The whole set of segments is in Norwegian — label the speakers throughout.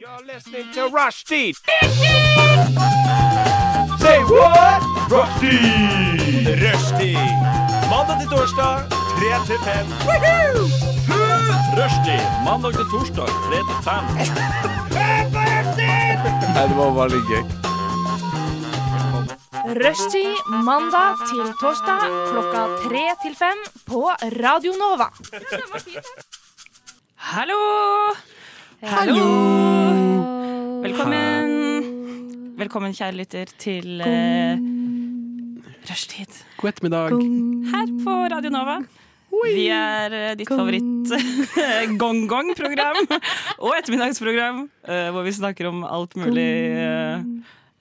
Speaker 1: You're listening to Rushdie. Say what? Rushdie. Rushdie. Mandag til torsdag, 3 til 5. Rushdie. Mandag til torsdag, 3 til 5.
Speaker 2: Rushtid mandag til torsdag klokka tre til fem på Radio Nova.
Speaker 3: Hallo! Hallo! Velkommen. Velkommen, kjære lytter, til eh, rushtid
Speaker 4: God ettermiddag.
Speaker 3: her på Radio Nova. Vi er eh, ditt favoritt-gong-gong-program og ettermiddagsprogram eh, hvor vi snakker om alt mulig eh,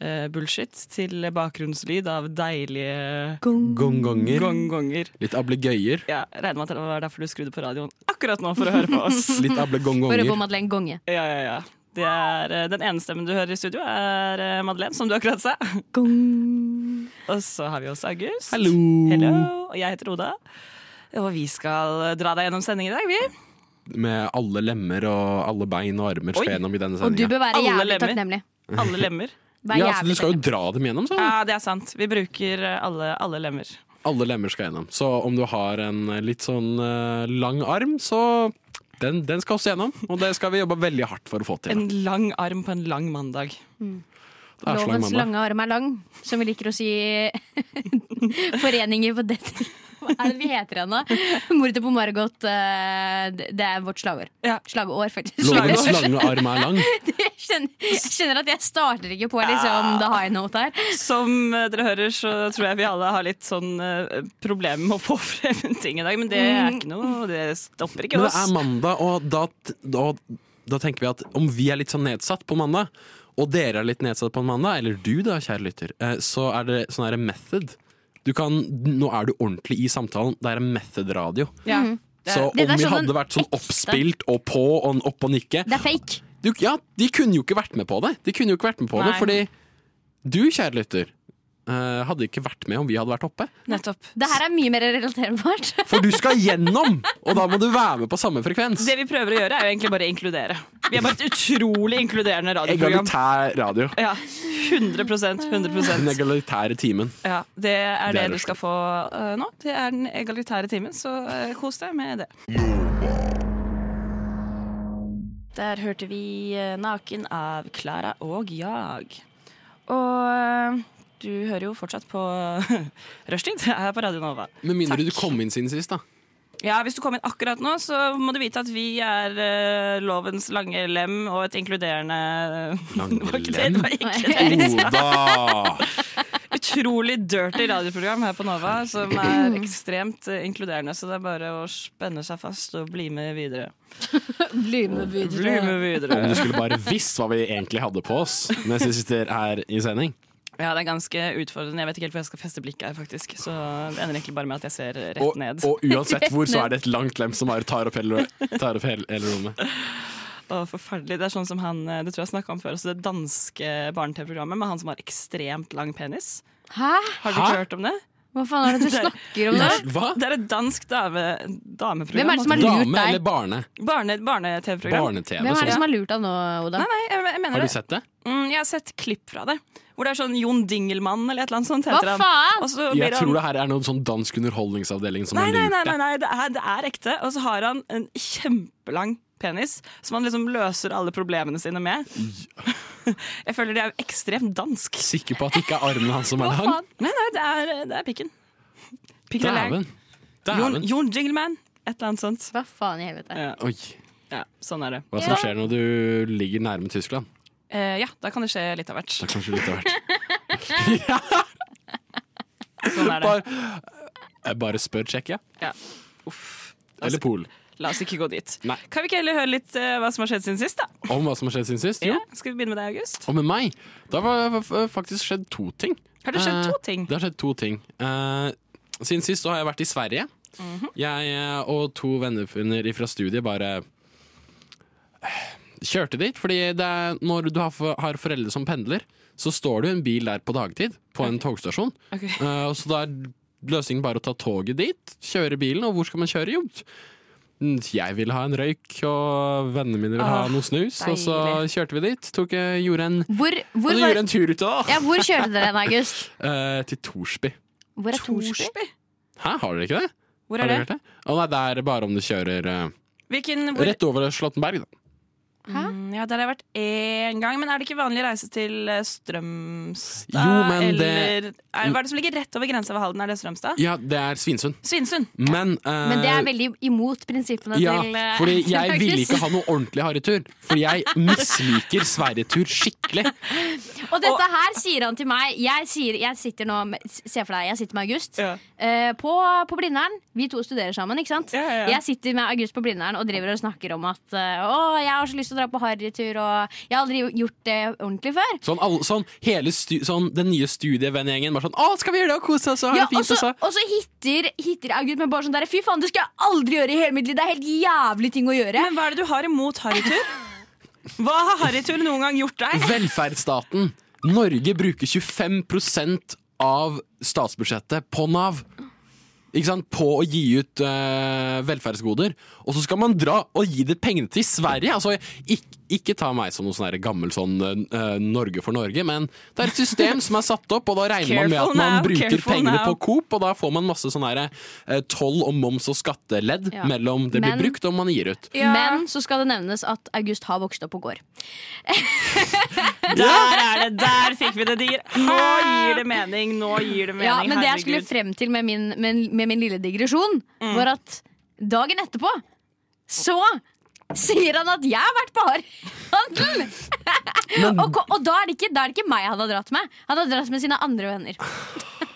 Speaker 3: eh, bullshit til bakgrunnslyd av deilige
Speaker 4: Gongonger.
Speaker 3: gong-gonger.
Speaker 4: Litt ablegøyer.
Speaker 3: Ja, regner med at det var derfor du skrudde på radioen akkurat nå for å høre på oss.
Speaker 4: Litt
Speaker 5: Bare på
Speaker 4: ablegongonger.
Speaker 5: Madeleine Gonge.
Speaker 3: Ja, ja, ja. Det er, eh, den ene stemmen du hører i studio, er eh, Madeleine, som du akkurat sa. Og så har vi også August.
Speaker 4: Hallo.
Speaker 3: Hello. Og jeg heter Oda. Og vi skal dra deg gjennom sending i dag, vi.
Speaker 4: Med alle lemmer og alle bein og
Speaker 3: Oi.
Speaker 4: armer skal gjennom i denne
Speaker 5: Og du
Speaker 4: sendinga.
Speaker 5: bør være
Speaker 3: Alle
Speaker 5: jævlig
Speaker 3: lemmer.
Speaker 5: takknemlig.
Speaker 3: Alle lemmer.
Speaker 4: Ja, så
Speaker 5: Vær
Speaker 4: du
Speaker 5: jævlig
Speaker 4: skal jo
Speaker 5: takknemlig.
Speaker 4: dra dem gjennom, så.
Speaker 3: Ja, det er sant. Vi bruker eh, alle, alle lemmer.
Speaker 4: Alle lemmer skal gjennom. Så om du har en litt sånn eh, lang arm, så den, den skal også gjennom. Og det skal vi jobbe veldig hardt for å få til.
Speaker 3: En lang arm på en lang mandag.
Speaker 4: Det er slag
Speaker 5: Lovens
Speaker 4: mandag.
Speaker 5: lange arm er lang, som vi liker å si foreninger på dette. Hva er det vi heter igjen, da? Mordet på Margot. eh, det- Det er vårt slagord.
Speaker 3: Ja.
Speaker 5: Slagord, faktisk.
Speaker 4: Lovens lange arm er lang.
Speaker 5: Jeg skjønner, jeg skjønner at jeg starter ikke på liksom, the high note her.
Speaker 3: Som eh, dere hører, så tror jeg vi alle har litt sånn eh, problemer med å få frem ting i dag. Men det er ikke noe. Mm. Det stopper ikke
Speaker 4: Men det
Speaker 3: oss.
Speaker 4: er mandag, og da, da, da tenker vi at om vi er litt sånn nedsatt på mandag, og dere er litt nedsatt på mandag, eller du da, kjære lytter, eh, så er det sånn her method. Du kan, nå er du ordentlig i samtalen. Det er en method-radio.
Speaker 3: Ja. Det
Speaker 4: Så
Speaker 3: er-
Speaker 4: om
Speaker 5: det er
Speaker 4: vi
Speaker 5: sånn
Speaker 4: hadde vært sånn
Speaker 5: ekte.
Speaker 4: oppspilt og på og opp og nikke
Speaker 5: Det er fake.
Speaker 4: du, Ja, de kunne jo ikke vært med på det. De kunne jo ikke vært med på det,
Speaker 3: Nei.
Speaker 4: fordi du, kjære lytter, eh, hadde ikke vært med om vi hadde vært oppe.
Speaker 3: Nettopp.
Speaker 5: Det her er mye mer relaterbart.
Speaker 4: For du skal gjennom! Og da må du være med på samme frekvens.
Speaker 3: Det vi prøver å gjøre, er jo egentlig bare å inkludere. Vi er bare et utrolig inkluderende radioprogram.
Speaker 4: Egalitær radio.
Speaker 3: Ja, 100
Speaker 4: Den
Speaker 3: 100
Speaker 4: egalitære timen.
Speaker 3: ja, Det er det
Speaker 4: Det er
Speaker 3: du skal få eh, nå. Det er den egalitære timen, så eh, kos deg med det. Der hørte vi eh, 'Naken' av Klara og Jag. Og eh, du hører jo fortsatt på Rushtid her på Radio Nova.
Speaker 4: Med mindre
Speaker 3: Takk.
Speaker 4: du kom inn siden sist, da.
Speaker 3: Ja, Hvis du kom inn akkurat nå, så må du vite at vi er eh, lovens lange lem og et inkluderende
Speaker 4: Lange
Speaker 3: Det var ikke Det,
Speaker 4: lem?
Speaker 3: det var ikke det.
Speaker 4: Oda!
Speaker 3: Utrolig dirty radioprogram her på Nova, som er ekstremt eh, inkluderende. Så det er bare å spenne seg fast og bli med videre. Bli med videre.
Speaker 4: Om du skulle bare visst hva vi egentlig hadde på oss mens vi sitter her i sending.
Speaker 3: Ja, det er ganske utfordrende. Jeg vet ikke helt hvor jeg skal feste blikket her, faktisk. Så det ender egentlig bare med at jeg ser
Speaker 4: Og,
Speaker 3: rett ned.
Speaker 4: og uansett hvor, så er det et langt lem som bare tar opp hele, tar opp hele, hele rommet.
Speaker 3: Å, forferdelig. Det er sånn som han, eh, det tror jeg jeg snakket om før, også det danske barne-TV-programmet med han som har ekstremt lang penis.
Speaker 5: Hæ?
Speaker 3: Har du
Speaker 4: Hæ?
Speaker 3: ikke hørt om det?
Speaker 5: Hva faen er det du snakker om nå?
Speaker 4: Hva?
Speaker 3: Det er et dansk dame, dameprogram. altså.
Speaker 5: Hvem er det som er lurt
Speaker 4: Dame
Speaker 5: deg?
Speaker 4: eller barne?
Speaker 3: Barne, barne-TV-program.
Speaker 4: Barne-TV.
Speaker 5: Hvem er det
Speaker 4: sånn.
Speaker 5: som har lurt deg nå, Oda?
Speaker 3: Nei, nei, jeg, jeg mener
Speaker 4: Har
Speaker 3: det.
Speaker 4: du sett det?
Speaker 3: Mm, jeg har sett klipp fra det. Hvor det er sånn Jon Dingelmann eller et eller annet sånt.
Speaker 5: Hva
Speaker 3: heter han.
Speaker 5: faen?
Speaker 3: Og så blir
Speaker 4: Jeg
Speaker 3: han-
Speaker 4: tror det her er noen sånn dansk underholdningsavdeling som
Speaker 3: Nei,
Speaker 4: har
Speaker 3: nei, nei, nei,
Speaker 4: lurt deg.
Speaker 3: nei det, er, det er ekte. Og så har han en kjempelang penis som han liksom løser alle problemene sine med. Jeg føler det er ekstremt dansk.
Speaker 4: Sikker på at det ikke er armen hans som er
Speaker 5: Hva
Speaker 4: lang?
Speaker 5: faen?
Speaker 3: Nei, nei, det er, det er pikken. Pikkelær.
Speaker 4: Dæven.
Speaker 3: Jon,
Speaker 4: Dæven.
Speaker 3: Jon Dingelmann. Et eller annet sånt.
Speaker 5: Hva faen i helvete?
Speaker 3: Ja,
Speaker 4: Oi.
Speaker 3: ja sånn er det.
Speaker 4: Hva som skjer når du ligger nærme Tyskland?
Speaker 3: Eh, ja, da kan det skje litt av hvert.
Speaker 4: Det er kanskje litt av hvert.
Speaker 3: Sånn er det.
Speaker 4: Bare, jeg bare spør Tsjekkia.
Speaker 3: Ja. Altså-
Speaker 4: Eller Polen.
Speaker 3: La oss ikke gå dit.
Speaker 4: Nei.
Speaker 3: Kan vi ikke heller høre litt eh, hva som har skjedd siden sist, da?
Speaker 4: Om hva som har skjedd siden sist? Jo.
Speaker 3: Ja, skal vi begynne med deg, August?
Speaker 4: Og med meg. Da har det faktisk skjedd to ting.
Speaker 3: Har det skjedd
Speaker 4: Eh,
Speaker 3: to ting?
Speaker 4: Det har skjedd to ting. Eh, siden sist så har jeg vært i Sverige.
Speaker 3: Mhm.
Speaker 4: Jeg eh, og to vennefunner fra studiet bare eh, kjørte dit. Fordi det er, når du har, for, har foreldre som pendler, så står det jo en bil der på dagtid. På en togstasjon.
Speaker 3: Ok.
Speaker 4: Eh, og så da er løsningen bare å ta toget dit, kjøre bilen, og hvor skal man kjøre? Jo, mm, jeg ville ha en røyk, og vennene mine ville ha
Speaker 3: Åh,
Speaker 4: noe snus. Og så kjørte vi dit. Tok, eh, gjorde, en,
Speaker 5: Hvor,
Speaker 4: og
Speaker 5: hvor,
Speaker 4: så
Speaker 5: var,
Speaker 4: gjorde en tur ut av, da.
Speaker 5: ja, hvor kjørte dere den, August?
Speaker 4: Eh, til Torsby.
Speaker 5: Hvor er Torsby?
Speaker 3: Torsby?
Speaker 4: Hæ, har dere ikke det?
Speaker 3: Hvor
Speaker 4: Har
Speaker 3: er
Speaker 4: dere
Speaker 3: det?
Speaker 4: hørt det? Å nei, det er bare om du kjører eh,
Speaker 3: Hvilken, hvor,
Speaker 4: rett over Slottenberg, da.
Speaker 3: Mm, ja, der har jeg vært én gang, men er det ikke vanlig å reise til eh, Strømstad?
Speaker 4: Jo, men det-
Speaker 3: eller, er, Hva er det som ligger rett over grensa ved Halden? Er det Strømstad?
Speaker 4: Ja, det er Svinesund.
Speaker 3: Svinesund!
Speaker 4: Men, eh,
Speaker 5: Men det er veldig imot prinsippene
Speaker 4: ja,
Speaker 5: til eh,
Speaker 4: fordi
Speaker 5: til
Speaker 4: jeg ville
Speaker 5: August.
Speaker 4: ikke ha noe ordentlig harrytur. For jeg misliker Sverigetur skikkelig.
Speaker 5: Og dette her sier han til meg. Jeg, sier, jeg sitter nå med, Se for deg, jeg sitter med August
Speaker 3: Ja.
Speaker 5: eh, på, på Blindern. Vi to studerer sammen, ikke sant?
Speaker 3: Ja, ja, ja.
Speaker 5: Jeg sitter med August på Blindern og driver og snakker om at eh, Å, jeg har så lyst til å dra på harrytur, og jeg har aldri gjort det ordentlig før.
Speaker 4: Sånn, alle, sånn, hele stu, sånn den nye studievennegjengen bare sånn Å, skal vi gjøre det og kose oss og ha
Speaker 5: Ja,
Speaker 4: det fint?
Speaker 5: og så,
Speaker 4: og så.
Speaker 5: og så hitter, hitter August med bare sånn der Fy faen, det skal jeg aldri gjøre i hele mitt liv! Det er helt jævlig ting å gjøre.
Speaker 3: Men hva er det du har imot harrytur? Hva har harrytur noen gang gjort deg?
Speaker 4: Velferdsstaten. Norge bruker 25 av statsbudsjettet på Nav. Ikke sant? På å gi ut eh, velferdsgoder. Og så skal man dra og gi det pengene til Sverige! Altså, ikke, ikke ta meg som noen sånn her gammel sånn eh, Norge for Norge, men det er et system som er satt opp, og da regner man med
Speaker 3: Careful
Speaker 4: at man
Speaker 3: now,
Speaker 4: bruker
Speaker 3: careful
Speaker 4: pengene
Speaker 3: now.
Speaker 4: på Coop, og da får man masse sånn her, eh, toll og moms og skatteledd
Speaker 5: Ja.
Speaker 4: mellom det blir
Speaker 5: Men-
Speaker 4: brukt og man gir ut.
Speaker 3: Ja.
Speaker 5: Men så skal det nevnes at August har vokst opp på gård.
Speaker 3: Der er det! Der fikk vi det! digre. Nå gir det mening! Nå gir det mening,
Speaker 5: Ja, men det jeg skulle
Speaker 3: herregud.
Speaker 5: frem til med min, med, med min lille digresjon, var at dagen etterpå så sier han at jeg har vært på harryhandel! og, ko- og da, er det ikke, da er det ikke meg han har dratt med. Han har dratt med sine andre venner.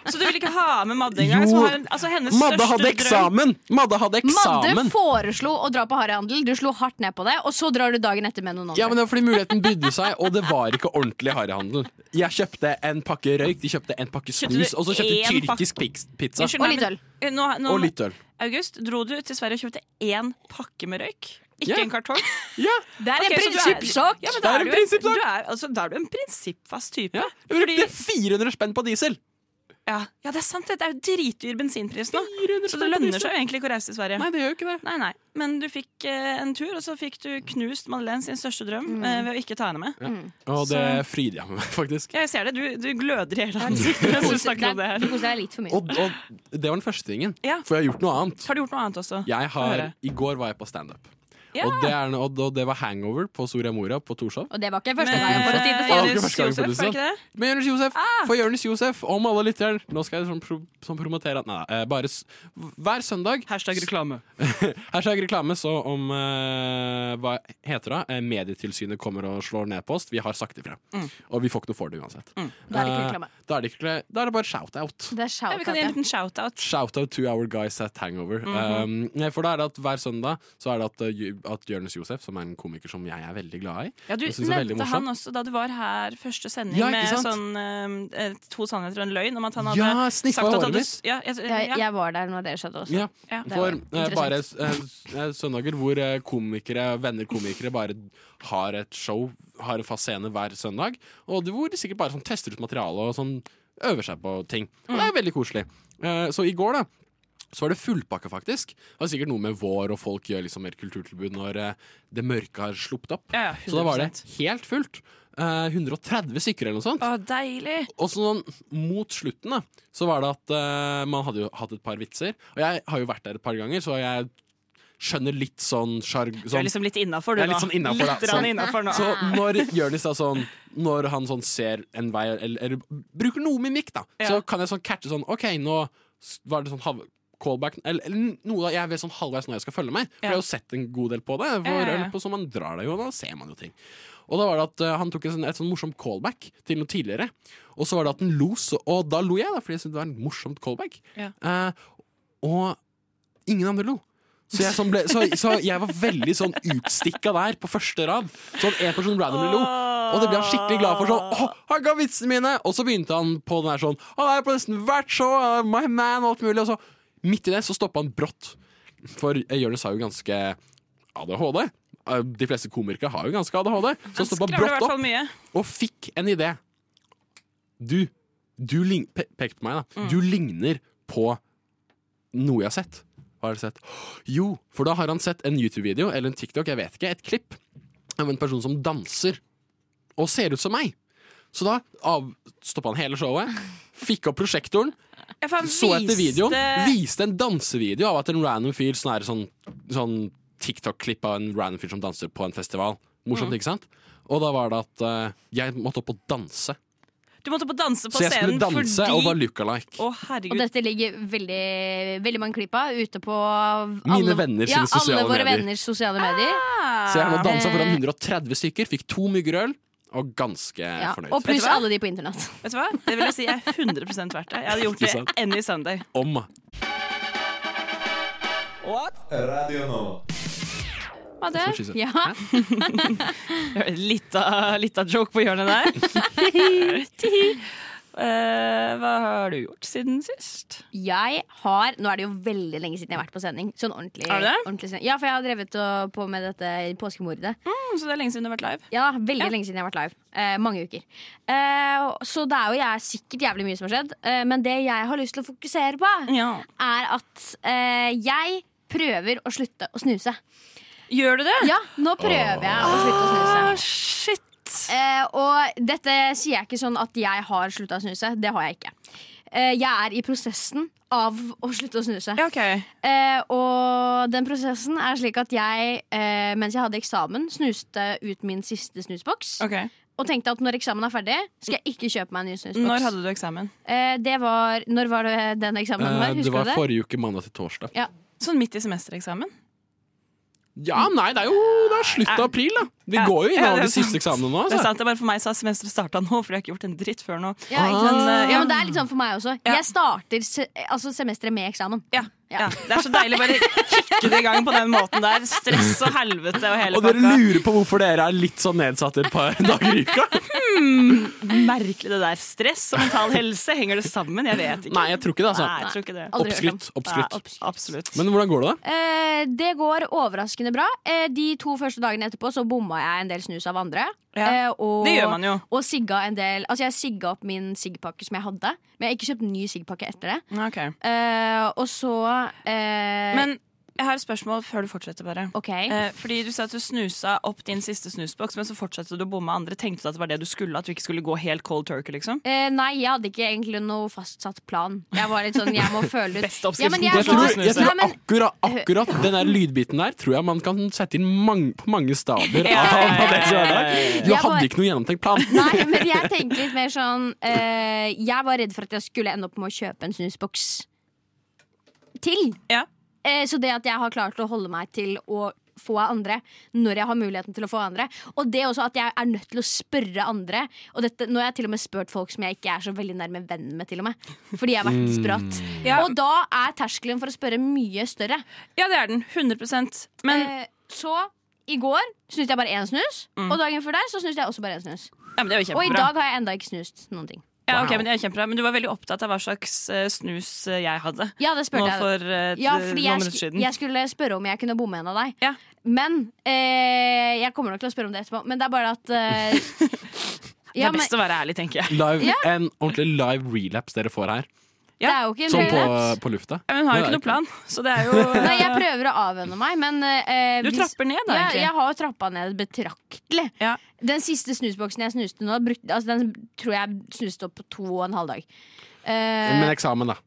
Speaker 3: Så du vil ikke ha med Madde engang? som
Speaker 4: Jo.
Speaker 3: har en- Altså, hennes
Speaker 4: Madde
Speaker 3: største
Speaker 4: hadde
Speaker 3: drøm
Speaker 4: eksamen! Madde hadde eksamen!
Speaker 5: Madde foreslo å dra på harryhandel, du slo hardt ned på det, og så drar du dagen etter med noen andre.
Speaker 4: Ja, men det var fordi muligheten bydde seg, og det var ikke ordentlig harryhandel. Jeg kjøpte en pakke røyk, de kjøpte en pakke
Speaker 3: Kjøpte du
Speaker 4: snus, og så kjøpte
Speaker 3: en
Speaker 4: de tyrkisk piks- pizza.
Speaker 3: Unnskyld
Speaker 5: Og
Speaker 3: meg, men-
Speaker 5: litt
Speaker 3: eh, Nå, nå,
Speaker 4: Og litt øl.
Speaker 3: August, dro du til Sverige og kjøpte én pakke med røyk? Ikke
Speaker 4: Ja.
Speaker 3: en kartong?
Speaker 4: Ja,
Speaker 5: det er
Speaker 3: Ok, så du
Speaker 5: en
Speaker 3: er-
Speaker 5: prinsippsak!
Speaker 3: Ja, men
Speaker 4: Det
Speaker 3: da
Speaker 4: er
Speaker 3: er
Speaker 4: en
Speaker 3: du en-
Speaker 4: prinsippsak.
Speaker 3: du er- altså, da er du en prinsippfast type.
Speaker 4: ja. Jeg
Speaker 3: Fordi-
Speaker 4: brukte 400 spenn på diesel!
Speaker 3: ja. ja, det er sant. Det Det er jo dritdyr bensinpris nå.
Speaker 4: 400
Speaker 3: Så det lønner seg jo egentlig ikke å reise til Sverige.
Speaker 4: Nei, det gjør jo ikke det.
Speaker 3: Nei, nei. Men du fikk eh, en tur, og så fikk du knust Madeleine sin største drøm
Speaker 5: Mm.
Speaker 3: eh, ved å ikke ta henne med.
Speaker 4: Og det fryder jeg meg med, faktisk.
Speaker 3: Ja, jeg ser det. Du, du gløder i hele ansiktet mens du snakker om det
Speaker 5: Du
Speaker 3: her.
Speaker 5: koser deg litt for mye.
Speaker 4: Og, og det var den første tingen.
Speaker 3: Ja.
Speaker 4: For jeg har gjort noe annet.
Speaker 3: Har du gjort noe annet også?
Speaker 4: Jeg har,
Speaker 3: høre.
Speaker 4: I går var jeg på standup.
Speaker 3: Ja.
Speaker 4: Og, det er no- og og det var hangover på Soria Moria på Torshov.
Speaker 5: Og det var ikke
Speaker 3: Eh,
Speaker 5: første gangen for å si det
Speaker 3: Med
Speaker 5: sånn.
Speaker 4: Det var
Speaker 3: Jonis
Speaker 4: første gangen for å si det
Speaker 3: Josef, var det ikke det?
Speaker 4: Med Jonis Josef!
Speaker 5: Ah.
Speaker 4: For Jonis Josef, om alle lytter Nå skal jeg sånn, pro sånn promotere at Nei, nei, eh, bare s hver søndag
Speaker 3: Hashtag reklame.
Speaker 4: Hashtag reklame, så om eh, Hva heter det? Eh, Medietilsynet kommer og slår ned på oss. Vi har sagt ifra. Og vi får ikke noe for det uansett.
Speaker 5: Mm. Da er det ikke reklame.
Speaker 4: Eh, da, er det ikke, da er det bare shout-out.
Speaker 5: Det er
Speaker 3: Ja, vi kan gi en
Speaker 5: shout-out.
Speaker 3: liten shout-out.
Speaker 4: Shout-out to our guys at Hangover.
Speaker 5: Mhm.
Speaker 4: Um, nei, for da er det at hver søndag Så er det at, eh, Ju- at Jonis Josef, som er en komiker som jeg er veldig glad i
Speaker 3: Ja, du
Speaker 4: Jeg synes det er veldig
Speaker 3: nevnte han
Speaker 4: morsomt.
Speaker 3: også da du var her første sending
Speaker 4: Ja, ikke
Speaker 3: med
Speaker 4: sant?
Speaker 3: sånn eh, to sannheter og en løgn om at han hadde
Speaker 4: Ja, sniffa
Speaker 3: sagt at
Speaker 4: håret
Speaker 3: hadde-
Speaker 4: mitt.
Speaker 3: Ja, jeg,
Speaker 5: Jeg,
Speaker 3: ja.
Speaker 5: jeg var der når dere skjedde også.
Speaker 4: Ja,
Speaker 3: Ja.
Speaker 4: For
Speaker 5: Det var
Speaker 4: eh, bare eh, søndager hvor eh, komikere, venner komikere bare har et show, har en fast scene hver søndag, og det- hvor de sikkert bare sånn, tester ut materiale og sånn, øver seg på ting. Og
Speaker 3: Mm.
Speaker 4: det er veldig koselig. Eh, så i går, da, så var det fullpakka, faktisk. Det var sikkert noe med vår, og folk gjør liksom mer kulturtilbud når eh, det mørke har sluppet opp.
Speaker 3: Ja, ja,
Speaker 4: så da var det
Speaker 3: 100%.
Speaker 4: helt fullt. Eh, 130 stykker eller noe sånt.
Speaker 3: Å, deilig!
Speaker 4: Og sånn mot slutten da Så var det at eh, man hadde jo hatt et par vitser Og jeg har jo vært der et par ganger Så jeg skjønner litt sånn sjarg
Speaker 3: Du er
Speaker 4: sånn.
Speaker 3: liksom litt innafor, du
Speaker 4: Jeg er litt sånn innenfor, da.
Speaker 3: Litt rann
Speaker 4: Sånn.
Speaker 3: innenfor nå.
Speaker 4: Så når Jørnis da sånn Når han sånn ser en vei Eller, eller bruker noe mimikk da
Speaker 3: Ja.
Speaker 4: Så kan jeg sånn catche sånn Ok, nå s- var det sånn halv Callback Eller, eller noe da Jeg vet sånn halvveis når jeg skal følge meg
Speaker 3: Ja.
Speaker 4: For jeg har jo sett en god del på det Hvor
Speaker 3: Ja, ja, ja.
Speaker 4: eller på, så man drar det jo Og da ser man jo ting og da var det at eh, han tok en sånn, et sånn morsomt callback til noe tidligere. Og så var det at han lo, så, og da lo jeg, da, fordi jeg syntes det var en morsomt callback.
Speaker 3: Ja.
Speaker 4: Eh, og ingen andre lo. Så jeg, sånn ble, så, så jeg var veldig sånn utstikka der på første rad. Sånn en person randomly lo. Og det ble han skikkelig glad for. sånn, Åh, han ga vitsene mine Og så begynte han på den her sånn Han er på nesten hvert show, han er my man, og alt mulig. Og så midt i det så stoppa han brått. For eh, Jonis har jo ganske ADHD. Eh, De fleste komikere har jo ganske ADHD. Så stoppa
Speaker 3: Skravler i
Speaker 4: brått
Speaker 3: hvert
Speaker 4: opp
Speaker 3: fall mye.
Speaker 4: og fikk en idé. Du, du lign- pe pek på meg, da. Du ligner på noe jeg har sett. Hva har du sett? Jo, for da har han sett en YouTube-video eller en TikTok, jeg vet ikke, et klipp av en person som danser og ser ut som meg. Så da av- stoppa han hele showet, fikk opp prosjektoren,
Speaker 3: Ja, for han
Speaker 4: så etter videoen,
Speaker 3: viste-
Speaker 4: viste en dansevideo av at en random fyr sånn, her, sånn, sånn TikTok-klipp av en random fyr som danser på en festival. Morsomt,
Speaker 3: Mm.
Speaker 4: ikke sant? Og da var det at eh, jeg måtte opp og danse.
Speaker 3: Du måtte på danse på
Speaker 4: så jeg
Speaker 3: scenen
Speaker 4: skulle danse
Speaker 3: fordi
Speaker 4: og var lookalike.
Speaker 3: Å,
Speaker 5: Og
Speaker 3: herregud.
Speaker 5: dette ligger veldig, veldig mange klipp av ute på
Speaker 4: Mine venner
Speaker 5: ja,
Speaker 4: sine sosiale
Speaker 5: alle våre
Speaker 4: medier.
Speaker 5: venners sosiale medier.
Speaker 4: Så jeg nå dansa
Speaker 5: Eh.
Speaker 4: foran 130 stykker, fikk to muggerøl og ganske
Speaker 5: Ja,
Speaker 4: fornøyd.
Speaker 5: og pluss
Speaker 3: Vet du hva?
Speaker 5: alle de på internett.
Speaker 3: Vet du hva? Det vil jeg si er 100 verdt det. Jeg hadde gjort
Speaker 4: Ikke sant?
Speaker 3: det any Sunday.
Speaker 4: Om
Speaker 1: Radio Nova.
Speaker 5: Hva det?
Speaker 4: That's what she said.
Speaker 5: Ja.
Speaker 3: Litt av, litt av joke på hjørnet der. Eh, hva har du gjort siden sist?
Speaker 5: Jeg har Nå er det jo veldig lenge siden jeg har vært på sending. Sånn ordentlig,
Speaker 3: Er det det?
Speaker 5: ordentlig sending. Ja, for jeg har drevet og, på med dette påskemordet.
Speaker 3: Mm, så det er lenge siden du har vært live.
Speaker 5: Ja, Veldig lenge siden jeg har vært live. Eh, mange uker. Eh, så det er jo jeg, sikkert jævlig mye som har skjedd, eh, men det jeg har lyst til å fokusere på, er at eh, jeg prøver å slutte å snuse.
Speaker 3: Gjør du det?
Speaker 5: Ja, nå prøver jeg å slutte å snuse.
Speaker 3: Ah, shit.
Speaker 5: Eh, og dette sier jeg ikke sånn at jeg har slutta å snuse. Det har jeg ikke. Eh, jeg er i prosessen av å slutte å snuse.
Speaker 3: Ja, ok.
Speaker 5: Eh, og den prosessen er slik at jeg, eh, mens jeg hadde eksamen, snuste ut min siste snusboks.
Speaker 3: Ok.
Speaker 5: Og tenkte at når eksamen er ferdig, skal jeg ikke kjøpe meg en ny snusboks.
Speaker 3: Når hadde du eksamen?
Speaker 5: eh, det var, når var det den eksamen var?
Speaker 4: eh, det
Speaker 5: Husker
Speaker 4: var
Speaker 5: du det?
Speaker 4: forrige uke, mandag til torsdag.
Speaker 3: Sånn midt i semestereksamen?
Speaker 4: Ja, nei, det er jo det er slutt av april, da. Vi
Speaker 3: Ja.
Speaker 4: går jo
Speaker 3: Ja,
Speaker 4: innom
Speaker 3: det er
Speaker 4: de siste
Speaker 3: sant.
Speaker 4: eksamene nå.
Speaker 3: Det er
Speaker 4: Altså.
Speaker 3: sant, det er bare for meg så har semesteret starta nå, for jeg har ikke gjort en dritt før nå.
Speaker 5: Ja, ikke
Speaker 3: Men,
Speaker 5: sant?
Speaker 3: eh,
Speaker 5: ja,
Speaker 3: ja.
Speaker 5: men det er litt sånn for meg også.
Speaker 3: Ja.
Speaker 5: Jeg starter se altså semesteret med eksamen.
Speaker 3: Ja,
Speaker 5: Ja.
Speaker 3: ja. Det er så deilig å bare kicke det i gang på den måten der. Stress og helvete og hele
Speaker 4: Og dere
Speaker 3: pakka.
Speaker 4: lurer på hvorfor dere er litt sånn nedsatt et par dager i uka?
Speaker 3: Merkelig det der. Stress og mental helse, henger det sammen? Jeg vet ikke.
Speaker 4: Nei, jeg tror ikke det.
Speaker 3: Nei,
Speaker 4: Altså.
Speaker 3: jeg tror ikke det.
Speaker 5: Aldri hørt om.
Speaker 4: Oppskrytt. oppskrytt.
Speaker 3: Nei, abs- absolutt.
Speaker 4: Men hvordan går det, da?
Speaker 5: Eh, det går overraskende bra. Eh, de to første dagene etterpå så bomma jeg en del snus av andre.
Speaker 3: Ja,
Speaker 5: Eh, og,
Speaker 3: det gjør man jo.
Speaker 5: Og sigga en del Altså jeg sigga opp min siggpakke som jeg hadde, men jeg har ikke kjøpt ny siggpakke etter det.
Speaker 3: Ok.
Speaker 5: Eh, og så eh,
Speaker 3: Men jeg har et spørsmål før du fortsetter, bare.
Speaker 5: OK.
Speaker 3: Eh, fordi Du sa at du snusa opp din siste snusboks, men så fortsatte du å bomme andre. Tenkte du at det var det du skulle? At du ikke skulle gå helt cold turkey? liksom?
Speaker 5: Eh, nei, jeg hadde ikke egentlig noe fastsatt plan. Jeg var litt sånn, jeg må føle ut
Speaker 3: Beste oppskriften
Speaker 5: Ja, men jeg
Speaker 3: på
Speaker 5: er
Speaker 4: Jeg tror,
Speaker 5: så-
Speaker 3: snuse.
Speaker 4: jeg
Speaker 5: Nei,
Speaker 4: tror
Speaker 5: men-
Speaker 4: akkurat, akkurat den der lydbiten der tror jeg man kan sette inn mange, på mange stader.
Speaker 3: Ja, ja, ja,
Speaker 4: av det som er
Speaker 3: ja,
Speaker 4: der.
Speaker 3: ja, ja.
Speaker 4: Du
Speaker 5: Jeg bare-
Speaker 4: hadde ikke noe gjennomtenkt plan.
Speaker 5: Nei, men jeg tenker litt mer sånn eh, Jeg var redd for at jeg skulle ende opp med å kjøpe en snusboks til.
Speaker 3: Ja.
Speaker 5: Eh, så det at jeg har klart å holde meg til å få av andre når jeg har muligheten til å få av andre. Og det også at jeg er nødt til å spørre andre. Og dette, nå har jeg til og med spurt folk som jeg ikke er så veldig nærme venn med, til og med. Fordi jeg har vært desperat.
Speaker 3: Ja.
Speaker 5: Og da er terskelen for å spørre mye større.
Speaker 3: Ja, det er den. 100 Men
Speaker 5: Eh, så i går snuste jeg bare én snus, og dagen før der så snuste jeg også bare én snus.
Speaker 3: Ja, men det er jo
Speaker 5: Og i
Speaker 3: kjempebra.
Speaker 5: dag har jeg enda ikke snust noen ting.
Speaker 3: Ja, ok,
Speaker 4: Wow.
Speaker 3: men, det er kjempebra. men du var veldig opptatt av hva slags eh, snus eh, jeg hadde.
Speaker 5: Ja, det
Speaker 3: Nå
Speaker 5: spurte jeg.
Speaker 3: for eh,
Speaker 5: Ja,
Speaker 3: t-
Speaker 5: fordi
Speaker 3: noen
Speaker 5: jeg,
Speaker 3: minutter
Speaker 5: sk-
Speaker 3: siden.
Speaker 5: jeg skulle spørre om jeg kunne bomme en av deg.
Speaker 3: Ja.
Speaker 5: Men eh, Jeg kommer nok til å spørre om det etterpå. Men det er bare at eh,
Speaker 3: det
Speaker 5: ja,
Speaker 3: er
Speaker 5: men,
Speaker 3: best å være ærlig, tenker jeg.
Speaker 4: Live, En ordentlig live relapse dere får her,
Speaker 5: Det er jo ikke en
Speaker 4: sånn på,
Speaker 5: relapse.
Speaker 4: på lufta.
Speaker 3: Ja, men hun har jo
Speaker 4: Det
Speaker 3: ikke noe
Speaker 4: er
Speaker 3: plan, så det er jo eh,
Speaker 5: Nei, jeg prøver å avvenne meg, men eh,
Speaker 3: Du
Speaker 5: hvis-
Speaker 3: trapper ned, da,
Speaker 5: Ja,
Speaker 3: egentlig.
Speaker 5: jeg har jo trappa ned betraktelig.
Speaker 3: Ja.
Speaker 5: Den siste snusboksen jeg snuste nå, brukte, altså, den tror jeg snuste opp på to og en halv dag. Eh,
Speaker 4: Men eksamen, da.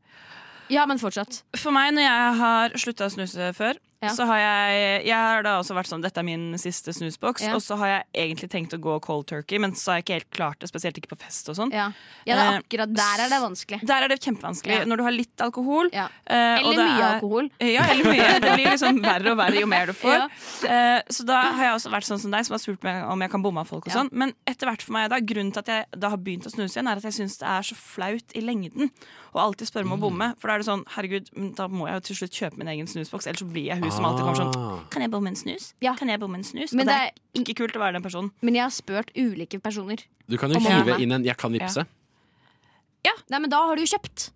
Speaker 5: ja, men fortsatt.
Speaker 3: For meg, når jeg har slutta å snuse før,
Speaker 5: Ja.
Speaker 3: så har jeg Jeg har da også vært sånn Dette er min siste snusboks.
Speaker 5: Ja.
Speaker 3: Og så har jeg egentlig tenkt å gå cold turkey, men så har jeg ikke helt klart det, spesielt ikke på fest og sånn.
Speaker 5: Ja, ja det er
Speaker 3: Eh,
Speaker 5: akkurat der er det vanskelig.
Speaker 3: Der er det kjempevanskelig.
Speaker 5: Ja.
Speaker 3: Når du har litt alkohol
Speaker 5: Ja.
Speaker 3: eh, og
Speaker 5: Eller
Speaker 3: det
Speaker 5: mye
Speaker 3: er-
Speaker 5: alkohol.
Speaker 3: Ja, eller mye. Det blir liksom verre og verre jo mer du får.
Speaker 5: Ja.
Speaker 3: Eh, så da har jeg også vært sånn som deg, som har spurt meg om jeg kan bomme av folk og
Speaker 5: Ja.
Speaker 3: sånn. Men etter hvert for meg da, grunnen til at jeg da har begynt å snuse igjen, er at jeg syns det er så flaut i lengden å alltid spørre om
Speaker 4: Mm.
Speaker 3: å bomme. For da er det sånn, herregud, men da må jeg jo til slutt kjøpe min egen snusboks, ellers så blir jeg hun som alltid kommer sånn
Speaker 4: Ah.
Speaker 3: Kan jeg bomme en snus?
Speaker 5: Ja.
Speaker 3: Kan jeg bomme en snus?
Speaker 5: Men
Speaker 3: og det er
Speaker 5: det er-
Speaker 3: ikke kult å være den personen.
Speaker 5: Men jeg har spurt ulike personer.
Speaker 4: Du kan jo
Speaker 5: Om å
Speaker 4: hive
Speaker 5: bomme.
Speaker 4: inn en 'jeg kan vippse'.
Speaker 5: Nei, men da har du jo kjøpt.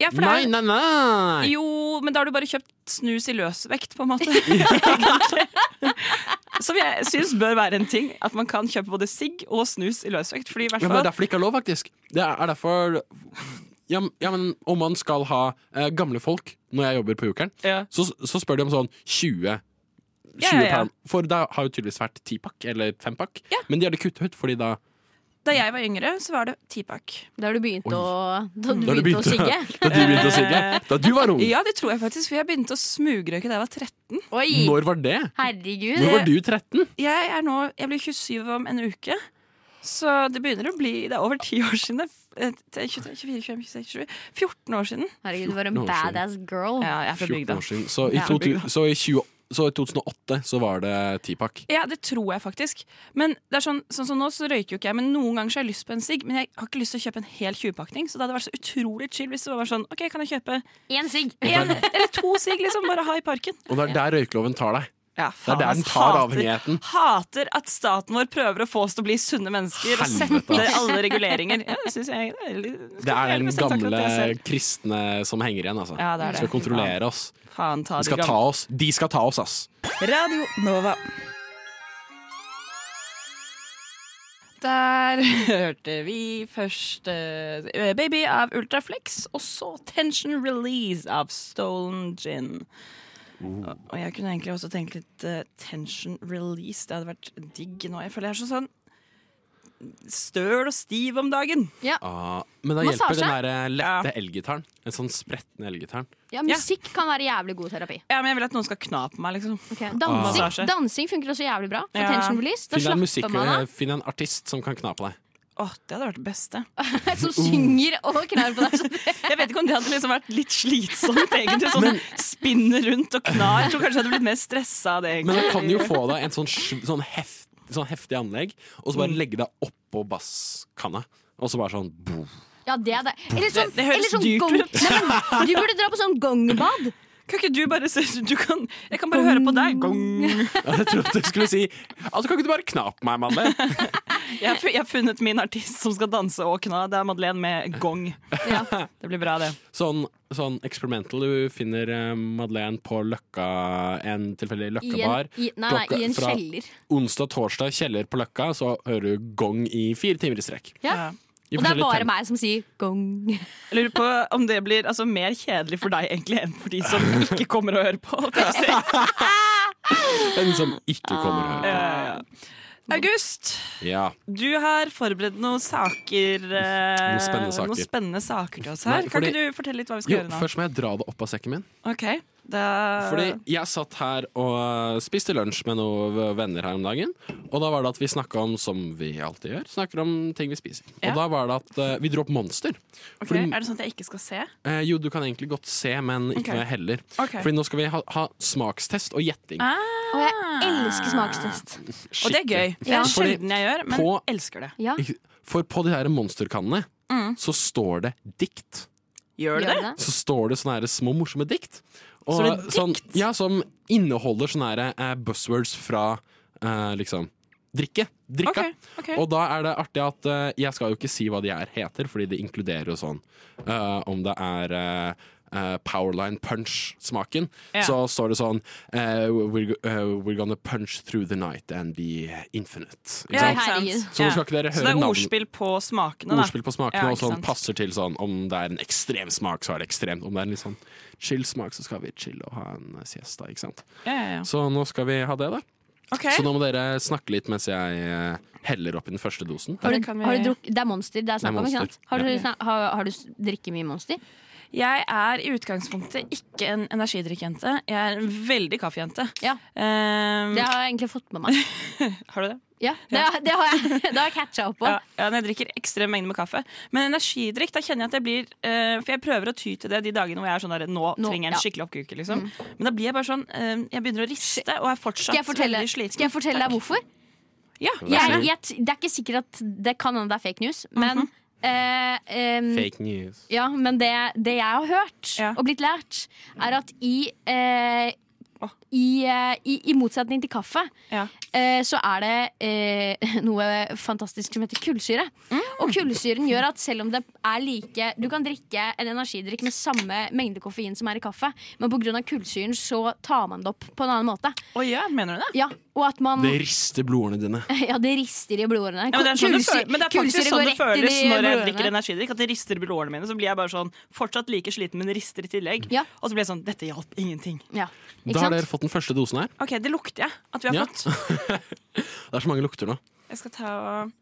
Speaker 3: Ja, for det
Speaker 4: Nei,
Speaker 3: er-
Speaker 4: nei, nei!
Speaker 3: Jo, men da har du bare kjøpt snus i løsvekt, på en måte. Som jeg syns bør være en ting. At man kan kjøpe både sigg og snus i løsvekt. Fordi i hvert
Speaker 4: Men det er
Speaker 3: fall
Speaker 4: derfor det ikke er lov, faktisk. Det er derfor ja, men- ja, men om man skal ha eh, gamle folk når jeg jobber på Jokeren,
Speaker 3: Ja.
Speaker 4: så, så spør de om sånn 20 20
Speaker 3: Ja, ja, ja.
Speaker 4: per- For da har jo tydeligvis vært tipakk eller fempakk.
Speaker 3: Ja.
Speaker 4: Men de hadde kuttet ut, fordi da
Speaker 3: Da jeg var yngre, så var det tipak.
Speaker 5: Da har du begynt
Speaker 4: Oi.
Speaker 5: å Da du
Speaker 4: Da du
Speaker 5: begynte å
Speaker 4: begynte.
Speaker 5: sigge?
Speaker 4: Da du begynte å sigge? Da du var ung?
Speaker 3: Ja, det tror jeg faktisk, for jeg begynte å smugrøyke da jeg var 13.
Speaker 5: Oi!
Speaker 4: Når var det?
Speaker 5: Herregud.
Speaker 4: Når var du 13?
Speaker 3: Jeg, er nå, jeg blir 27 om en uke, så det begynner å bli Det er over 10 år siden. det er f- eh, 23, 24, 25, 26, 27, 14 år siden.
Speaker 5: Herregud, du var
Speaker 4: 14
Speaker 5: en
Speaker 4: år siden.
Speaker 5: badass girl.
Speaker 3: Ja, jeg er fra
Speaker 4: 14
Speaker 3: bygda.
Speaker 4: år siden. Så i,
Speaker 3: Jævlig
Speaker 4: 2000, så i 20, så i 2008 så var det tipakk.
Speaker 3: Ja, det tror jeg faktisk. Men det er sånn, sånn som nå så røyker jo ikke jeg, men noen ganger så har jeg lyst på en sigg. Men jeg har ikke lyst til å kjøpe en hel 20-pakning, så det hadde vært så utrolig chill hvis det var bare sånn OK, kan jeg kjøpe
Speaker 5: Én sigg.
Speaker 3: en eller to sigg, liksom? Bare ha i parken.
Speaker 4: Og det er der røykeloven tar deg.
Speaker 3: Ja,
Speaker 4: Det er der den
Speaker 3: ass,
Speaker 4: tar
Speaker 3: hater-
Speaker 4: avhengigheten.
Speaker 3: Hater at staten vår prøver å få oss til å bli sunne mennesker og
Speaker 4: Helvete,
Speaker 3: sette alle reguleringer. Ja, det synes jeg det er litt- skal
Speaker 4: Det er
Speaker 3: jeg
Speaker 4: den
Speaker 3: bestemt akkurat
Speaker 4: gamle
Speaker 3: det jeg ser.
Speaker 4: kristne som henger igjen, altså.
Speaker 3: Ja, det er det.
Speaker 4: Skal kontrollere oss.
Speaker 3: Faen ta de
Speaker 4: De skal ta
Speaker 3: gamle.
Speaker 4: oss. De skal ta oss, ass.
Speaker 3: Radio Nova. Der hørte vi først eh, Baby av Ultraflex, og så Tension Release av Stolen Gin. Og- Og jeg kunne egentlig også tenkt litt eh, Tension Release. Det hadde vært digg nå. Jeg føler jeg er så sånn støl og stiv om dagen.
Speaker 4: Ah, men da hjelper
Speaker 5: Massasje?
Speaker 4: den der eh, lette elgitaren. En sånn spretten elgitaren.
Speaker 5: Ja, musikk kan være jævlig god terapi.
Speaker 3: Ja, men jeg vil at noen skal kna på meg, liksom.
Speaker 5: Ok, Dansing,
Speaker 3: Massasje.
Speaker 5: dansing funker også jævlig bra. For
Speaker 3: Ja.
Speaker 5: tension release. Da
Speaker 4: Finn deg en, musikk,
Speaker 5: slapper man av.
Speaker 4: finn deg en artist som kan kna på deg.
Speaker 3: Åh, det hadde vært det beste.
Speaker 4: eh, uh.
Speaker 5: Som synger og knar på deg. Så det-
Speaker 3: Jeg vet ikke om det hadde liksom vært litt slitsomt, egentlig. Sånn spinne rundt og kna. Jeg tror kanskje jeg hadde blitt mer stressa av det,
Speaker 4: Men
Speaker 3: egentlig.
Speaker 4: han kan jo få deg en sånn, sv- sånn, heft, sånn heftig anlegg, og så bare legge deg oppå basskanna. Og så bare sånn boom.
Speaker 5: Ja, det er det. Eller sånn,
Speaker 3: Det- det høres
Speaker 5: eller sånn
Speaker 3: dyrt
Speaker 5: gong-
Speaker 3: ut.
Speaker 5: Nei, men, du burde dra på sånn gongbad.
Speaker 3: Kan ikke du bare se du kan, Jeg kan bare høre på deg. Gong.
Speaker 4: Ja, Jeg trodde du skulle si altså, Kan ikke du bare kna på meg, Madde?
Speaker 3: Jeg har fu- jeg har funnet min artist som skal danse og kna. Det er Madeleine med gong. Det blir bra, det.
Speaker 4: Sånn, sånn experimental. Du finner eh, Madeleine på Løkka, en tilfeldig
Speaker 5: I en,
Speaker 4: løkkebar.
Speaker 5: i, nei, nei,
Speaker 4: Klokka
Speaker 5: i en
Speaker 4: fra-
Speaker 5: kjeller.
Speaker 4: Onsdag, torsdag, kjeller på Løkka, så hører du gong i fire timer i strekk.
Speaker 5: Ja.
Speaker 4: I
Speaker 5: Og det er
Speaker 4: forskjellige
Speaker 5: bare
Speaker 4: temp-
Speaker 5: meg som sier gong.
Speaker 3: Jeg lurer på om det blir altså, mer kjedelig for deg egentlig enn for de som ikke kommer og hører på. holdt jeg på å si.
Speaker 4: Den som ikke kommer og hører.
Speaker 3: Ja, ja, ja. August,
Speaker 4: Ja.
Speaker 3: du har forberedt noen saker eh,
Speaker 4: Noen spennende saker.
Speaker 3: noen spennende saker til oss her.
Speaker 4: Nei,
Speaker 3: Kan
Speaker 4: fordi-
Speaker 3: ikke du fortelle litt hva vi skal
Speaker 4: Jo,
Speaker 3: gjøre nå?
Speaker 4: først må jeg dra det opp av sekken min.
Speaker 3: Ok, da
Speaker 4: Fordi jeg satt her og eh, spiste lunsj med noen venner her om dagen. Og da var det at vi snakka om, som vi alltid gjør, snakker om ting vi spiser.
Speaker 3: Ja.
Speaker 4: Og da var det at eh, vi dro opp Monster.
Speaker 3: Ok,
Speaker 4: Fordi,
Speaker 3: Er det sånn at jeg ikke skal se?
Speaker 4: eh, jo, du kan egentlig godt se, men ikke
Speaker 3: Ok.
Speaker 4: noe heller.
Speaker 3: Ok. Eh,
Speaker 4: Fordi nå skal vi ha, ha smakstest og gjetting.
Speaker 5: Og jeg elsker smakstest.
Speaker 3: Ah. Og det er gøy. Det
Speaker 5: Ja.
Speaker 3: er
Speaker 4: Fordi
Speaker 3: sjelden jeg gjør, men
Speaker 4: på-
Speaker 3: elsker det.
Speaker 5: Ja,
Speaker 4: Ikke- For på de her monsterkannene
Speaker 3: Mm.
Speaker 4: så står det dikt.
Speaker 3: Gjør du
Speaker 5: gjør
Speaker 3: det?
Speaker 5: det?
Speaker 4: Så står det sånne her små morsomme dikt. Og,
Speaker 3: Så det er
Speaker 4: sånn-
Speaker 3: dikt?
Speaker 4: ja, som inneholder sånne her, eh, buzzwords fra eh, liksom drikke. Drikka.
Speaker 3: Ok, ok.
Speaker 4: Og da er det artig at eh, jeg skal jo ikke si hva de er heter, fordi det inkluderer jo sånn eh, om det er eh, eh, Powerline punch-smaken.
Speaker 3: Ja.
Speaker 4: Så står det sånn eh, we're, go- eh, we're gonna punch through the night and be infinite. Ikke
Speaker 3: Ja,
Speaker 4: sant?
Speaker 3: ikke sant?
Speaker 5: Herregud.
Speaker 4: Så nå skal ikke dere
Speaker 3: Så
Speaker 4: høre
Speaker 3: det er
Speaker 4: navn-
Speaker 3: ordspill på smakene, da.
Speaker 4: Ordspill på smakene
Speaker 3: Ja,
Speaker 4: og
Speaker 3: ikke
Speaker 4: sånn
Speaker 3: sant.
Speaker 4: passer til sånn om det er en ekstrem smak, så er det ekstremt. Om det er en litt sånn chill smak, så skal vi chille og ha en siesta, ikke sant.
Speaker 3: Ja, ja, ja.
Speaker 4: Så nå skal vi ha det, da.
Speaker 3: Ok,
Speaker 4: Så nå må dere snakke litt mens jeg eh, heller oppi den første dosen.
Speaker 5: Har
Speaker 3: Det
Speaker 5: du,
Speaker 3: kan vi-
Speaker 5: har du drukket, det er monster det er snakk
Speaker 4: Det er
Speaker 5: om, ikke
Speaker 4: Monster,
Speaker 5: sant? Har du,
Speaker 4: ja.
Speaker 5: snak, har, har du s- drikket mye monster?
Speaker 3: Jeg er i utgangspunktet ikke en energidrikkjente. Jeg er en veldig kaffejente.
Speaker 5: Ja.
Speaker 3: Ehm,
Speaker 5: Det har jeg egentlig fått med meg.
Speaker 3: Har du det?
Speaker 5: Ja, det, det har jeg, det har jeg catcha opp på.
Speaker 3: Ja, ja, når jeg drikker ekstrem mengde med kaffe. Men energidrikk, da kjenner jeg at jeg blir eh, For jeg prøver å ty til det de dagene hvor jeg er sånn der, nå,
Speaker 5: Nå,
Speaker 3: trenger jeg en
Speaker 5: ja. Mm.
Speaker 3: skikkelig oppkuke, liksom. Men da blir jeg bare sånn eh, Jeg begynner å riste og er fortsatt
Speaker 5: Skal jeg fortelle,
Speaker 3: veldig sliten.
Speaker 5: skal jeg fortelle deg hvorfor?
Speaker 3: Ja,
Speaker 5: Jeg,
Speaker 3: gjerne.
Speaker 5: jeg, t- det er ikke sikkert at det kan hende det er fake news, men eh,
Speaker 3: Mm.
Speaker 5: em,
Speaker 4: Fake news.
Speaker 5: Ja, men det, det jeg har hørt
Speaker 3: Ja.
Speaker 5: og blitt lært, er at i, eh,
Speaker 3: Åh.
Speaker 5: i, eh, i, i motsetning til kaffe,
Speaker 3: Ja.
Speaker 5: eh, så er det eh, noe fantastisk som heter kullsyre. Og
Speaker 3: Mm.
Speaker 5: kullsyren gjør at selv om det er like Du kan drikke en energidrikk med samme mengde koffein som er i kaffe, men pga. kullsyren så tar man det opp på en annen måte.
Speaker 3: Å ja, mener du det?
Speaker 5: Ja, og at man
Speaker 3: Mm.
Speaker 4: Det rister blodårene dine.
Speaker 5: Ja, det rister i blodårene.
Speaker 3: Ja, men, det er sånn det
Speaker 5: Kullsyre-
Speaker 3: føles, men det er faktisk
Speaker 5: kullsyre
Speaker 3: sånn
Speaker 5: går
Speaker 3: det
Speaker 5: rett inn
Speaker 3: føles
Speaker 5: i
Speaker 3: når jeg
Speaker 5: blodårene.
Speaker 3: drikker energidrikk. At det rister i blodårene mine. Så blir jeg bare sånn fortsatt like sliten, men rister i tillegg.
Speaker 5: Ja.
Speaker 3: Og så blir jeg sånn Dette hjalp ingenting.
Speaker 5: Ja, ikke
Speaker 4: Da har
Speaker 5: sant?
Speaker 4: dere fått den første dosen her.
Speaker 3: OK, det lukter jeg at vi har
Speaker 4: Ja.
Speaker 3: fått.
Speaker 4: Det er så mange lukter nå.
Speaker 3: Jeg skal ta og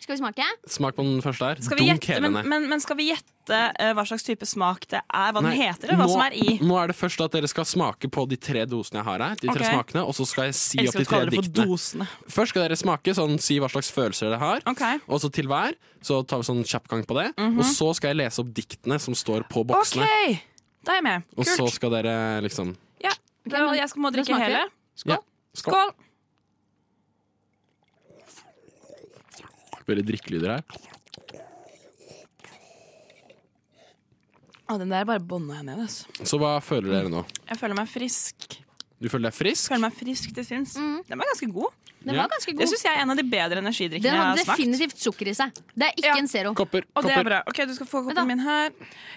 Speaker 5: Skal vi smake?
Speaker 4: Smak på den første her.
Speaker 3: Skal vi
Speaker 4: Dunk
Speaker 3: gjette,
Speaker 4: hele
Speaker 3: men,
Speaker 4: ned.
Speaker 3: men, men skal vi gjette eh, hva slags type smak det er? Hva den
Speaker 4: Nei,
Speaker 3: heter, eller hva
Speaker 4: nå,
Speaker 3: som er i?
Speaker 4: Nå er det først at dere skal smake på de tre dosene jeg har her. De
Speaker 3: Ok.
Speaker 4: tre smakene, Og så skal jeg si
Speaker 3: Jeg elsker
Speaker 4: opp de
Speaker 3: at du
Speaker 4: tre
Speaker 3: kaller det for
Speaker 4: diktene.
Speaker 3: dosene.
Speaker 4: Først skal dere smake, sånn, si hva slags følelser dere har.
Speaker 3: Ok.
Speaker 4: Og så til hver så tar vi sånn kjapp gang på det.
Speaker 3: Mhm.
Speaker 4: Og så skal jeg lese opp diktene som står på
Speaker 3: OK!
Speaker 4: boksene.
Speaker 3: Da er jeg med.
Speaker 4: Og så
Speaker 3: Kult.
Speaker 4: skal dere liksom
Speaker 3: Ja, da-
Speaker 5: men-
Speaker 3: jeg skal må
Speaker 5: da
Speaker 3: drikke
Speaker 5: smaker vi.
Speaker 3: hele.
Speaker 4: ja, Skål!
Speaker 3: Skål!
Speaker 4: Bare drikkelyder her.
Speaker 3: Å, den der bare bånda jeg ned. Altså.
Speaker 4: Så hva føler dere nå?
Speaker 3: Jeg føler meg frisk.
Speaker 4: Du føler deg frisk?
Speaker 3: Føler meg frisk til sinns. Den var ganske Mm. god.
Speaker 5: Den
Speaker 4: Ja.
Speaker 5: var ganske
Speaker 3: Det
Speaker 5: god.
Speaker 3: syns jeg er en av de bedre energidrikkene
Speaker 5: Den
Speaker 3: jeg har
Speaker 5: hadde
Speaker 3: smakt.
Speaker 5: definitivt sukker i seg. Det er ikke
Speaker 3: Ja.
Speaker 5: en zero.
Speaker 4: Kopper.
Speaker 3: Og det
Speaker 4: kopper.
Speaker 3: er bra. Ok, Du skal få
Speaker 5: da.
Speaker 3: koppen min her.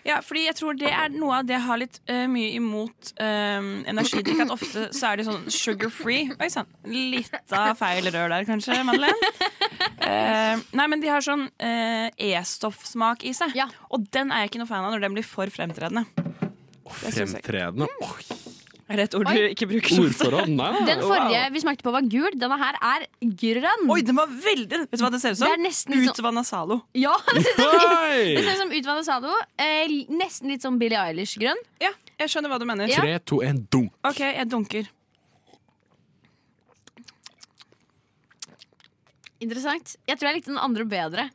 Speaker 3: Ja, fordi jeg tror det er noe av det jeg har litt eh, mye imot eh, energidrikk. At ofte så er de sånn sugar free. Oi sann. Litt av feil rør der, kanskje, Madeleine. Eh, nei, men de har sånn eh, E-stoffsmak i seg.
Speaker 5: Ja.
Speaker 3: Og den er jeg ikke noe fan av når den blir for fremtredende. det synes jeg. Mm.
Speaker 4: Fremtredende. Åh,
Speaker 3: Er det et ord du ikke bruker så ofte?
Speaker 4: Ordforråd? Nei.
Speaker 5: Den forrige vi smakte på, var gul. Denne her er grønn.
Speaker 3: Oi, den var veldig Vet du hva det ser ut
Speaker 5: Det er
Speaker 3: som?
Speaker 5: nesten litt sånn-
Speaker 3: Utvanna Zalo.
Speaker 5: Ja, det ser
Speaker 4: Oi!
Speaker 5: ut som utvannet sado. Eh, nesten litt sånn Billie Eilish-grønn.
Speaker 3: Ja, jeg skjønner hva du mener.
Speaker 5: Ja.
Speaker 4: Tre, to, en, dunk.
Speaker 3: OK, jeg dunker.
Speaker 5: Interessant. Jeg tror jeg likte den andre bedre.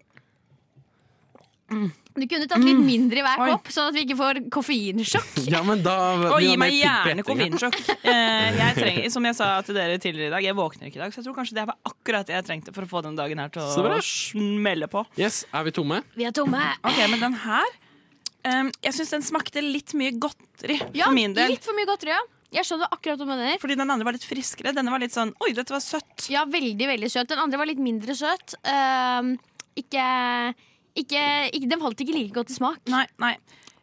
Speaker 5: Du kunne tatt litt mindre i hver
Speaker 3: Oi.
Speaker 5: kopp, sånn at vi ikke får koffeinsjokk.
Speaker 4: Ja, men da
Speaker 3: Og gi
Speaker 4: vi har
Speaker 3: meg
Speaker 4: mer
Speaker 3: gjerne
Speaker 4: piggdekking her.
Speaker 3: koffeinsjokk. Eh, jeg trenger, som jeg sa til dere tidligere i dag, jeg våkner ikke i dag, så jeg tror kanskje det var akkurat det jeg trengte for å få denne dagen her til
Speaker 4: Så bra.
Speaker 3: å smelle på.
Speaker 4: Yes, er vi tomme?
Speaker 5: Vi er tomme.
Speaker 3: Ok, men den her eh, Jeg syns den smakte litt mye godteri
Speaker 5: Ja,
Speaker 3: for min del.
Speaker 5: litt for mye godteri. Ja. Jeg skjønner akkurat hva du mener.
Speaker 3: Fordi den andre var litt friskere. Denne var litt sånn Oi, dette var søtt.
Speaker 5: Ja, veldig, veldig søt. Den andre var litt mindre søt. Ehm, ikke, ikke, ikke Den falt ikke like godt i smak.
Speaker 3: Nei, nei.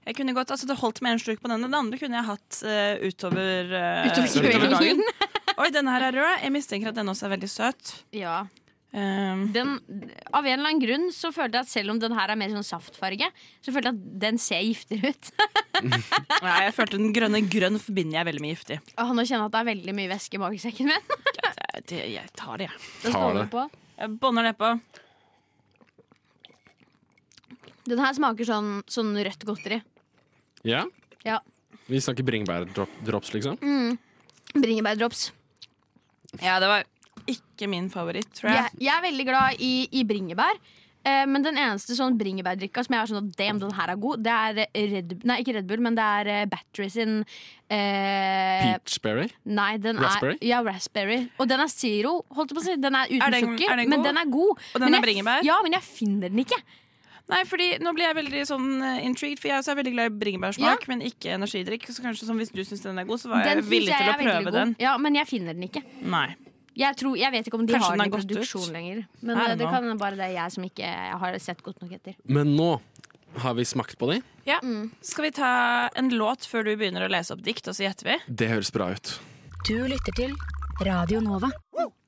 Speaker 3: Jeg kunne godt, altså Det holdt med én slurk på denne. Den andre kunne jeg hatt eh, utover, eh,
Speaker 5: Utover kvelden.
Speaker 3: dagen. Oi, denne her er rød. Jeg mistenker at denne også er veldig søt.
Speaker 5: Ja.
Speaker 3: Eh,
Speaker 5: den, av en eller annen grunn så følte jeg at selv om den her er mer sånn saftfarge, så følte jeg at den ser giftigere ut.
Speaker 3: nei, jeg følte den grønne grønn forbinder jeg veldig med giftig.
Speaker 5: Åh, nå kjenner jeg at det er veldig mye væske i magesekken min.
Speaker 3: Det, det, jeg tar det, jeg.
Speaker 4: Tar
Speaker 5: Da skåler
Speaker 4: det.
Speaker 5: vi på.
Speaker 3: Jeg bånder nedpå.
Speaker 5: Den her smaker sånn, sånn rødt godteri.
Speaker 4: Ja.
Speaker 5: Ja.
Speaker 4: Vi snakker bringebærdrops, liksom?
Speaker 5: Bringebærdrops.
Speaker 3: Ja, det var ikke min favoritt, tror jeg.
Speaker 5: Jeg, jeg er veldig glad i, i bringebær. eh, Men den eneste sånn bringebærdrikka som jeg er sånn at damn, den her er god, det er eh, Red Bull Nei, ikke Red Bull, men det er eh, Battery sin eh,
Speaker 4: Peachberry?
Speaker 5: Nei, den
Speaker 4: Raspberry?
Speaker 5: Er, ja, raspberry. Og den er zero, holdt jeg på å si. Den er uten
Speaker 3: Er den-
Speaker 5: sukker,
Speaker 3: er den
Speaker 5: men
Speaker 3: god?
Speaker 5: den er god.
Speaker 3: Og den
Speaker 5: men
Speaker 3: er
Speaker 5: jeg-
Speaker 3: bringebær?
Speaker 5: Ja, men jeg finner den ikke.
Speaker 3: Nei, fordi Nå blir jeg veldig sånn eh, intrigued, for jeg også er veldig glad i bringebærsmak, men ikke energidrikk. Så kanskje som hvis du syns den er god, så var
Speaker 5: Den
Speaker 3: jeg
Speaker 5: synes
Speaker 3: villig
Speaker 5: jeg
Speaker 3: til å
Speaker 5: er veldig
Speaker 3: prøve
Speaker 5: god.
Speaker 3: den.
Speaker 5: Ja, men jeg finner den ikke.
Speaker 3: Nei.
Speaker 5: Jeg, tror, jeg vet ikke om de
Speaker 3: Kanskje
Speaker 5: har
Speaker 3: den
Speaker 5: den i
Speaker 3: har gått ut?
Speaker 5: produksjon lenger. Men
Speaker 3: I
Speaker 5: eh,
Speaker 3: don't
Speaker 5: det
Speaker 3: know.
Speaker 5: kan bare det er jeg som ikke har sett godt nok etter.
Speaker 4: Men nå har vi smakt på de.
Speaker 3: Ja. Skal vi ta en låt før du begynner å lese opp dikt, og så gjetter vi?
Speaker 4: Det høres bra ut.
Speaker 6: Du lytter til Radio Nova.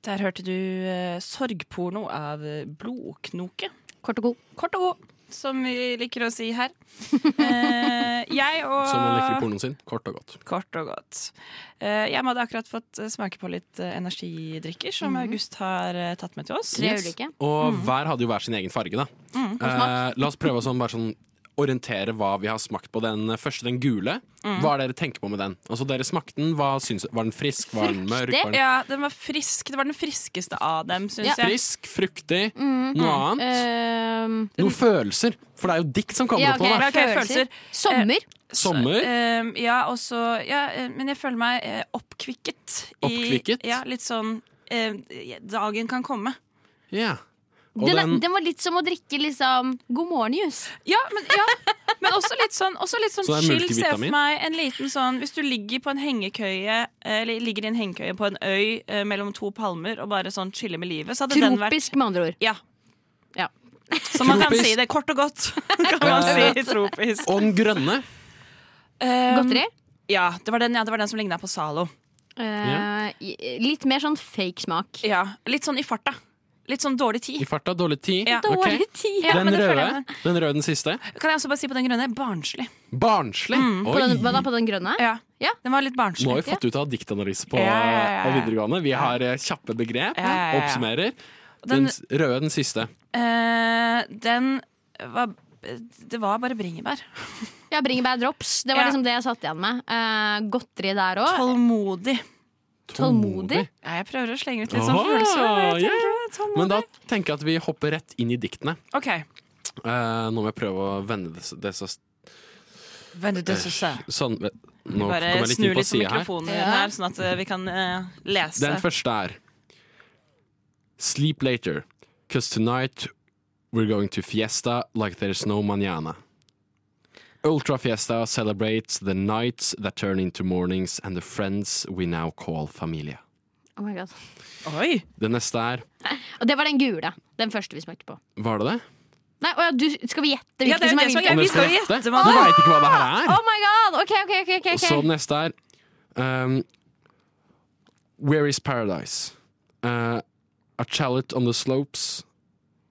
Speaker 3: Der hørte du eh, 'Sorgporno' av eh, Blodknoke.
Speaker 5: Kort og god.
Speaker 3: Kort og god, som vi liker å si her. Eh, jeg og
Speaker 4: Som man liker i pornoen sin. Kort og godt.
Speaker 3: Kort og godt. Eh, jeg hadde akkurat fått eh, smake på litt eh, energidrikker som August har eh, tatt med til oss.
Speaker 5: Tre ulike. Mm.
Speaker 4: Og hver hadde jo hver sin egen farge, da. Eh, la oss prøve å sånn, bare sånn orientere hva vi har smakt på. Den eh, første, den gule.
Speaker 5: Mm.
Speaker 4: Hva er det dere tenker på med den? Altså, dere smakte den. Hva syns, var den frisk? Var den mørk? Var den
Speaker 3: Ja, den var frisk. Det var den friskeste av dem, syns jeg.
Speaker 4: frisk? Fruktig?
Speaker 5: Mm,
Speaker 4: Noe annet?
Speaker 5: Ehm,
Speaker 4: Noen følelser? For det Eh, er jo dikt som kommer
Speaker 5: ja,
Speaker 4: opp nå.
Speaker 5: ok, Eh,
Speaker 4: da.
Speaker 3: Ok, følelser.
Speaker 5: følelser. Sommer.
Speaker 4: Sommer.
Speaker 3: Ehm, ja, og så ja, eh, Men jeg føler meg eh, oppkvikket. i-
Speaker 4: Oppkvikket?
Speaker 3: Ja, litt sånn eh, Dagen kan komme.
Speaker 4: Ja. Og
Speaker 5: Den, er,
Speaker 4: den,
Speaker 5: den var litt som å drikke liksom god morgen-jus.
Speaker 3: Ja, men ja. Men også litt sånn, også litt sånn
Speaker 4: Så det er
Speaker 3: chill. Se
Speaker 4: multivitamin?
Speaker 3: for meg en liten sånn Hvis du ligger på en hengekøye eh, Eller ligger i en hengekøye på en øy eh, mellom to palmer og bare sånn chiller med livet, så hadde den vært
Speaker 5: Tropisk, med andre ord.
Speaker 3: Ja.
Speaker 5: Ja.
Speaker 3: Så man kan
Speaker 4: Tropisk.
Speaker 3: si det kort og godt. kan man si tropisk.
Speaker 4: Og den grønne.
Speaker 3: Um,
Speaker 5: Godteri.
Speaker 3: Ja, det var den, ja, det var den som ligna på Zalo.
Speaker 5: Eh, i- litt mer sånn fake smak.
Speaker 3: Ja, litt sånn i farta. Litt sånn dårlig
Speaker 4: I
Speaker 3: tid.
Speaker 4: farta, dårlig tid.
Speaker 3: Ja.
Speaker 4: Ok.
Speaker 5: Dårlig tid.
Speaker 3: Ja,
Speaker 4: Den
Speaker 3: men det føler
Speaker 4: røde,
Speaker 3: jeg
Speaker 4: den røde, den siste.
Speaker 3: Kan jeg også bare si på den grønne? Barnslig.
Speaker 4: Barnslig!
Speaker 5: På
Speaker 4: Oi!
Speaker 5: den, Mm. hva da, på den grønne?
Speaker 3: Ja,
Speaker 5: Ja.
Speaker 3: Den var litt barnslig.
Speaker 4: Nå har vi fått ut av diktanalyse på
Speaker 3: Ja, ja, ja, ja.
Speaker 4: av videregående. Vi har eh, kjappe begrep,
Speaker 3: Ja, ja, ja, ja.
Speaker 4: oppsummerer. Den,
Speaker 3: Den-
Speaker 4: s- røde, den siste.
Speaker 3: Eh, den var Det var bare bringebær.
Speaker 5: Ja, Bringebær drops. Det var
Speaker 3: Ja.
Speaker 5: liksom det jeg satt igjen med. Eh, godteri der òg.
Speaker 3: Tålmodig.
Speaker 5: Tålmodig.
Speaker 3: Ja, jeg prøver å slenge ut litt sånn
Speaker 4: Åh,
Speaker 3: følelser. jeg tenker det er sånn. tålmodig.
Speaker 4: Men da tenker jeg at vi hopper rett inn i diktene.
Speaker 3: OK.
Speaker 4: Eh, nå må jeg prøve å vende det, s- det så
Speaker 3: Vent, det synes jeg.
Speaker 4: Sånn, ve- nå
Speaker 3: Bare
Speaker 4: kommer jeg litt
Speaker 3: snu
Speaker 4: inn på
Speaker 3: litt på
Speaker 4: sida her.
Speaker 3: mikrofonen
Speaker 5: Ja.
Speaker 3: her, sånn at eh, vi kan eh, lese.
Speaker 4: Den første er Sleep later, cause tonight we're going to fiesta like there's no manana. Ultra Fiesta celebrates the nights that turn into mornings and the friends we now call familia.
Speaker 5: Oh my God.
Speaker 3: Oi!
Speaker 4: Det neste er
Speaker 5: Og det var den gule. Den første vi smakte på.
Speaker 4: Var det det?
Speaker 5: Nei, å ja, du, skal vi gjette
Speaker 3: Ja, det
Speaker 5: hvilken
Speaker 3: er
Speaker 5: som
Speaker 3: jo
Speaker 5: er
Speaker 3: det som er
Speaker 5: hvilken?
Speaker 3: gøy.
Speaker 4: Om
Speaker 3: vi
Speaker 4: jeg
Speaker 3: skal
Speaker 4: skal
Speaker 3: gjette,
Speaker 4: gjette?
Speaker 3: men-
Speaker 4: Du veit ikke hva det her er!
Speaker 5: Oh my god! OK, OK, OK. ok,
Speaker 4: Og
Speaker 5: ok.
Speaker 4: så den neste er um, Where is paradise? Uh, a chalet on the slopes,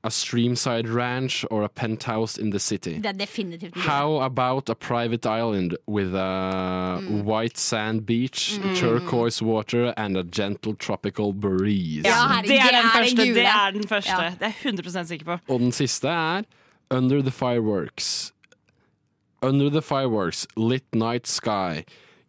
Speaker 4: a streamside ranch or a penthouse in the city?
Speaker 5: Det er definitivt den gule.
Speaker 4: How about a private island with a white sand beach, turquoise water and a gentle tropical breeze?
Speaker 5: Ja,
Speaker 3: Ja,
Speaker 5: herregud,
Speaker 3: det er
Speaker 5: det er
Speaker 3: den
Speaker 5: en
Speaker 3: første.
Speaker 5: gule.
Speaker 3: Det er den første.
Speaker 5: Ja.
Speaker 3: Det er jeg 100 sikker på.
Speaker 4: Og den siste er Under the fireworks. Under the fireworks, lit night sky.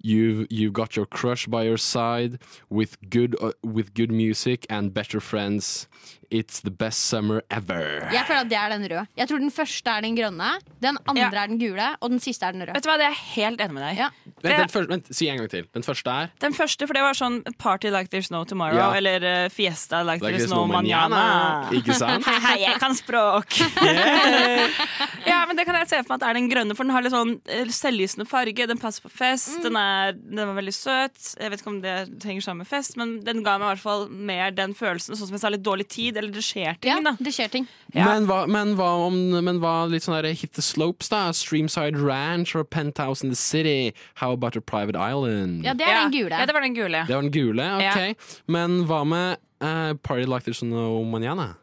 Speaker 4: You've, you've got your crush by your side with good, uh, with good music and better friends. It's the best summer ever.
Speaker 5: Jeg føler at det er den røde. Jeg tror den første er den grønne, den andre
Speaker 3: Ja.
Speaker 5: er den gule, og den siste er den røde.
Speaker 3: Vet du hva, Det er jeg helt enig med deg.
Speaker 5: Ja.
Speaker 4: Vent, den
Speaker 3: Det,
Speaker 4: første, vent, si en gang til. Den første er
Speaker 3: den første, for det var sånn Party like there's no tomorrow.
Speaker 4: Ja.
Speaker 3: Eller eh, Fiesta like,
Speaker 4: Like
Speaker 3: there's no manana.
Speaker 4: Ikke sant?
Speaker 3: Hei, jeg kan språk! ja, men det kan jeg se for meg at er den grønne, for den har litt sånn eh, selvlysende farge. Den passer på fest.
Speaker 5: Mm.
Speaker 3: Den, er, den var veldig søt. Jeg vet ikke om det henger sammen med fest, men den ga meg i hvert fall mer den følelsen. Sånn som jeg sa, litt dårlig tid, eller det skjer
Speaker 5: Ja,
Speaker 3: ting, da.
Speaker 5: det skjer ting.
Speaker 3: Ja.
Speaker 4: Men, hva, men, hva om, men hva litt sånn der hit the slopes, da? Streamside Ranch or Penthouse in the City? How about a private island?
Speaker 5: Ja, det er
Speaker 3: ja.
Speaker 5: den gule.
Speaker 3: Ja, det var den gule.
Speaker 4: Det var den gule, ok. Men hva med eh, Party Like There's No Manana?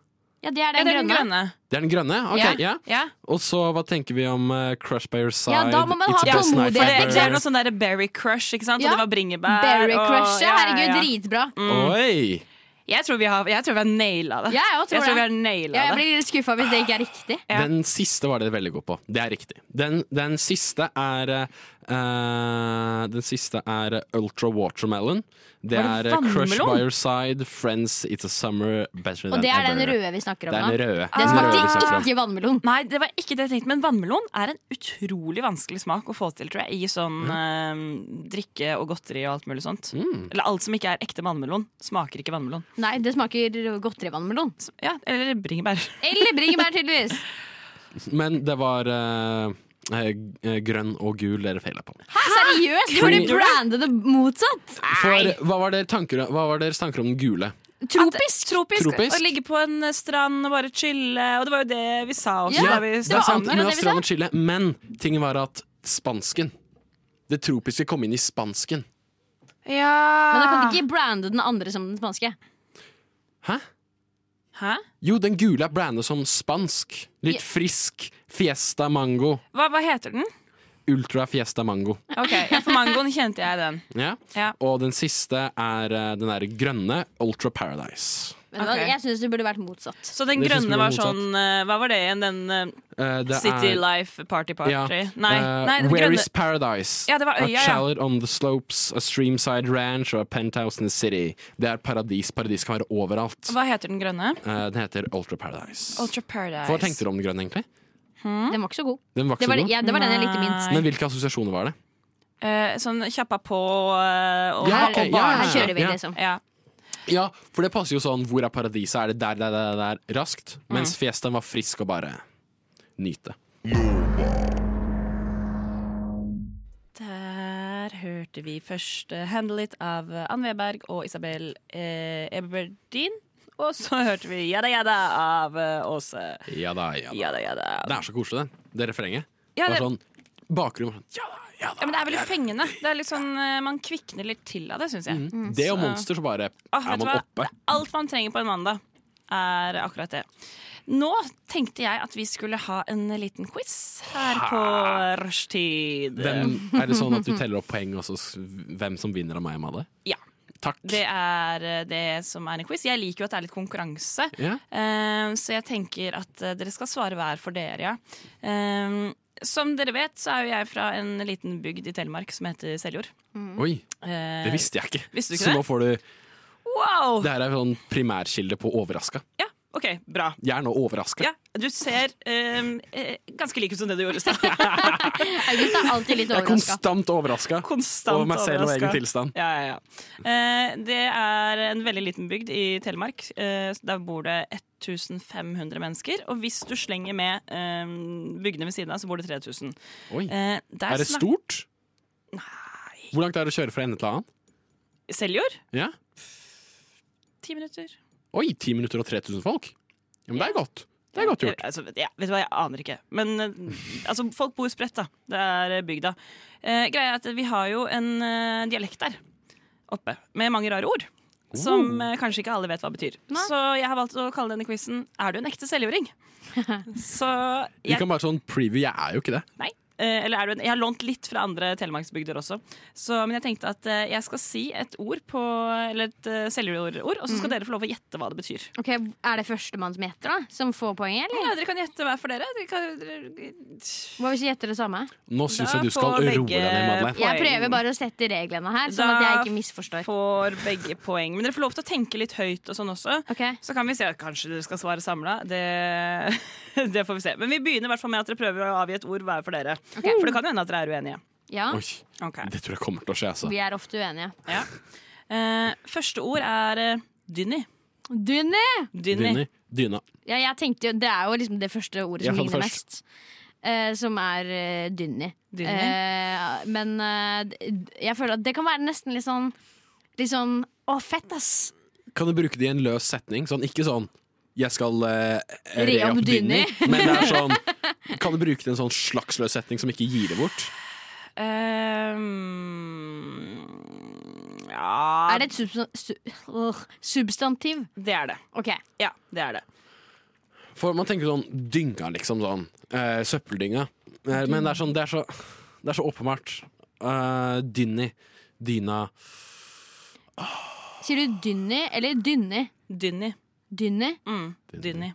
Speaker 5: Ja, det
Speaker 3: Ja,
Speaker 5: er den
Speaker 3: det er den
Speaker 5: grønne.
Speaker 3: grønne.
Speaker 4: Det er den grønne? Ok,
Speaker 3: Ja.
Speaker 4: ja. Og så hva tenker vi om eh, Crush by Your Side?
Speaker 5: Ja, da må man
Speaker 4: It's
Speaker 5: ha
Speaker 4: the best night
Speaker 3: For det,
Speaker 5: Berry-
Speaker 3: det er
Speaker 4: ever.
Speaker 3: noe sånn der berry crush, ikke sant?
Speaker 5: Ja.
Speaker 3: Og det var bringebær.
Speaker 5: Berry
Speaker 3: og-
Speaker 5: Crush,
Speaker 3: ja,
Speaker 5: ja, Mm.
Speaker 3: ja,
Speaker 5: herregud,
Speaker 3: ja.
Speaker 5: dritbra.
Speaker 4: Oi!
Speaker 3: Jeg tror vi har, jeg tror vi har naila det.
Speaker 5: Ja, jeg også tror
Speaker 3: tror
Speaker 5: det.
Speaker 3: vi har naila
Speaker 5: Ja, jeg
Speaker 3: det.
Speaker 5: blir litt skuffa hvis det ikke er riktig.
Speaker 3: Ja.
Speaker 4: Den siste var det veldig god på. Det er riktig. Den, den siste er eh, Den siste er Ultra Watermelon. Det
Speaker 3: Var
Speaker 4: er
Speaker 3: det
Speaker 4: eh, Crush
Speaker 3: vannmelon?
Speaker 4: by Your Side, Friends, It's a Summer, Better
Speaker 5: Og
Speaker 4: Than
Speaker 5: det er den
Speaker 4: Ever.
Speaker 5: røde vi snakker
Speaker 4: Det
Speaker 5: om
Speaker 4: er den
Speaker 5: nå.
Speaker 4: røde.
Speaker 5: Den
Speaker 4: Den røde vi snakker
Speaker 5: smakte
Speaker 4: om.
Speaker 5: ikke vannmelon.
Speaker 3: Nei, det var ikke det jeg tenkte. Men vannmelon er en utrolig vanskelig smak å få til, tror jeg. I sånn eh, drikke og godteri og alt mulig sånt.
Speaker 4: Mm.
Speaker 3: Eller alt som ikke er ekte vannmelon, smaker ikke vannmelon.
Speaker 5: Nei, det smaker godterivannmelon.
Speaker 3: Så- Ja, eller bringebær.
Speaker 5: Eller bringebær, tydeligvis.
Speaker 4: Men det var eh, eh, grønn og gul dere feila på.
Speaker 5: Hæ, seriøst? Du burde
Speaker 4: Fordi-
Speaker 5: brande det motsatt.
Speaker 4: For hva var, dere tanker, hva var deres tanker om den gule?
Speaker 5: Tropisk.
Speaker 3: Tropisk.
Speaker 4: Tropisk.
Speaker 3: Å ligge på en strand og bare chille. Og det var jo det vi sa også.
Speaker 5: Ja,
Speaker 3: da vi
Speaker 4: Det er sant,
Speaker 5: det var
Speaker 4: men
Speaker 5: det vi sa.
Speaker 4: Australia og Chile. Men tingen var at spansken Det tropiske kom inn i spansken.
Speaker 3: Ja.
Speaker 5: Men da kan du ikke brande den andre som den spanske.
Speaker 4: Hæ?
Speaker 3: Hæ?
Speaker 4: Jo, den gule er brandet som spansk. Litt frisk. Fiesta mango.
Speaker 3: Hva, hva heter den?
Speaker 4: Ultra fiesta mango.
Speaker 3: Ok, ja, For mangoen kjente jeg den.
Speaker 4: Ja.
Speaker 3: Ja.
Speaker 4: Og den siste er eh, den derre grønne Ultra Paradise.
Speaker 5: Men hva-
Speaker 3: Ok.
Speaker 5: Jeg syns det burde vært motsatt.
Speaker 3: Så den
Speaker 4: Det synes vi
Speaker 3: grønne
Speaker 4: var
Speaker 3: var
Speaker 4: motsatt.
Speaker 3: sånn eh, Hva var det igjen? Den eh,
Speaker 4: Eh, det
Speaker 3: City
Speaker 4: er-
Speaker 3: Life Party Party?
Speaker 4: Ja.
Speaker 3: Nei,
Speaker 4: Eh,
Speaker 3: nei, den
Speaker 4: Where
Speaker 3: grønne.
Speaker 4: is paradise?
Speaker 3: Ja, det var øya,
Speaker 4: a
Speaker 3: ja.
Speaker 4: chalet on the slopes, a streamside ranch or a penthouse in the city. Det er paradis. Paradis kan være overalt.
Speaker 3: Hva heter den grønne?
Speaker 4: Eh, den heter Ultra Paradise.
Speaker 3: Ultra Paradise.
Speaker 4: Hva tenkte du om den grønne, egentlig?
Speaker 5: Den var ikke så god.
Speaker 4: Den var
Speaker 5: Det
Speaker 4: Mm. ikke
Speaker 5: var,
Speaker 4: så god. Mm.
Speaker 5: ja, det var den jeg likte minst.
Speaker 4: Men hvilke assosiasjoner var det?
Speaker 3: Eh, sånn kjappa på eh, og,
Speaker 4: Ja, ok,
Speaker 3: og
Speaker 4: ja,
Speaker 5: Her
Speaker 3: barn.
Speaker 5: kjører vi,
Speaker 4: Ja.
Speaker 5: liksom.
Speaker 3: Ja.
Speaker 4: Ja, for det passer jo sånn Hvor er paradiset? Er det der, der, der, der,
Speaker 3: Mm.
Speaker 4: der raskt? Mens fiestaen var frisk og bare nyte.
Speaker 3: hørte vi først eh, 'Handle It' av eh, Ann Weberg og Isabel eh, Eberdin. Og så hørte vi 'Jada Jada' av eh, Åse.
Speaker 4: Ja da, ja da.
Speaker 3: Jada Jada.
Speaker 4: Det er så koselig, det. Det refrenget.
Speaker 3: Ja,
Speaker 4: Bare
Speaker 3: det,
Speaker 4: sånn bakgrunn sånn, ja, ja,
Speaker 3: ja,
Speaker 4: da.
Speaker 3: men det er veldig fengende. Det er litt sånn, eh, man kvikner litt til av det, syns jeg.
Speaker 4: Det og
Speaker 3: Så-
Speaker 4: monster, så bare
Speaker 3: Ah, Mm.
Speaker 4: Mm. er
Speaker 3: vet du
Speaker 4: man
Speaker 3: hva?
Speaker 4: oppe.
Speaker 3: Alt man trenger på en mandag, er akkurat det. Nå tenkte jeg at vi skulle ha en liten quiz her på rushtid.
Speaker 4: Hvem, er det sånn at du teller opp poeng, og så s- hvem som vinner av meg, Madde?
Speaker 3: Ja.
Speaker 4: Takk.
Speaker 3: Det er eh, det som er en quiz. Jeg liker jo at det er litt konkurranse.
Speaker 4: Ja.
Speaker 3: Eh, så jeg tenker at eh, dere skal svare hver for dere, ja. Eh, som dere vet, så er jo jeg fra en liten bygd i Telemark som heter Seljord.
Speaker 4: Oi,
Speaker 3: Eh,
Speaker 4: det visste jeg ikke.
Speaker 3: Visste du ikke
Speaker 4: så
Speaker 3: det?
Speaker 4: nå får du
Speaker 3: Wow!
Speaker 4: Det her er sånn primærkilde på overraska.
Speaker 3: Ja, OK, bra.
Speaker 4: Jeg er nå overraska.
Speaker 3: Ja, du ser eh, eh, ganske lik ut som det du gjorde i stad.
Speaker 5: August er alltid litt
Speaker 4: Jeg er
Speaker 5: overraska.
Speaker 4: konstant overraska
Speaker 3: Konstant
Speaker 4: over meg selv og
Speaker 3: overrasket.
Speaker 4: egen tilstand.
Speaker 3: Ja, ja, ja. Eh, det er en veldig liten bygd i Telemark. Eh, der bor det 1500 mennesker. Og hvis du slenger med eh, bygdene ved siden av, så bor det 3000.
Speaker 4: Oi.
Speaker 3: Eh, der
Speaker 4: Er det
Speaker 3: snak-
Speaker 4: stort? Hvor langt er det å kjøre fra ende til annen?
Speaker 3: Seljord?
Speaker 4: Ja.
Speaker 3: Ti minutter.
Speaker 4: Oi, 10 minutter og 3000 folk? Ja, men det er godt. Det er godt gjort.
Speaker 3: Eh, Altså, vet- ja, vet du hva, jeg aner ikke. Men eh, altså, folk bor spredt, da. Det er eh, bygda. Eh, greia er at vi har jo en eh, dialekt der oppe med mange rare ord.
Speaker 4: Oh.
Speaker 3: Som eh, kanskje ikke alle vet hva betyr.
Speaker 5: Nei.
Speaker 3: Så jeg har valgt å kalle denne quizen 'Er du en ekte seljording?' Så
Speaker 4: Vi
Speaker 3: jeg,
Speaker 4: kan bare sånn preview. Jeg er jo ikke det.
Speaker 3: nei, eh, eller er du en, jeg har lånt litt fra andre telemarksbygder også. Så, men jeg tenkte at eh, jeg skal si et ord på Eller et eh, seljordord, og så skal dere få lov å gjette hva det betyr.
Speaker 5: Ok, Er det førstemann som gjetter, da? Som får poenget, eller?
Speaker 3: Ja, dere kan gjette hver for dere. dere, kan, dere
Speaker 5: Hva hvis vi gjetter det samme?
Speaker 4: Nå syns
Speaker 3: Da
Speaker 4: jeg du skal
Speaker 3: får
Speaker 4: roe deg
Speaker 3: begge-
Speaker 4: ned, Madeleine.
Speaker 5: Jeg
Speaker 3: Poeng.
Speaker 5: prøver bare å sette reglene her, sånn
Speaker 3: Da
Speaker 5: at jeg ikke misforstår.
Speaker 3: får begge poeng. Men dere får lov til å tenke litt høyt og sånn også.
Speaker 5: Ok,
Speaker 3: Så kan vi se at kanskje dere skal svare samla. Det, det får vi se. Men vi begynner i hvert fall med at dere prøver å avgi et ord hver for dere. For det kan jo hende at dere er uenige.
Speaker 5: ja,
Speaker 4: Oi,
Speaker 3: Ok.
Speaker 4: det tror jeg kommer til å skje, altså.
Speaker 5: Vi er ofte uenige.
Speaker 3: Ja. Eh, første ord er eh, dynni.
Speaker 5: Dynni!
Speaker 3: Dynni.
Speaker 4: Dyna. Dyna.
Speaker 5: Ja, jeg tenkte jo, Det er jo liksom det første ordet
Speaker 4: Jeg
Speaker 5: som
Speaker 4: sa det
Speaker 5: ligner
Speaker 4: først.
Speaker 5: mest. eh, som er uh, dynni.
Speaker 3: Dynni.
Speaker 5: Eh, men eh, d- jeg føler at det kan være nesten litt sånn Litt sånn Å, fett, ass!
Speaker 4: Kan du bruke det i en løs setning? Sånn, ikke sånn 'jeg skal eh, re
Speaker 5: Re
Speaker 4: opp
Speaker 5: opp
Speaker 4: dynni', men det er sånn Kan du bruke det i en sånn slags løs setning som ikke gir det bort?
Speaker 3: Eh, ja
Speaker 5: Er det et substan su øh, substantiv?
Speaker 3: Det er det.
Speaker 5: OK.
Speaker 3: Ja, det er det.
Speaker 4: For man tenker sånn dynga, liksom. Sånn. Eh, søppeldynga. Eh, men det er sånn Det er så, det er så åpenbart. Eh, dynni. Dyna.
Speaker 5: Sier du dynni eller dynni?
Speaker 3: Dynni.
Speaker 5: Dynni?
Speaker 3: Mm. Dynni.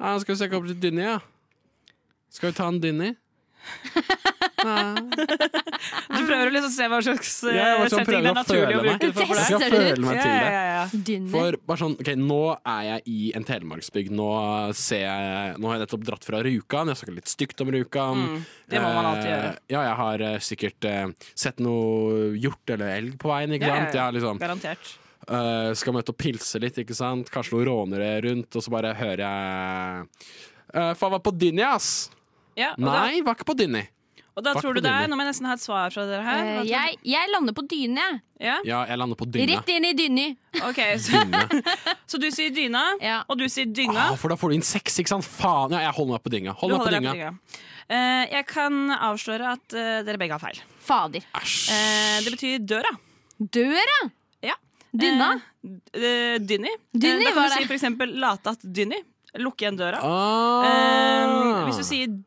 Speaker 4: Ja, skal vi søke opp til dynni, ja? Skal vi ta en dynni?
Speaker 3: Du prøver å liksom se hva slags eh,
Speaker 4: Ja, jeg var sånn
Speaker 3: setting det
Speaker 4: prøver
Speaker 3: er
Speaker 4: å
Speaker 3: naturlig å
Speaker 4: føle meg.
Speaker 3: bruke det for. for deg.
Speaker 5: Test.
Speaker 4: Jeg skal
Speaker 5: Tester
Speaker 4: føle meg
Speaker 3: Ja,
Speaker 4: til det.
Speaker 3: ja, ja.
Speaker 5: Dynni.
Speaker 4: For bare sånn, ok, Nå er jeg i en telemarksbygd. Nå, ser jeg, nå har jeg nettopp dratt fra Rjukan. Jeg har snakket litt stygt om Rjukan.
Speaker 3: Mm, det må man alltid
Speaker 4: Eh,
Speaker 3: gjøre.
Speaker 4: Ja, jeg har eh, sikkert eh, sett noe hjort eller elg på veien. ikke
Speaker 3: Ja, ja,
Speaker 4: sant? Jeg
Speaker 3: ja.
Speaker 4: har liksom,
Speaker 3: Garantert.
Speaker 4: eh, skal møte og pilse litt, ikke sant? kanskje noen rånere rundt, og så bare hører jeg eh, Faen, var på Dynni, ass!
Speaker 3: Ja, og da,
Speaker 4: Nei, var ikke på Dynni.
Speaker 3: og da
Speaker 4: fuck
Speaker 3: tror du
Speaker 4: på
Speaker 3: det er
Speaker 4: dine.
Speaker 3: Nå må jeg nesten ha et svar fra dere her.
Speaker 5: Eh,
Speaker 3: Hva tror
Speaker 5: jeg, jeg lander på dyne, jeg.
Speaker 3: du? ja?
Speaker 4: Ja, jeg lander på Dynne.
Speaker 5: Rett inn i dynni.
Speaker 3: Ok, så,
Speaker 4: Dynne.
Speaker 3: så du sier dyna,
Speaker 5: Ja.
Speaker 3: og du sier dynga.
Speaker 4: Ah, for da får du inn seks, ikke sant? Faen, ja, jeg holder meg på dynga.
Speaker 3: Du
Speaker 4: Hold meg på
Speaker 3: holder deg
Speaker 4: dynga.
Speaker 3: på dynga. Eh, jeg kan avsløre at eh, dere begge har feil.
Speaker 5: Fader.
Speaker 4: Æsj.
Speaker 3: Eh, det betyr døra.
Speaker 5: Døra!
Speaker 3: Ja.
Speaker 5: Dynna.
Speaker 3: Eh, eh, dynni.
Speaker 5: Dynni
Speaker 3: da
Speaker 5: var
Speaker 3: kan du
Speaker 5: det.
Speaker 3: si for eksempel late at dynni. Lukke igjen døra.
Speaker 4: Ah.
Speaker 3: Eh, hvis du sier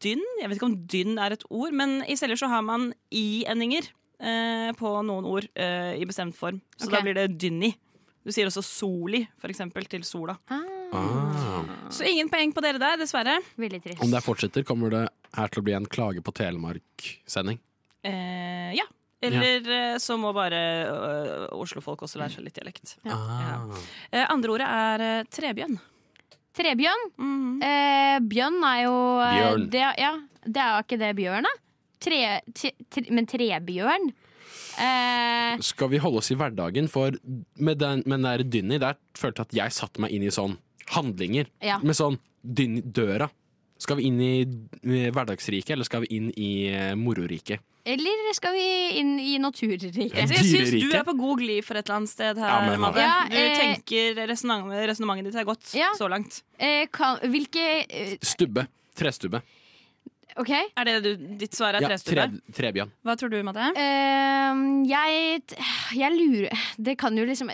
Speaker 3: dynn, jeg vet ikke om dynn er et ord, men i celler så har man i-endinger eh, på noen ord eh, i bestemt form. Så
Speaker 5: Ok.
Speaker 3: da blir det dynni. Du sier også soli, for eksempel, til sola.
Speaker 4: Ah.
Speaker 3: Så ingen poeng på dere der, dessverre.
Speaker 5: Veldig trist.
Speaker 4: Om det her fortsetter, kommer det her til å bli en klage på Telemark-sending.
Speaker 3: Eh, ja. Eller eh, så må bare eh, Oslo-folk også lære seg litt dialekt.
Speaker 4: Ah.
Speaker 3: Eh, andre ordet er eh, trebjørn.
Speaker 5: Trebjørn. Eh, bjørn er jo eh,
Speaker 4: Bjørn.
Speaker 5: Det, ja, det er jo ikke det bjørn, da. Tre, tre, tre, men trebjørn eh,
Speaker 4: Skal vi holde oss i hverdagen, for med den, med den der dynni, der følte jeg at jeg satte meg inn i sånn handlinger.
Speaker 5: Ja.
Speaker 4: Med sånn dynni døra. Skal vi inn i eh, hverdagsriket, eller skal vi inn i eh, mororiket?
Speaker 5: Eller skal vi inn i naturriket?
Speaker 4: Ja.
Speaker 3: Jeg syns du
Speaker 4: Dyreriket.
Speaker 3: er på god glid for et eller annet sted her,
Speaker 4: Ja, men-
Speaker 3: Madde.
Speaker 5: Ja,
Speaker 3: Du
Speaker 5: eh,
Speaker 3: tenker resonnementet ditt er godt
Speaker 5: Ja.
Speaker 3: så langt.
Speaker 5: Eh, kan, hvilke eh,
Speaker 4: Stubbe. Trestubbe.
Speaker 5: OK.
Speaker 3: Er det du, ditt svar er
Speaker 4: Ja,
Speaker 3: trestubbe?
Speaker 4: tre- trebjørn.
Speaker 3: Hva tror du, Madde?
Speaker 5: Eh, jeg, t- jeg lurer Det kan jo liksom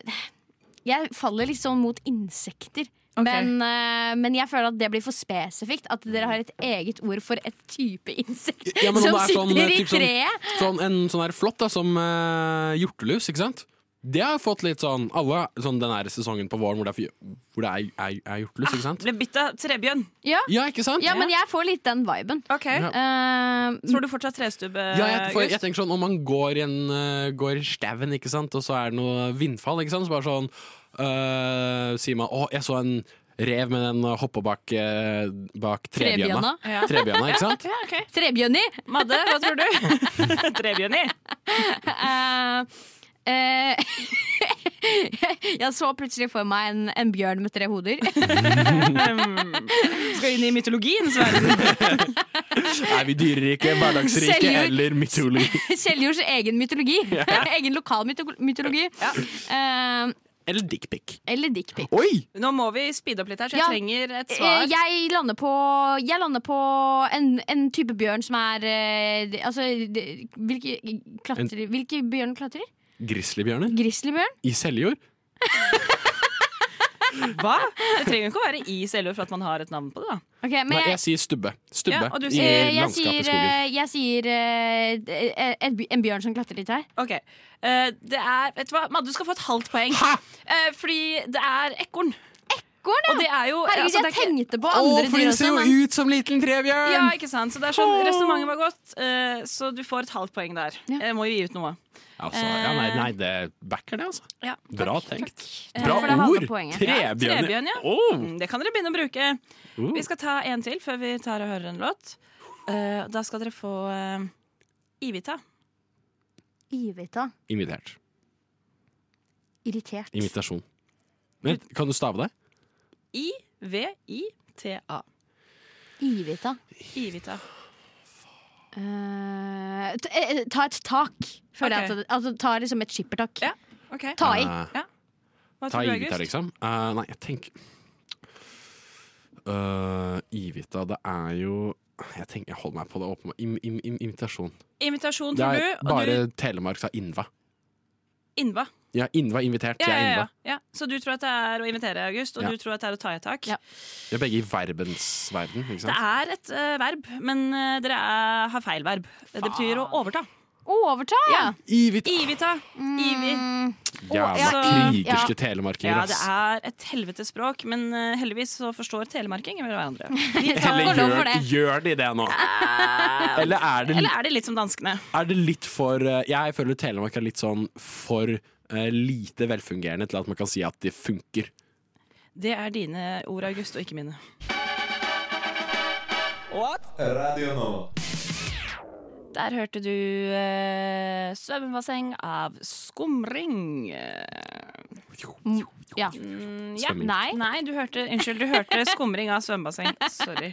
Speaker 5: Jeg faller litt sånn mot insekter.
Speaker 3: Ok.
Speaker 5: Men, eh, men jeg føler at det blir for spesifikt. At dere har et eget ord for et type insekt
Speaker 4: Ja, men om
Speaker 5: som
Speaker 4: det er
Speaker 5: sitter
Speaker 4: sånn,
Speaker 5: i
Speaker 4: typ sånn-
Speaker 5: treet.
Speaker 4: Sånn, en sånn her flott da, som eh, hjortelus, ikke sant? Det har fått litt sånn alle sånn den her sesongen på våren hvor det er, fy- hvor det er, er, er hjortelus, ikke sant?
Speaker 3: Ble bytta trebjørn.
Speaker 5: Ja.
Speaker 4: Ja, ikke sant?
Speaker 5: ja, men jeg får litt den viben.
Speaker 3: Ok.
Speaker 4: Ja.
Speaker 5: Eh,
Speaker 3: Tror du fortsatt trestubbe?
Speaker 4: Ja, jeg, for, jeg
Speaker 3: August?
Speaker 4: tenker sånn, Om man går i en eh, Går i stauen, ikke sant, og så er det noe vindfall, ikke sant, så bare sånn eh, Sier man 'Å, jeg så en rev, men den hoppa bak, uh, bak trebjørna'.
Speaker 5: Trebjørna.
Speaker 3: Ja.
Speaker 4: Trebjørna, ikke sant?
Speaker 3: Ja, ok.
Speaker 5: Trebjørner!
Speaker 3: Madde, hva tror du? trebjørn i?
Speaker 5: Eh, eh, jeg så plutselig for meg en, en bjørn med tre hoder.
Speaker 3: Skal inn i mytologiens verden.
Speaker 4: Er vi dyrerike, hverdagsrike
Speaker 5: Selvjord.
Speaker 4: eller mytologi?
Speaker 5: Seljords egen mytologi. Egen lokal myto- mytologi. Eh,
Speaker 4: Eller dickpic.
Speaker 5: eller dickpic.
Speaker 4: Oi!
Speaker 3: Nå må vi speede opp litt her, så jeg
Speaker 5: Ja.
Speaker 3: trenger et
Speaker 5: Eh,
Speaker 3: svar.
Speaker 5: jeg lander på, jeg lander på en, en type bjørn som er eh, de- Altså, de- hvilke, klatrer, hvilke bjørn klatrer?
Speaker 4: Grizzlybjørner
Speaker 5: Grizzlybjørn?
Speaker 4: i Seljord?
Speaker 3: Hva? Det trenger jo ikke å være i selvjord for at man har et navn på det. da
Speaker 5: Ok, men
Speaker 4: Nei,
Speaker 5: jeg,
Speaker 4: jeg sier stubbe. Stubbe
Speaker 3: Ja, og du
Speaker 4: i
Speaker 3: sier-
Speaker 5: eh, jeg
Speaker 4: landskapet i
Speaker 5: sier,
Speaker 4: skogen.
Speaker 5: eh, jeg sier eh, d- eh, et, by- en bjørn som klatrer i trær.
Speaker 3: Ok, Eh, det er, vet du hva, Madde, du skal få et halvt poeng. Eh, fordi det er ekorn.
Speaker 5: Går
Speaker 3: Og det er jo
Speaker 5: Herregud,
Speaker 3: altså, det er
Speaker 5: jeg
Speaker 3: ikke-
Speaker 5: tenkte på
Speaker 4: Å,
Speaker 5: andre
Speaker 4: for
Speaker 5: dyr
Speaker 4: den
Speaker 5: også.
Speaker 4: ser
Speaker 5: men-
Speaker 4: jo ut som liten trebjørn!
Speaker 3: Ja, ikke sant? Så det er sånn, Resonnementet var godt, eh, så du får et halvt poeng der.
Speaker 5: Ja.
Speaker 3: Jeg må jo gi ut noe.
Speaker 4: Altså, ja, nei, nei, det backer det, altså.
Speaker 3: Ja. Eh,
Speaker 4: Bra tenkt.
Speaker 5: Bra for det halve ord. poenget.
Speaker 4: Trebjørner.
Speaker 3: Trebjørn, ja.
Speaker 4: Åh.
Speaker 3: Mm, Det kan dere begynne å bruke.
Speaker 4: Uh.
Speaker 3: Vi skal ta en til før vi tar og hører en låt. Eh, da skal dere få eh, Ivita.
Speaker 5: Ivita.
Speaker 4: Invitert.
Speaker 5: Irritert.
Speaker 4: Invitasjon. Men, kan du stave det?
Speaker 3: I-V-I-T-A.
Speaker 5: Ivita.
Speaker 3: Ivita.
Speaker 5: Eh, t- eh, ta et tak. Føler
Speaker 3: Ok.
Speaker 5: jeg at, det- altså, ta liksom et skippertak.
Speaker 3: Ja. OK.
Speaker 5: Ta i.
Speaker 4: Eh,
Speaker 3: Hva
Speaker 4: ta
Speaker 3: tror du,
Speaker 4: Ivita,
Speaker 3: August?
Speaker 4: liksom. Eh, nei, jeg tenker Eh, Ivita, det er jo Jeg tenker, jeg holder meg på det åpne. Im, im, im, invitasjon.
Speaker 3: Invitasjon,
Speaker 4: Det
Speaker 3: tror du.
Speaker 4: er
Speaker 3: Og
Speaker 4: bare
Speaker 3: du
Speaker 4: Telemark sa Innva.
Speaker 3: Innva.
Speaker 4: Ja, Innva er invitert.
Speaker 3: Ja,
Speaker 4: Jeg er
Speaker 3: ja, ja,
Speaker 4: Innva.
Speaker 3: ja. Så du tror at det er å invitere, August, og
Speaker 4: Ja.
Speaker 3: du tror at det er å ta i tak.
Speaker 5: Ja.
Speaker 4: Vi er begge i verbens verden,
Speaker 3: Det
Speaker 4: ikke sant?
Speaker 3: er et eh, verb, men eh, dere er, har feil verb. Det betyr å overta.
Speaker 5: Overta! Mm. Ja.
Speaker 4: Ivita!
Speaker 3: Ivita.
Speaker 4: Mm.
Speaker 3: Ivi.
Speaker 4: Jævla
Speaker 3: så-
Speaker 4: krigerske telemarkinger,
Speaker 3: Ja, det
Speaker 4: ass.
Speaker 3: er et helvetes språk, men eh, heldigvis så forstår telemarkinger hverandre.
Speaker 5: Takk og lov for det.
Speaker 4: gjør de det nå?
Speaker 3: Eh,
Speaker 4: Eller er det,
Speaker 3: Eller er det litt som danskene?
Speaker 4: er det litt for eh, Jeg føler Telemark er litt sånn for eh, lite velfungerende til at man kan si at de funker.
Speaker 3: Det er dine ord, August, og ikke mine.
Speaker 1: Radio Nova.
Speaker 3: Der hørte du uh, svømmebasseng av skumring.
Speaker 5: ja.
Speaker 3: Mm, ja.
Speaker 4: Svømming.
Speaker 5: Nei.
Speaker 3: Nei, du hørte, unnskyld, du hørte skumring av svømmebasseng. Sorry.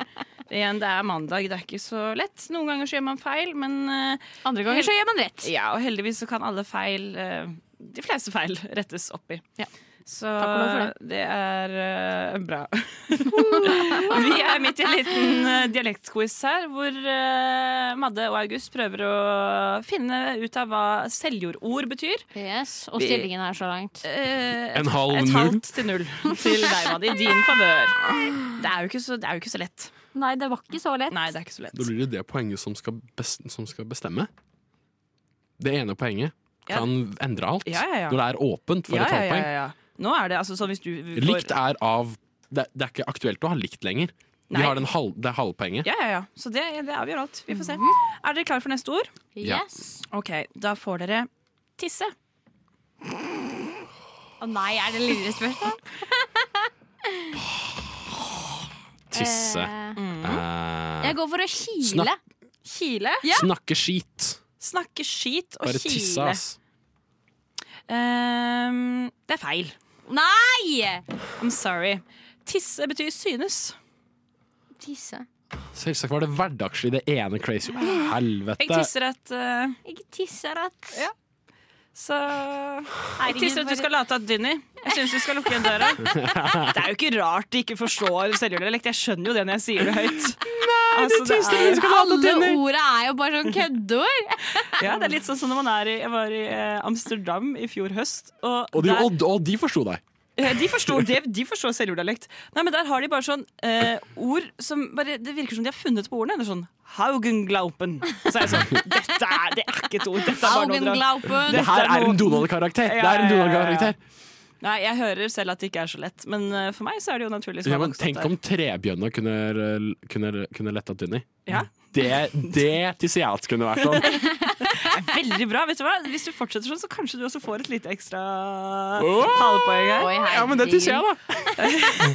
Speaker 3: Igjen, det er mandag, det er ikke så lett. Noen ganger så gjør man feil, men eh,
Speaker 5: Andre ganger så gjør man rett.
Speaker 3: ja, og heldigvis så kan alle feil, eh, de fleste feil, rettes opp i.
Speaker 5: Ja.
Speaker 3: Så
Speaker 5: og lov for
Speaker 3: det er eh, bra. Vi er midt i en liten eh, dialektquiz her, hvor eh, Madde og August prøver å finne ut av hva selvjordord betyr.
Speaker 5: Yes, Og
Speaker 3: Vi-
Speaker 5: stillingen er så langt.
Speaker 3: Eh,
Speaker 4: En halv
Speaker 3: et
Speaker 4: null.
Speaker 3: halvt til null til deg, Madde, i din favør. Det er jo ikke så, det er jo ikke så lett.
Speaker 5: Nei, det var ikke så lett.
Speaker 3: Nei, det er ikke så lett.
Speaker 4: Da blir det det poenget som skal, bes- som skal bestemme. Det ene poenget
Speaker 3: Ja.
Speaker 4: kan endre alt
Speaker 3: Ja, ja, ja.
Speaker 4: når det er åpent for
Speaker 3: ja,
Speaker 4: et
Speaker 3: ja, ja,
Speaker 4: halvpoeng.
Speaker 3: ja. Nå er det altså sånn hvis du får-
Speaker 4: Likt er av det, det er ikke aktuelt å ha likt lenger.
Speaker 3: Nei.
Speaker 4: Vi har den halv, det halvpoenget.
Speaker 3: Ja, ja, ja. Så det, det avgjør alt. Vi får se. Er dere klare for neste ord?
Speaker 4: Ja.
Speaker 5: Yes.
Speaker 3: Ok, da får dere tisse.
Speaker 5: Å nei, er det lille spørsmål?
Speaker 4: Tisse.
Speaker 5: Mm.
Speaker 4: Eh,
Speaker 5: Jeg går for å kile.
Speaker 4: Snakk.
Speaker 3: Kile.
Speaker 4: Snakke skit.
Speaker 3: Snakke skit og
Speaker 4: Bare
Speaker 3: kile.
Speaker 4: tisse, ass.
Speaker 3: Ehm, det er feil.
Speaker 5: Nei!
Speaker 3: I'm sorry. Tisse betyr synes.
Speaker 5: Tisse.
Speaker 4: Selvsagt var det hverdagslig, det ene crazy.
Speaker 3: Jeg
Speaker 4: Helvete.
Speaker 3: tisser et eh,
Speaker 5: Jeg tisser at
Speaker 3: Ja. Så Jeg tisser at du skal late at Dynni. Jeg syns du skal lukke igjen døra. Det er jo ikke rart de ikke forstår selvdialekt. Jeg skjønner jo det når jeg sier det høyt. Altså, det er,
Speaker 5: Alle orda er jo bare sånn køddeord.
Speaker 3: ja, det er litt sånn som når man er i, jeg var i eh, Amsterdam i fjor høst. Og,
Speaker 4: Og de,
Speaker 3: der-
Speaker 4: og, og de forsto deg.
Speaker 3: Eh, De forstår, de, de forstår selvdialekt. Nei, men der har de bare sånn eh, ord som bare, Det virker som de har funnet på ordene. Det er sånn Haugenglaupen. Så er jeg sånn Dette er, det er ikke et ord. Dette er bare noe dere-
Speaker 5: Albenglaupen.
Speaker 4: Det her
Speaker 3: er
Speaker 4: er en
Speaker 3: noe-
Speaker 4: Donald-karakter! Det
Speaker 3: Ja, ja,
Speaker 4: er en
Speaker 3: ja, ja.
Speaker 4: Donald-karakter
Speaker 3: Nei, jeg hører selv at det ikke er så lett, men eh, for meg så er det jo naturlig. som
Speaker 4: ja,
Speaker 3: jeg
Speaker 4: men
Speaker 3: vokste opp
Speaker 4: Tenk om trebjørna kunne, kunne, kunne letta Dynni.
Speaker 3: der. ja.
Speaker 4: Det, det til Seattle kunne vært sånn.
Speaker 3: Veldig bra. vet du hva? Hvis du fortsetter sånn, så kanskje du også får et lite ekstra
Speaker 4: Åh!
Speaker 3: halvpoeng her.
Speaker 5: Oi,
Speaker 4: Ja, men det til
Speaker 5: herregud.
Speaker 4: Seattle,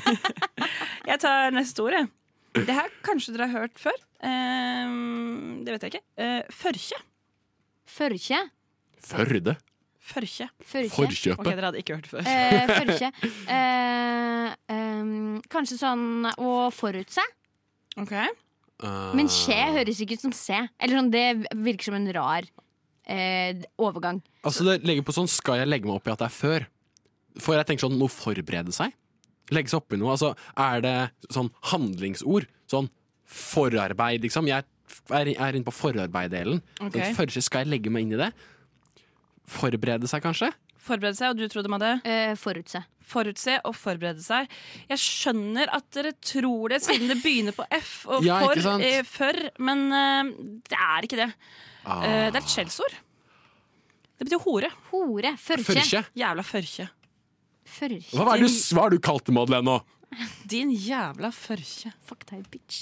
Speaker 4: da!
Speaker 3: Jeg tar neste ord, jeg. Det her kanskje dere har hørt før. Eh, det vet jeg ikke. Eh, førkje.
Speaker 5: Førkje.
Speaker 4: Førde.
Speaker 3: Førkje.
Speaker 5: Førkje.
Speaker 3: Ok,
Speaker 4: Forkjøpet.
Speaker 3: dere hadde ikke hørt før.
Speaker 5: Eh, Førkje. Eh, ehm, kanskje sånn å forutse.
Speaker 3: Ok.
Speaker 4: Eh,
Speaker 5: Men skje høres ikke ut som se. Eller sånn, det virker som en rar eh, overgang.
Speaker 4: Altså det legger på sånn Skal jeg legge meg opp i at det er før? For jeg tenker sånn, må forberede seg Legge seg opp i noe Altså er det sånn handlingsord Sånn forarbeid liksom Jeg er, er inne på forarbeid-delen
Speaker 3: Ok.
Speaker 4: Men Først skal jeg legge meg inn i det Forberede seg kanskje
Speaker 3: Forberede seg, og du trodde man det?
Speaker 5: Eh, forutse.
Speaker 3: Forutse og forberede seg. Jeg skjønner at dere tror det, siden det begynner på F og
Speaker 4: Ja, ikke
Speaker 3: for,
Speaker 4: sant?
Speaker 3: eh, for, men eh, det er ikke det.
Speaker 4: Ah.
Speaker 3: Eh, det er et skjellsord. Det betyr hore.
Speaker 5: Hore. Førkje.
Speaker 4: Førkje
Speaker 3: Jævla førkje.
Speaker 5: Førkje.
Speaker 4: Hva var det du, hva har du kalt det, Madeleine, nå?
Speaker 3: Din jævla førkje.
Speaker 5: Fuck deg, bitch.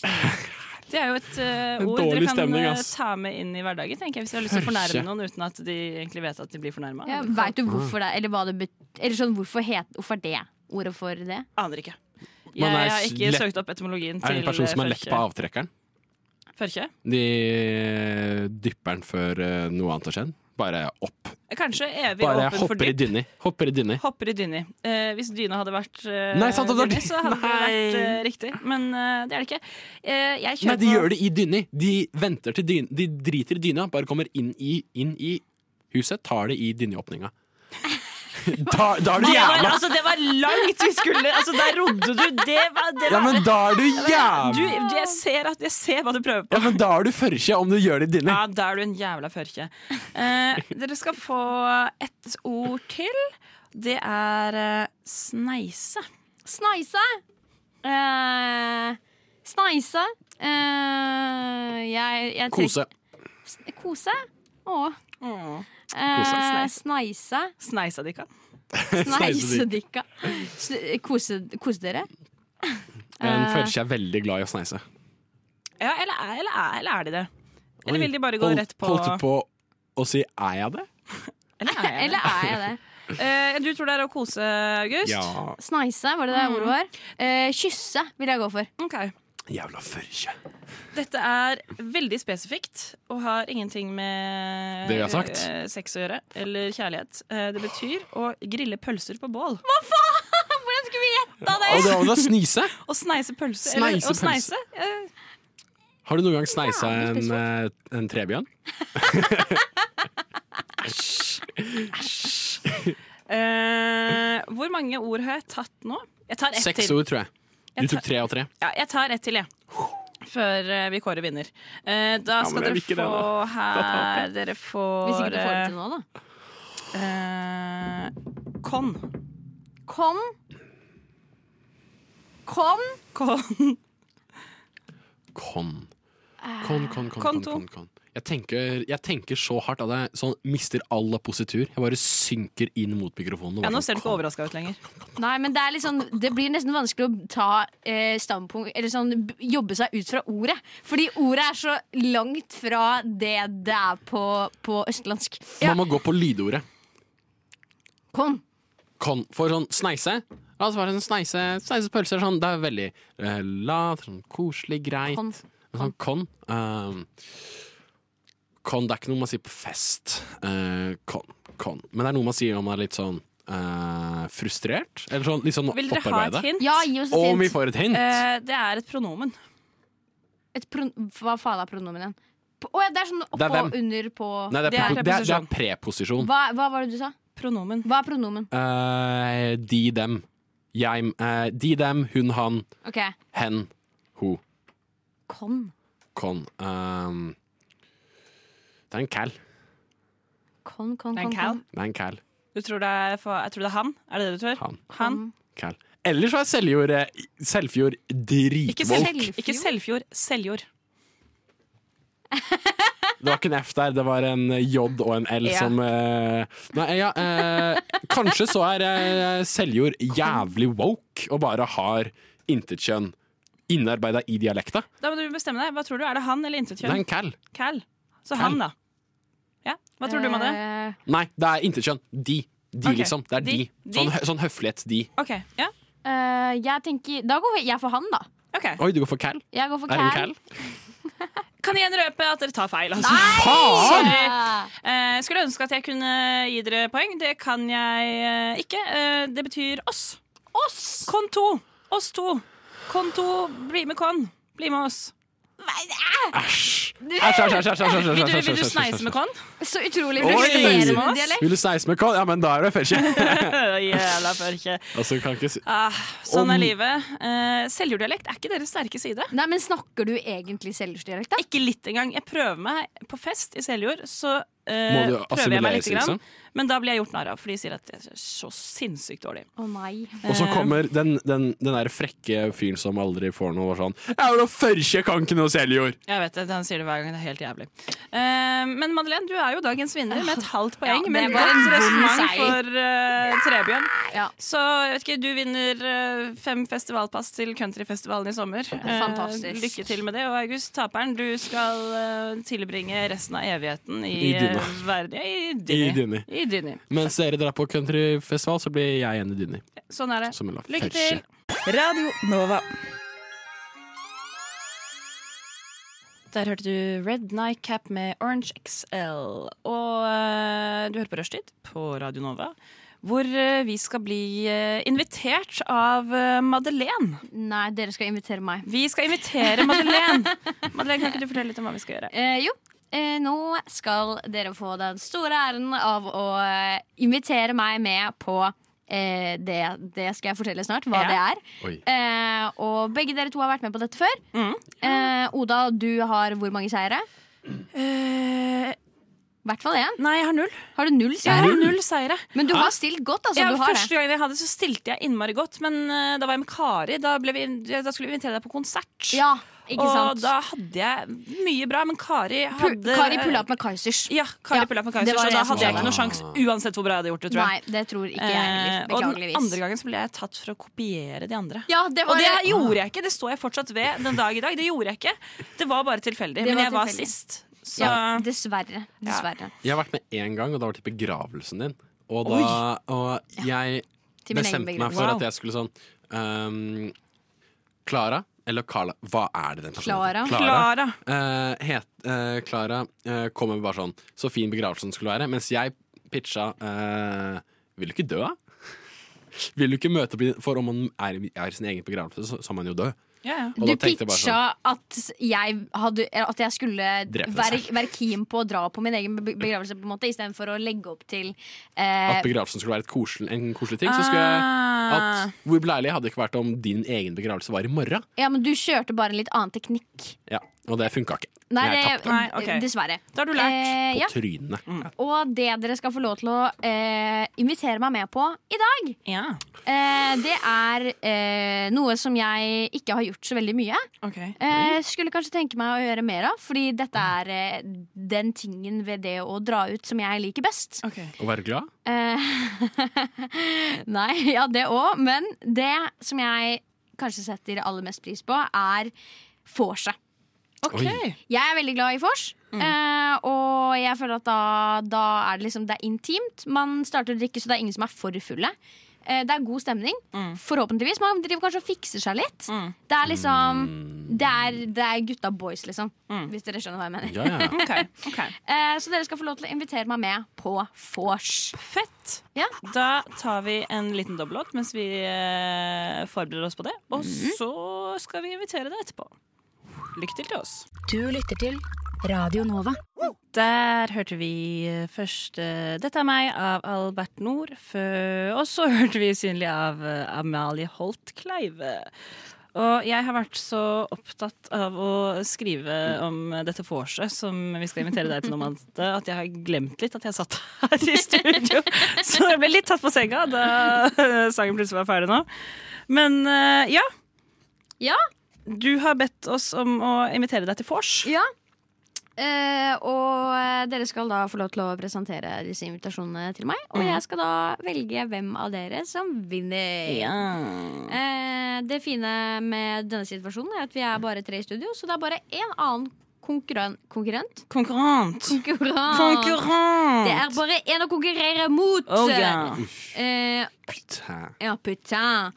Speaker 3: Det er jo et eh,
Speaker 4: En
Speaker 3: ord
Speaker 4: dårlig
Speaker 3: dere kan
Speaker 4: stemning,
Speaker 3: eh,
Speaker 4: ass.
Speaker 3: ta med inn i hverdagen, tenker jeg, hvis dere har lyst til å
Speaker 4: Førkje.
Speaker 3: fornærme noen uten at de egentlig vet at de blir fornærma.
Speaker 5: Ja, Veit du hvorfor det Eller hva det bet Eller sånn, hvorfor, het, hvorfor er det ordet for det?
Speaker 3: Aner ikke. Jeg,
Speaker 4: Man er
Speaker 3: har ikke
Speaker 4: lett-
Speaker 3: søkt opp etymologien
Speaker 4: Er
Speaker 3: til
Speaker 4: det en person som
Speaker 3: eh,
Speaker 4: er lett på avtrekkeren?
Speaker 3: førkje.
Speaker 4: De eh, dypper den før eh, noe annet har skjedd Bare opp
Speaker 3: Kanskje evig
Speaker 4: Bare
Speaker 3: åpen for
Speaker 4: hopper i
Speaker 3: dypp.
Speaker 4: dynni Hopper i dynni
Speaker 3: Hopper i dyni. Eh, hvis dyna hadde vært eh,
Speaker 4: Nei, sant, det var
Speaker 3: dyni,
Speaker 4: dy-
Speaker 3: så hadde det
Speaker 4: Nei.
Speaker 3: vært eh, riktig. Men eh, det er det ikke. Eh, jeg
Speaker 4: Nei,
Speaker 3: kjører
Speaker 4: de gjør det i dyni. De venter til dyna. De driter i dyna, bare kommer inn i, inn i huset, tar det i dyneåpninga. Da, da er du
Speaker 3: det var,
Speaker 4: jævla
Speaker 3: altså, det var langt vi skulle altså, Der rodde du! Det var, det
Speaker 4: Ja,
Speaker 3: var
Speaker 4: men da er du
Speaker 3: du,
Speaker 4: jævla
Speaker 3: du, jeg, ser at, jeg ser hva du prøver på.
Speaker 4: Ja, men da er du førkje om du gjør det i dyni.
Speaker 3: Ja, Da er du en jævla førkje. Eh, dere skal få ett ord til. Det er eh, sneise.
Speaker 5: Snaise. Eh, snaise. Eh, jeg, jeg trekker-
Speaker 4: Kose.
Speaker 5: S- Kose? Å. Eh,
Speaker 4: Kose.
Speaker 5: snaise.
Speaker 3: Sneisa de kan.
Speaker 5: Sneisedikka. S- Kose, kose dere?
Speaker 3: Eh.
Speaker 4: En førkje er veldig glad i å sneise.
Speaker 3: Ja, eller, er- eller, er- eller er de det? Eller vil de bare gå
Speaker 4: Hold-
Speaker 3: rett på
Speaker 4: Holdt du på å si 'er jeg det'?
Speaker 3: Eller er jeg det?
Speaker 5: Eller er jeg det?
Speaker 3: Eh, du tror det er å kose, August?
Speaker 5: Snaise, var det
Speaker 3: Mm.
Speaker 5: det ordet var? Eh, kysse vil jeg gå for.
Speaker 3: Ok.
Speaker 4: Jævla førkje.
Speaker 3: Dette er veldig spesifikt og har ingenting med
Speaker 4: Det vi har sagt.
Speaker 3: eh, sex å gjøre. Eller kjærlighet. Eh, det betyr å grille pølser på bål.
Speaker 5: Hvordan skulle vi gjette
Speaker 4: Og
Speaker 5: det?
Speaker 4: det var da snise.
Speaker 3: Å sneise pølse. eller,
Speaker 4: Sneise
Speaker 3: å
Speaker 4: pølse.
Speaker 3: sneise. eh,
Speaker 4: Har du noen gang sneisa en, eh, en trebjørn?
Speaker 3: eh, hvor mange ord har jeg tatt nå? Jeg tar ett
Speaker 4: Seks
Speaker 3: til.
Speaker 4: ord, tror jeg. Du tok tre av tre.
Speaker 3: Ja, jeg tar ett til, jeg. Før eh, vi kårer vinner. Eh, da
Speaker 4: men
Speaker 3: skal
Speaker 4: jeg
Speaker 3: dere
Speaker 4: liker det,
Speaker 3: få
Speaker 4: da.
Speaker 3: her Dere får
Speaker 5: Hvis ikke du får det til nå, da.
Speaker 3: eh, Kon.
Speaker 5: Kom. Kom.
Speaker 3: Kon.
Speaker 4: Kon.
Speaker 3: Eh,
Speaker 4: Kon, kon, kon, kon,
Speaker 3: Konto.
Speaker 4: kon, kon. Jeg, tenker, jeg tenker så hardt at jeg sånn, mister all positur. Jeg bare synker inn mot mikrofonen.
Speaker 3: Ja,
Speaker 4: og bare
Speaker 3: nå
Speaker 4: sånn,
Speaker 3: ser du ikke
Speaker 4: kon.
Speaker 3: overraska ut lenger.
Speaker 5: Nei, men det, er litt sånn- det blir nesten vanskelig å ta eh, standpunkt Eller sånn, b- jobbe seg ut fra ordet. Fordi ordet er så langt fra det det er på, på østlandsk.
Speaker 4: Man må gå på lydordet.
Speaker 5: Kom.
Speaker 4: Kon. For sånn sneise La oss være sånn sneise, sneise pølser. Sånn, det er veldig eh, lat, sånn koselig, greit.
Speaker 5: Kon.
Speaker 4: Men Sånn kon. ehm, kon, det er ikke noe man sier på fest. Eh, kon, kon. Men det er noe man sier om man er litt sånn eh, frustrert. Eller sånn, litt sånn
Speaker 3: Vil dere ha et Eh,
Speaker 4: opparbeida.
Speaker 3: hint?
Speaker 5: Ja, gi oss et
Speaker 4: Om vi
Speaker 5: hint.
Speaker 4: får et hint!
Speaker 3: Eh, det er et pronomen.
Speaker 5: et pro Hva faen er pronomen igjen? På- Å ja, det er sånn
Speaker 4: Det er
Speaker 5: oppå,
Speaker 4: hvem.
Speaker 5: under, på
Speaker 4: Nei, det er,
Speaker 3: Det er
Speaker 4: pre- det er, det er preposisjon.
Speaker 5: hva, hva var det du sa?
Speaker 3: Pronomen.
Speaker 5: Hva er pronomen?
Speaker 4: Eh, de, dem. Jeg, eh, de, dem, hun, han,
Speaker 5: Ok,
Speaker 4: hen, ho,
Speaker 5: Kon.
Speaker 4: kon. Ehm, det er en cal.
Speaker 5: Kon, kon,
Speaker 3: Det er
Speaker 5: kon,
Speaker 3: en cal.
Speaker 5: kon.
Speaker 4: Det er en cal.
Speaker 3: Du tror det er, fa- jeg tror det er han? Er det det du tror?
Speaker 4: Han.
Speaker 3: han.
Speaker 4: cal. Ellers var Seljord eh, Seljord
Speaker 3: Ikke,
Speaker 4: dritwoke.
Speaker 3: selv, ikke Selvfjord. Seljord.
Speaker 4: Det var ikke en F der, det var en J og en L
Speaker 3: Ja.
Speaker 4: som eh, Nei, ja eh, Kanskje så er eh, Seljord jævlig woke og bare har intet kjønn innarbeida i dialekta.
Speaker 3: Da må du bestemme deg. Hva tror du? Er det han eller
Speaker 4: Det er
Speaker 3: intetkjønn?
Speaker 4: en cal.
Speaker 3: Cal. Så
Speaker 4: Cal.
Speaker 3: han, da. Ja, Hva tror du med det?
Speaker 5: Eh,
Speaker 4: Nei, det er intet kjønn. De. De,
Speaker 3: Ok.
Speaker 4: liksom. Det er de.
Speaker 3: De.
Speaker 4: Sånn,
Speaker 3: De.
Speaker 4: hø- sånn høflighets-de.
Speaker 3: OK. Ja.
Speaker 5: eh, jeg tenker Da går jeg for han, da.
Speaker 3: ok
Speaker 4: Oi, du går for cal?
Speaker 5: Jeg går for
Speaker 4: Er det en cal?
Speaker 3: Kan igjen røpe at dere tar feil. Altså.
Speaker 4: Faen!
Speaker 3: Sorry. Eh, skulle ønske at jeg kunne gi dere poeng. Det kan jeg eh, ikke. Eh, det betyr oss. Oss! Kon to. Oss to. Kon to, bli med kon. Bli med oss.
Speaker 4: Æsj! Æsj, æsj, æsj, æsj, æsj, æsj,
Speaker 3: Vil du,
Speaker 4: æsj,
Speaker 3: vil
Speaker 4: æsj,
Speaker 3: du
Speaker 4: æsj, æsj,
Speaker 3: sneise med
Speaker 4: æsj.
Speaker 3: kon?
Speaker 5: Så utrolig
Speaker 4: Oi!
Speaker 5: frustrerende dialekt.
Speaker 4: Vil du sneise med kål? Ja, men da er du fekje.
Speaker 3: Jævla førke.
Speaker 4: Altså, kan ikke si
Speaker 3: Ah, sånn
Speaker 4: Om-
Speaker 3: er livet. Eh, Selvjorddialekt er ikke deres sterke side.
Speaker 5: Nei, men Snakker du egentlig selvjordsdialekt, da?
Speaker 3: Ikke litt engang. Jeg prøver meg på fest i Seljord, så eh,
Speaker 4: Må du
Speaker 3: prøver jeg meg
Speaker 4: assimileres,
Speaker 3: litt. Grann,
Speaker 4: liksom?
Speaker 3: men da blir jeg gjort narr av, for de sier at jeg er så sinnssykt dårlig.
Speaker 5: Å nei.
Speaker 4: Og så kommer den, den, den der frekke fyren som aldri får noe, og sånn Jeg vil ha førkje kanken og seljord!
Speaker 3: Jeg vet det, Han sier det hver gang. Det er helt jævlig. Eh, men Madeleine, du er jo dagens vinner med et halvt poeng.
Speaker 5: det
Speaker 3: men det er
Speaker 5: var en
Speaker 3: et
Speaker 5: vond
Speaker 3: resonnement
Speaker 5: seier.
Speaker 3: for eh, Trebjørn.
Speaker 5: Ja.
Speaker 3: Så jeg vet ikke, du vinner eh, fem festivalpass til countryfestivalen i sommer. Eh,
Speaker 5: Fantastisk.
Speaker 3: lykke til med det. Og August, taperen, du skal eh, tilbringe resten av evigheten i,
Speaker 4: I dyna.
Speaker 3: eh, verden- I
Speaker 4: I dyna.
Speaker 3: dyni. I dyni.
Speaker 4: Mens dere drar på countryfestival, så blir jeg igjen i dyna.
Speaker 3: Sånn er det.
Speaker 4: Som en lapp.
Speaker 3: Lykke
Speaker 4: Ferske.
Speaker 3: til! Radio Nova. Der hørte du Red Night Cap med Orange XL. Og eh, du hører på Rushtid på Radio Nova, hvor eh, vi skal bli eh, invitert av eh, Madeleine.
Speaker 5: Nei, dere skal invitere meg.
Speaker 3: Vi skal invitere Madeleine. Madeleine, kan ikke du fortelle litt om hva vi skal gjøre?
Speaker 5: Eh, jo, eh, nå skal dere få den store æren av å eh, invitere meg med på eh, det, det skal jeg fortelle snart, hva
Speaker 3: Ja.
Speaker 5: det er.
Speaker 4: Oi.
Speaker 5: Eh, og begge dere to har vært med på dette før.
Speaker 3: Mm.
Speaker 5: Eh, Oda, du har hvor mange seire? I hvert fall én.
Speaker 3: Eh, nei, jeg har null.
Speaker 5: Har du null
Speaker 3: Jeg
Speaker 5: seire?
Speaker 3: har null seire.
Speaker 5: Men du har stilt godt, altså.
Speaker 3: ja,
Speaker 5: du har
Speaker 3: første
Speaker 5: det.
Speaker 3: gangen jeg hadde, så stilte jeg innmari godt. Men eh, da var jeg med Kari. Da, ble vi, da skulle vi invitere deg på konsert.
Speaker 5: Ja, ikke
Speaker 3: Og
Speaker 5: sant?
Speaker 3: da hadde jeg mye bra, men Kari
Speaker 5: Pu-
Speaker 3: hadde
Speaker 5: Kari pulla opp med Kaizers.
Speaker 3: Ja, Kari
Speaker 5: Ja,
Speaker 3: pulla opp med
Speaker 5: det
Speaker 3: Kaiser, så
Speaker 5: var det
Speaker 3: da
Speaker 5: jeg som
Speaker 3: hadde jeg
Speaker 4: var.
Speaker 3: ikke noen sjanse uansett hvor bra jeg hadde gjort det. tror
Speaker 5: Nei,
Speaker 3: jeg.
Speaker 5: det tror ikke jeg heller.
Speaker 3: Eh, og den
Speaker 5: Beklageligvis.
Speaker 3: andre gangen så ble jeg tatt for å kopiere de andre.
Speaker 5: Ja, det
Speaker 3: Og
Speaker 5: var
Speaker 3: det gjorde jeg ikke, det står jeg fortsatt ved den dag i dag. Det gjorde jeg ikke. Det var bare tilfeldig.
Speaker 5: Det
Speaker 3: Men
Speaker 5: var
Speaker 3: jeg var
Speaker 5: tilfeldig.
Speaker 3: sist. Så
Speaker 5: Ja, dessverre. Dessverre.
Speaker 4: Jeg har vært med én gang, og det var til begravelsen din. Og da og jeg
Speaker 5: Til min egen
Speaker 4: bestemte meg for
Speaker 3: begravelse.
Speaker 4: at jeg skulle sånn ehm, Klara eller Carla Hva er det den personen
Speaker 5: Clara.
Speaker 4: heter?
Speaker 3: Klara.
Speaker 4: Eh, het, eh, Clara eh, kom med bare sånn Så fin begravelsen skulle være Mens jeg pitcha eh, Vil du ikke dø? Vil du ikke møte opp i- For om man er, i- er i sin egen begravelse Så, så er man jo død
Speaker 3: Ja, ja.
Speaker 4: Og
Speaker 5: Du
Speaker 4: da tenkte jeg bare
Speaker 5: pitcha at jeg, hadde, at jeg skulle
Speaker 4: Drepe deg
Speaker 5: være,
Speaker 4: selv.
Speaker 5: være keen på å dra på min egen be- begravelse, på en måte istedenfor å legge opp til eh,
Speaker 4: At begravelsen skulle være et kosel, en koselig ting Så skulle jeg
Speaker 3: Ah.
Speaker 4: at Hvor beleilig hadde det ikke vært om din egen begravelse var i morgen
Speaker 5: Ja, men du kjørte bare en litt annen teknikk.
Speaker 4: Ja, og det funka ikke
Speaker 5: Nei,
Speaker 4: Jeg
Speaker 5: det, eh,
Speaker 4: tapte
Speaker 3: Nei, ok.
Speaker 5: dessverre.
Speaker 3: Da har du lært.
Speaker 5: Eh,
Speaker 4: på
Speaker 5: ja.
Speaker 4: trynene
Speaker 5: Og det dere skal få lov til å eh, invitere meg med på i dag,
Speaker 3: Ja.
Speaker 5: eh, det er eh, noe som jeg ikke har gjort så veldig mye.
Speaker 3: OK.
Speaker 5: Eh, skulle kanskje tenke meg å gjøre mer av, fordi dette er eh, den tingen ved det å dra ut som jeg liker best.
Speaker 3: ok.
Speaker 4: Å være glad
Speaker 5: Eh, Nei, ja det òg, men det som jeg kanskje setter aller mest pris på, er vorset.
Speaker 3: Ok.
Speaker 5: Jeg er veldig glad i vors, eh, og jeg føler at da, da er det liksom Det er intimt. Man starter å drikke, så det er ingen som er for fulle. Eh, det er god stemning. Forhåpentligvis. Man driver kanskje og fikser seg litt. Det er liksom det er, det er gutta boys, liksom. Hvis dere skjønner hva jeg mener.
Speaker 4: ja, ja.
Speaker 3: OK. ok.
Speaker 5: Eh, så dere skal få lov til å invitere meg med på vors.
Speaker 3: Fett.
Speaker 5: Ja.
Speaker 3: Da tar vi en liten dobbeltlåt mens
Speaker 6: Mhm.
Speaker 3: vi eh, forbereder oss på det. Og så skal vi invitere deg etterpå. Lykke til til oss.
Speaker 6: Du lytter til Radio Nova.
Speaker 3: Der hørte vi først eh, 'Dette er meg' av Albert Nord. fø- Og så hørte vi 'Synlig' av eh, Amalie Holt Kleive. Og jeg har vært så opptatt av å skrive om dette vorset som vi skal invitere deg til nå, Mante, at jeg har glemt litt at jeg satt her i studio. Så jeg ble litt tatt på senga da eh, sangen plutselig var ferdig nå. Men eh, ja.
Speaker 5: Ja.
Speaker 3: Du har bedt oss om å invitere deg til vors.
Speaker 5: Ja. Eh, og eh, dere skal da få lov til å presentere disse invitasjonene til meg. Og jeg skal da velge hvem av dere som vinner. Eh, det fine med denne situasjonen er at vi er bare tre i studio, så det er bare én annen konkurren konkurrent.
Speaker 3: Konkurrent.
Speaker 5: Konkurrent.
Speaker 3: Konkurrent!
Speaker 5: Det er bare én å konkurrere mot!
Speaker 3: Oh, ja.
Speaker 5: Eh,
Speaker 4: Putain,
Speaker 5: ja, putain.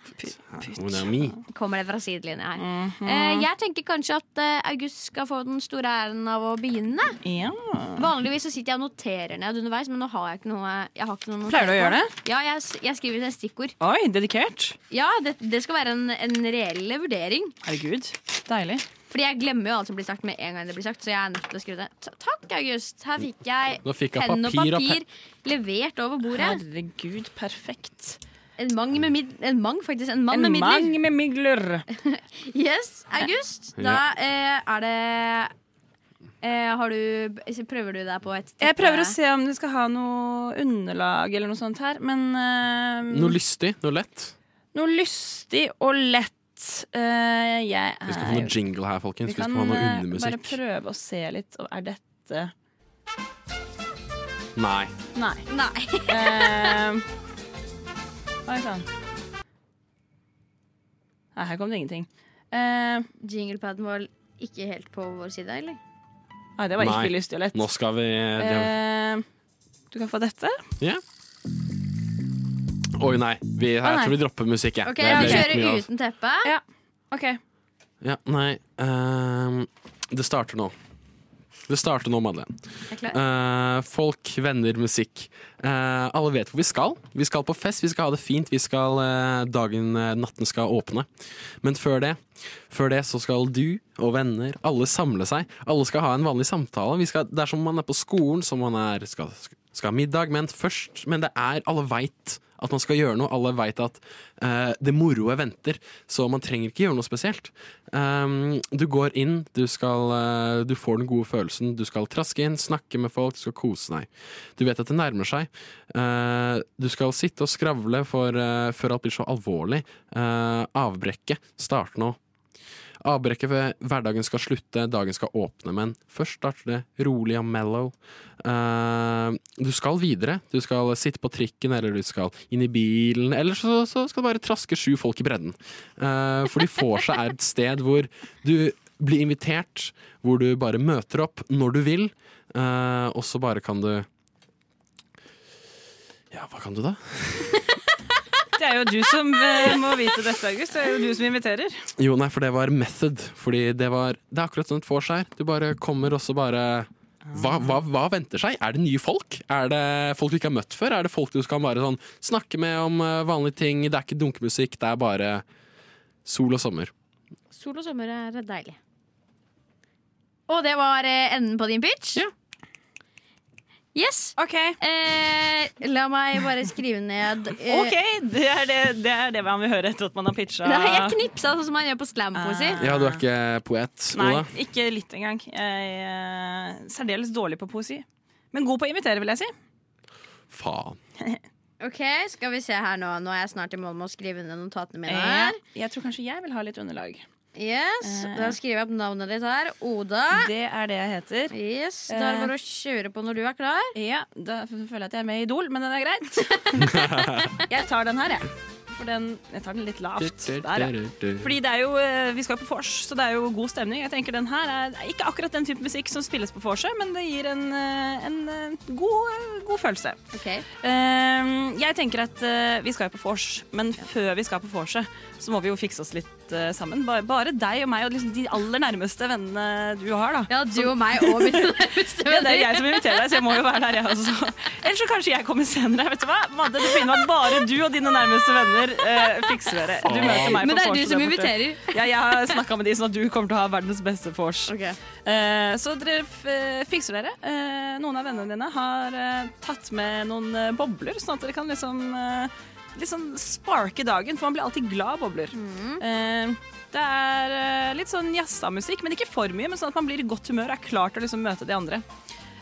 Speaker 4: mon ami.
Speaker 5: Kommer det fra sidelinja her.
Speaker 3: Mhm.
Speaker 5: eh, jeg tenker kanskje at eh, August skal få den store æren av å begynne.
Speaker 3: ja.
Speaker 5: Vanligvis så sitter jeg og noterer ned underveis, men nå har jeg ikke noe, jeg har ikke noe notat
Speaker 3: Pleier du å
Speaker 5: på.
Speaker 3: gjøre det?
Speaker 5: Ja, jeg, s- jeg skriver ned stikkord.
Speaker 3: Oi, dedikert.
Speaker 5: Ja, det, det skal være en, en reell vurdering.
Speaker 3: Herregud, deilig.
Speaker 5: Fordi jeg glemmer jo alt som blir sagt med en gang det blir sagt, så jeg er nødt til å skrive det. Ta- Takk, August. Her fikk jeg
Speaker 4: Nå fikk jeg
Speaker 5: penn og
Speaker 4: papir og
Speaker 5: papir levert over bordet.
Speaker 3: Herregud, perfekt.
Speaker 5: En mang med mid, en mang, faktisk. En mann
Speaker 3: En
Speaker 5: med midler.
Speaker 3: mang med migler.
Speaker 5: Yes, August. Da eh, er det eh, Har du Prøver du deg på et
Speaker 3: Jeg prøver å se om du skal ha noe underlag eller noe sånt her, men eh,
Speaker 4: Noe lystig, noe lett.
Speaker 3: noe lystig og lett. Eh, jeg er
Speaker 4: Vi skal få noe jingle her, folkens.
Speaker 3: Vi
Speaker 4: Vi skal
Speaker 3: kan
Speaker 4: få noe
Speaker 3: eh, bare
Speaker 4: undermusikk.
Speaker 3: prøve å se litt. og Er dette
Speaker 4: Nei.
Speaker 3: Nei.
Speaker 5: Nei.
Speaker 3: Eh, Oi sann. sånn? Nei, her kom det ingenting. Eh,
Speaker 5: Jinglepaden var ikke helt på vår side, eller?
Speaker 3: Nei, det var ikke
Speaker 4: Nei.
Speaker 3: lystig og lett.
Speaker 4: Nå skal vi det-
Speaker 3: Eh, du kan få dette.
Speaker 4: Ja. Oi, nei. Vi, jeg
Speaker 3: Å, nei.
Speaker 4: tror vi dropper musikk, jeg.
Speaker 5: Ok,
Speaker 4: Det blir
Speaker 5: Vi
Speaker 4: litt mye av-
Speaker 5: kjører uten teppe.
Speaker 3: Ja. OK.
Speaker 4: Ja, nei ehm, Det starter nå. Det starter nå, Madeleine.
Speaker 5: Er klar?
Speaker 4: Eh, folk, venner, musikk. Eh, alle vet hvor vi skal. Vi skal på fest, vi skal ha det fint. Vi skal, eh, dagen, eh, natten skal åpne. Men før det, før det så skal du og venner, alle samle seg. Alle skal ha en vanlig samtale. Vi skal, det er som om man er på skolen, som man er, skal, skal ha middag. Men først, men det er, alle veit at man skal gjøre noe. Alle veit at eh, det moroe venter, så man trenger ikke gjøre noe spesielt. Um, du går inn, du, skal, eh, du får den gode følelsen. Du skal traske inn, snakke med folk, du skal kose deg. Du vet at det nærmer seg. Eh, du skal sitte og skravle for, eh, før alt blir så alvorlig. Uh, avbrekket starter nå. Avbrekket ved hverdagen skal slutte, dagen skal åpne, men først starter det rolig og mellow. Eh, du skal videre. Du skal sitte på trikken, eller du skal inn i bilen, eller så, så skal du bare traske sju folk i bredden. Eh, for de får seg er et sted hvor du blir invitert, hvor du bare møter opp når du vil, eh, og så bare kan du Ja, hva kan du da?
Speaker 3: Det er jo du som eh, må vite dette, August. Det er jo du som inviterer.
Speaker 4: Jo, nei, for det var method. Fordi det var Det er akkurat sånn et vors her. Du bare kommer, og så bare hva, hva, hva venter seg? Er det nye folk? Er det folk du ikke har møtt før? Er det folk du skal bare sånn snakke med om eh, vanlige ting? Det er ikke dunkemusikk, det er bare sol og sommer.
Speaker 5: Sol og sommer er deilig. Og det var eh, enden på din pitch?
Speaker 4: Ja.
Speaker 5: Yes.
Speaker 3: OK.
Speaker 5: Eh, la meg bare skrive ned eh,
Speaker 3: ok, Det er det, det er det man vil høre etter at man har pitcha.
Speaker 5: Nei, jeg knipsa sånn som man gjør på slampoesi.
Speaker 3: Ah.
Speaker 4: Ja, du er ikke poet,
Speaker 3: Nei,
Speaker 4: Oda?
Speaker 3: ikke litt engang. Jeg er særdeles dårlig på poesi. Men god på å invitere, vil jeg si.
Speaker 4: Faen.
Speaker 5: Ok, skal vi se her nå. Nå er jeg snart i mål med å skrive ned notatene mine.
Speaker 3: Eh, Jeg tror kanskje jeg vil ha litt underlag.
Speaker 5: Yes,
Speaker 3: Eh.
Speaker 5: Da skriver jeg opp navnet ditt her. Oda.
Speaker 3: Det er det jeg heter.
Speaker 5: Yes, Da er det bare å kjøre på når du er klar.
Speaker 3: Ja, Da føler jeg at jeg er med i Idol, men den er greit. Jeg tar den her, jeg. For den, jeg tar den litt lavt. Der, ja.
Speaker 4: Fordi
Speaker 3: Fordi det er jo, eh, Vi skal jo på vors, så det er jo god stemning. Jeg tenker Den her er ikke akkurat den type musikk som spilles på vorset, men det gir en, eh, en eh, god, eh, god følelse.
Speaker 5: Ok
Speaker 3: Ehm, Eh, Jeg tenker at eh, vi skal jo på vors, men før vi skal på vorset, så må vi jo fikse oss litt dette sammen. Bare, bare deg og meg og liksom de aller nærmeste vennene du har. da
Speaker 5: Ja, du og meg og mine
Speaker 3: ja, Det
Speaker 5: nærmeste venner.
Speaker 3: er jeg som inviterer deg, så jeg må jo være der, jeg også. Ellers så kanskje jeg kommer senere. Vet du hva? Madde, det fine var at bare du og dine nærmeste venner eh, fikser dere. Du møter meg på
Speaker 5: Men det er du
Speaker 3: vorset
Speaker 5: som
Speaker 3: der borte.
Speaker 5: inviterer.
Speaker 3: Ja, jeg har snakka med de, sånn at du kommer til å ha verdens beste vors. Eh, så dere f eh, fikser dere. Eh, noen av vennene dine har eh, tatt med noen eh, bobler, sånn at dere kan liksom eh, Liksom sparke dagen, for man blir alltid glad av bobler. Eh, det er eh, litt sånn jazzamusikk, men ikke for mye, men sånn at man blir i godt humør og er klar til å liksom møte de andre.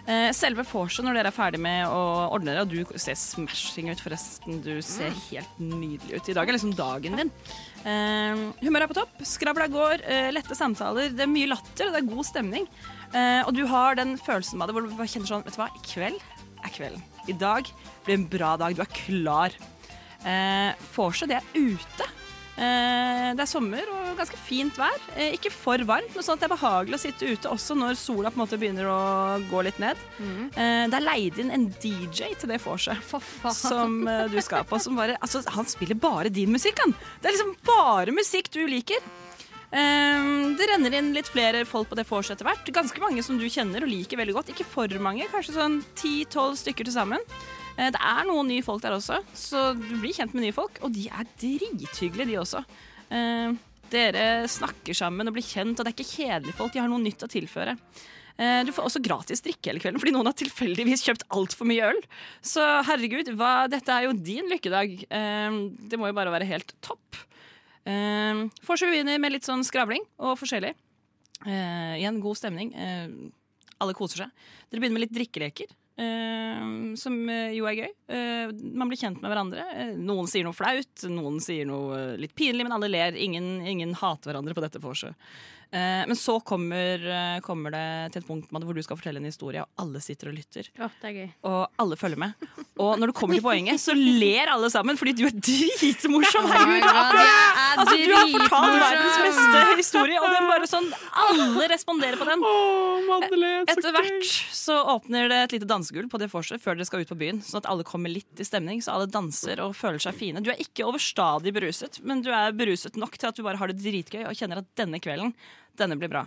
Speaker 3: Eh, Selve vorset, når dere er ferdig med å ordne dere, og du ser smashing ut forresten, du ser helt nydelig ut. I dag er liksom dagen din. Eh, humøret er på topp, skravla går, eh, lette samtaler, det er mye latter, og det er god stemning. Eh, og du har den følelsen med det hvor du bare kjenner sånn, vet du hva, i kveld er kvelden. I dag blir en bra dag, du er klar. Eh, vorset, det er ute. Eh, det er sommer og ganske fint vær. Eh, ikke for varmt, men sånn at det er behagelig å sitte ute også når sola på en måte begynner å gå litt ned. Eh, det er leid inn en DJ til det vorset
Speaker 5: For faen.
Speaker 3: som eh, du skal på. Som bare, altså, han spiller bare din musikk, han. Det er liksom bare musikk du liker. Eh, det renner inn litt flere folk på det vorset etter hvert. Ganske mange som du kjenner og liker veldig godt. Ikke for mange, kanskje sånn 10-12 stykker til sammen. Eh, Det er noen nye folk der også, så du blir kjent med nye folk. Og de er drithyggelige, de også. Eh, Dere snakker sammen og blir kjent, og det er ikke kjedelige folk. De har noe nytt å tilføre. Eh, Du får også gratis drikke hele kvelden fordi noen har tilfeldigvis kjøpt altfor mye øl. Så herregud, hva, dette er jo din lykkedag. Eh, Det må jo bare være helt topp. Eh, Får så begynner med litt sånn skravling og forskjellig. Eh, Igjen god stemning. Eh, alle koser seg. Dere begynner med litt drikkeleker, eh, som eh, jo er gøy. Eh, man blir kjent med hverandre. Eh, noen sier noe flaut, noen sier noe eh, litt pinlig, men alle ler. Ingen, ingen hater hverandre på dette vorset. Eh, men så kommer, eh, kommer det til et punkt Madde, hvor du skal fortelle en historie, og alle sitter og lytter.
Speaker 5: det er gøy.
Speaker 3: Og alle følger med. Og når du kommer til poenget, så ler alle sammen, fordi du er dritmorsom! Herregud, du er akkurat Altså, du har fortalt verdens beste historie, og den bare sånn Alle responderer på den. Etter hvert så åpner det et lite dansegulv på det vorset før dere skal ut på byen, sånn at alle kommer litt i stemning, så alle danser og føler seg fine. Du er ikke overstadig beruset, men du er beruset nok til at du bare har det dritgøy og kjenner at denne kvelden, denne blir bra.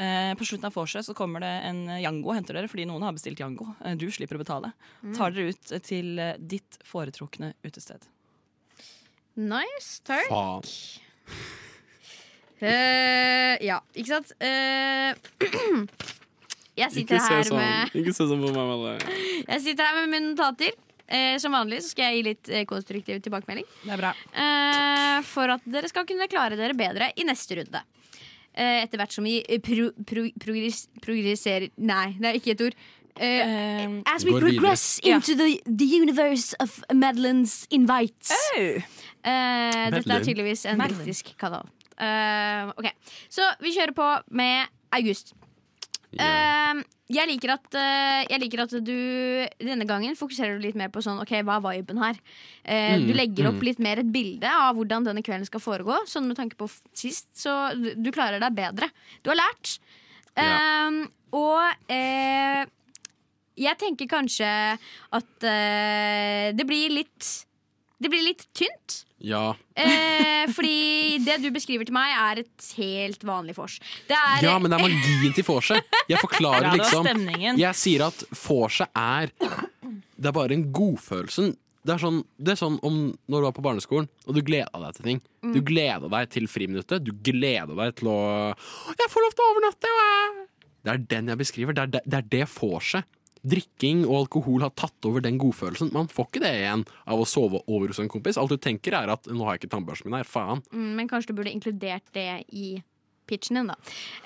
Speaker 3: Eh, på slutten av vorset så kommer det en Jango og henter dere, fordi noen har bestilt Jango. Eh, Du slipper å betale. Tar dere ut til eh, ditt foretrukne utested.
Speaker 5: Nice, takk.
Speaker 4: Faen.
Speaker 5: Eh, ja, ikke sant? Eh, jeg, sitter
Speaker 4: Ikke se
Speaker 5: her
Speaker 4: sånn
Speaker 5: med,
Speaker 4: Ikke se sånn på meg, Madde.
Speaker 5: jeg sitter her med mine notater. Eh, som vanlig så skal jeg gi litt eh, konstruktiv tilbakemelding.
Speaker 3: Det er bra.
Speaker 5: Eh, for at dere skal kunne klare dere bedre i neste runde. Eh, etter hvert som vi eh, pro, pro, progris, progresserer Nei, det er ikke et ord. Eh, As we
Speaker 4: Går videre.
Speaker 5: progress into the, the universe of Madeleines invites. Eh, dette er
Speaker 4: Madeline.
Speaker 5: tydeligvis en
Speaker 3: Madeline.
Speaker 5: britisk kanal. Eh, ok, Så vi kjører på med August. Eh, jeg, liker at, eh, jeg liker at du denne gangen fokuserer du litt mer på sånn, ok, hva er viben her. Eh, du legger opp litt mer et bilde av hvordan denne kvelden skal foregå. Sånn med tanke på f- sist, så du, du klarer deg bedre. Du har lært. Eh, og eh, jeg tenker kanskje at eh, det blir litt Det blir litt tynt.
Speaker 4: Ja.
Speaker 5: Eh, fordi det du beskriver til meg, er et helt vanlig vors. Det er
Speaker 4: ja, men det er magien til vorset. Jeg
Speaker 3: Ja,
Speaker 4: forklarer
Speaker 3: det var
Speaker 4: liksom
Speaker 3: stemningen.
Speaker 4: Jeg sier at vorset er Det er bare en godfølelse. Det er, sånn, det er sånn om når du var på barneskolen og du gleda deg til ting. Du gleda deg til friminuttet. Du gleda deg til å «Å, 'Jeg får lov til å overnatte!' og jeg-» Det er den jeg beskriver. Det er det, det, er det vorset. Drikking og alkohol har tatt over den godfølelsen. Man får ikke det igjen av å sove over hos en kompis. Alt du tenker, er at 'nå har jeg ikke tannbørsten min her'. Faen.
Speaker 5: Mm, Men kanskje du burde inkludert det i pitchen din, da.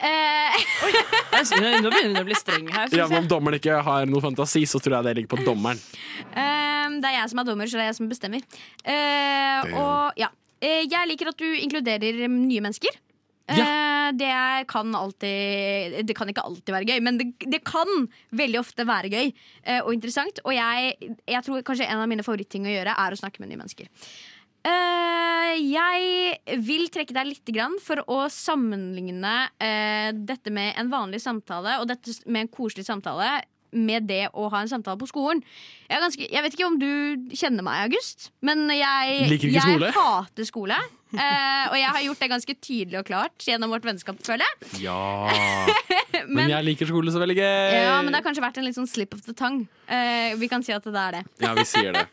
Speaker 5: Eh,
Speaker 3: Jeg synes- Nå begynner du å bli streng her. synes
Speaker 4: Ja, men Om dommeren ikke har noe fantasi, så tror jeg det ligger på dommeren.
Speaker 5: Ehm, det er jeg som er dommer, så det er jeg som bestemmer. Eh, og ja Eh, Jeg liker at du inkluderer mm, nye mennesker. Eh, det kan alltid Det kan ikke alltid være gøy, men det, det kan veldig ofte være gøy eh, og interessant. Og jeg, jeg tror kanskje en av mine favorittting å gjøre er å snakke med nye mennesker. Eh, jeg vil trekke deg litt grann for å sammenligne eh, dette med en vanlig samtale og dette s- med en koselig samtale med det å ha en samtale på skolen. Jeg, er ganske, jeg vet ikke om du kjenner meg, August, men jeg,
Speaker 4: Liker ikke
Speaker 5: jeg
Speaker 4: skole.
Speaker 5: hater skole. Eh, og jeg har gjort det ganske tydelig og klart gjennom vårt vennskap, føler jeg.
Speaker 4: Ja. Men,
Speaker 5: Men-
Speaker 4: jeg liker skole så veldig gøy.
Speaker 5: Ja, men det har kanskje vært en litt sånn slip of the tongue. Eh, vi kan si at det er det.
Speaker 4: Ja, vi sier det.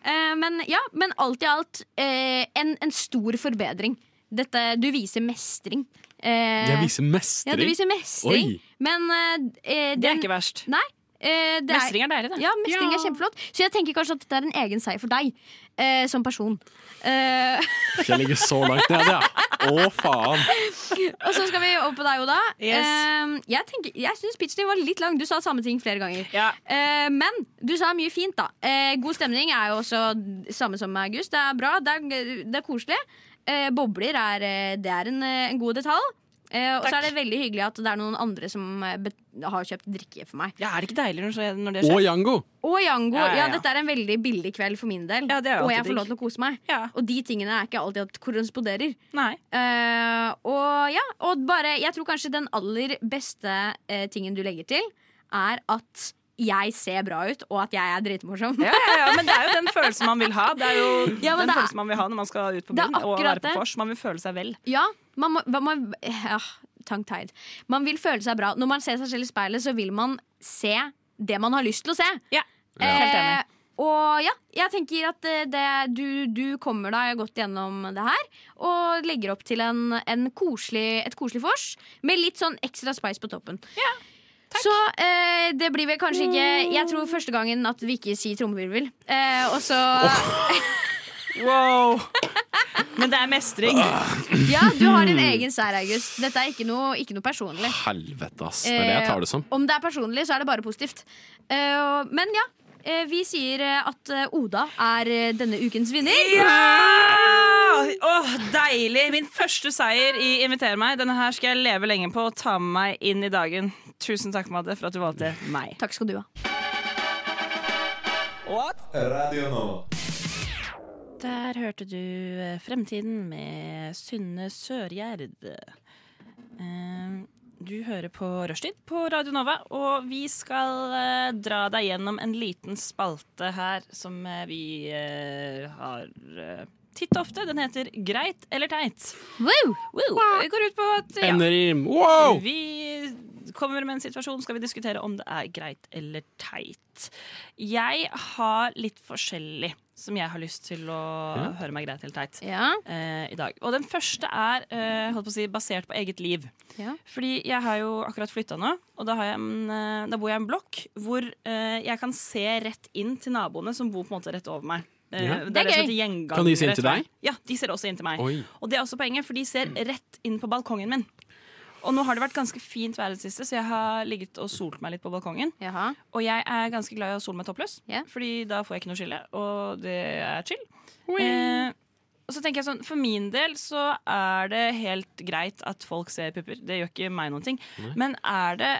Speaker 5: Eh, men ja, men alt i alt eh, en, en stor forbedring. Dette, du viser mestring. Eh,
Speaker 4: Jeg viser
Speaker 5: Ja, du
Speaker 4: mestring.
Speaker 5: viser mestring.
Speaker 4: Oi.
Speaker 5: Men eh,
Speaker 3: Det er ikke verst.
Speaker 5: Nei. eh, det er,
Speaker 3: Mestring er deilig, det.
Speaker 5: ja, mestring er kjempeflott. Så jeg tenker kanskje at dette er en egen seier for deg eh, som person. Eh,
Speaker 4: Jeg ligger så langt nede, ja. Å, faen.
Speaker 5: og så skal vi over på deg, Oda.
Speaker 3: Yes.
Speaker 5: Eh, jeg tenker- jeg syns pitchen din var litt lang. Du sa samme ting flere ganger.
Speaker 3: Ja.
Speaker 5: Eh, men du sa mye fint, da. Eh, god stemning er jo også samme som med August. Det er bra, det er, det er koselig. Eh, bobler er, eh, det er en, eh, en god detalj. Eh, og så
Speaker 3: Takk.
Speaker 5: er det veldig hyggelig at det er noen andre som eh, bet har kjøpt drikke for meg.
Speaker 3: Ja, er det ikke deilig når, så- når det
Speaker 4: Og
Speaker 3: skjer?
Speaker 4: Jango.
Speaker 5: Og Jango.
Speaker 3: Ja,
Speaker 5: Ja,
Speaker 3: ja, ja.
Speaker 5: dette er en veldig billig kveld for min del.
Speaker 3: Ja, det er jo
Speaker 5: og
Speaker 3: alltid
Speaker 5: jeg får lov
Speaker 3: digg.
Speaker 5: til å kose meg.
Speaker 3: Ja.
Speaker 5: Og de tingene er ikke alltid at korresponderer.
Speaker 3: Nei.
Speaker 5: Eh, og ja, og bare Jeg tror kanskje den aller beste eh, tingen du legger til, er at jeg ser bra ut, og at jeg er dritmorsom.
Speaker 3: Ja, ja, ja, men det er jo den følelsen man vil ha. Det er jo
Speaker 5: Ja,
Speaker 3: den
Speaker 5: men det er-
Speaker 3: følelsen man vil ha når man skal ut på
Speaker 5: Det er
Speaker 3: byen og
Speaker 5: akkurat
Speaker 3: være på
Speaker 5: det.
Speaker 3: vors. Man vil føle seg vel.
Speaker 5: Ja, man må, hva- man, ja, tongue tied. Man vil føle seg bra. Når man ser seg selv i speilet, så vil man se det man har lyst til å se.
Speaker 3: Ja, helt
Speaker 5: Eh,
Speaker 3: enig.
Speaker 5: og ja, jeg tenker at eh, det, du, du kommer deg godt gjennom det her. Og legger opp til en, en koselig, et koselig vors med litt sånn ekstra spice på toppen. Så eh, det blir vel kanskje ikke Jeg tror første gangen at vi ikke sier trommevirvel. Eh, og så
Speaker 3: Wow! Men det er mestring.
Speaker 5: Ja, du har din egen sær, August. Dette er ikke noe, ikke noe personlig.
Speaker 4: Helvete, ass. Det er det jeg tar det som.
Speaker 5: Eh, Om det er personlig, så er det bare positivt. Eh, og- men ja, eh, vi sier eh, at eh, Oda er eh, denne ukens vinner.
Speaker 3: Ja! Åh, deilig! Min første seier i Inviter meg. Denne her skal jeg leve lenge på og ta med meg inn i dagen. Tusen takk, Madde, for at du valgte meg.
Speaker 5: Takk skal du ha.
Speaker 1: Radio Nova.
Speaker 3: Der hørte du eh, Fremtiden med Synne Sørgjerd. Eh, Du hører på Rushtid på Radio Nova, og vi skal eh, dra deg gjennom en liten spalte her som eh, vi eh, har eh, titt og ofte. Den heter Greit eller teit.
Speaker 5: Woo!
Speaker 3: Wow. Det går ut på at ja,
Speaker 4: Ender i Wow!
Speaker 3: vi kommer med en situasjon, skal vi diskutere om det er greit eller teit. Jeg har litt forskjellig som jeg har lyst til å høre meg greit eller teit.
Speaker 5: Ja.
Speaker 3: eh, I dag. Og den første er eh, holdt på å si, basert på eget liv.
Speaker 5: Ja.
Speaker 3: Fordi jeg har jo akkurat flytta nå, og da, har jeg en, eh, da bor jeg i en blokk hvor eh, jeg kan se rett inn til naboene som bor på en måte rett over meg. Eh,
Speaker 4: Ja.
Speaker 5: Det er
Speaker 3: som
Speaker 5: gøy.
Speaker 3: heter gjengang
Speaker 4: Kan de se inn
Speaker 3: rett
Speaker 4: til deg?
Speaker 3: vei. Ja, de ser også inn til meg.
Speaker 4: Oi.
Speaker 3: Og det er også poenget, for de ser rett inn på balkongen min. Og nå har det vært ganske fint vær i det siste, så jeg har ligget og solt meg litt på balkongen.
Speaker 5: Jaha.
Speaker 3: Og jeg er ganske glad i å sole meg toppløs,
Speaker 5: Ja.
Speaker 3: Fordi da får jeg ikke noe skille, og det er chill. Eh, og så tenker jeg sånn, For min del så er det helt greit at folk ser pupper. Det gjør ikke meg noen ting. Men er det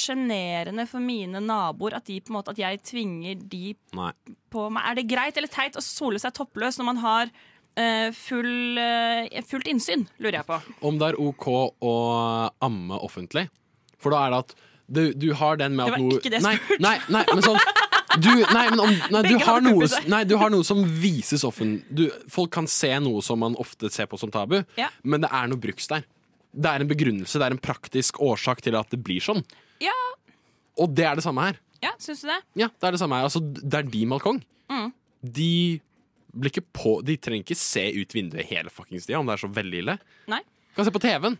Speaker 3: sjenerende for mine naboer at, de på en måte, at jeg tvinger de
Speaker 4: Nei.
Speaker 3: på meg. Er det greit eller teit å sole seg toppløs når man har eh, full, eh, fullt innsyn, lurer jeg på.
Speaker 4: Om det er OK å amme offentlig. For da er det at du, du har den med
Speaker 3: Det
Speaker 4: at
Speaker 3: var
Speaker 4: noe
Speaker 3: ikke det jeg
Speaker 4: nei, nei, nei, men sånn du, nei, men om, nei, du
Speaker 3: Begge
Speaker 4: har
Speaker 3: hadde
Speaker 4: noe,
Speaker 3: pupper.
Speaker 4: nei, du har noe som vises offen du, Folk kan se noe som man ofte ser på som tabu,
Speaker 3: Ja.
Speaker 4: men det er noe bruks der. Det er en begrunnelse, det er en praktisk årsak til at det blir sånn.
Speaker 3: Ja,
Speaker 4: Og det er det samme her.
Speaker 3: ja syns du det?
Speaker 4: Ja, det er det samme her. Altså, det er din balkong.
Speaker 3: Mm.
Speaker 4: De blir ikke på De trenger ikke se ut vinduet hele fuckings tida om det er så veldig ille.
Speaker 3: Nei.
Speaker 4: Kan se på TV-en,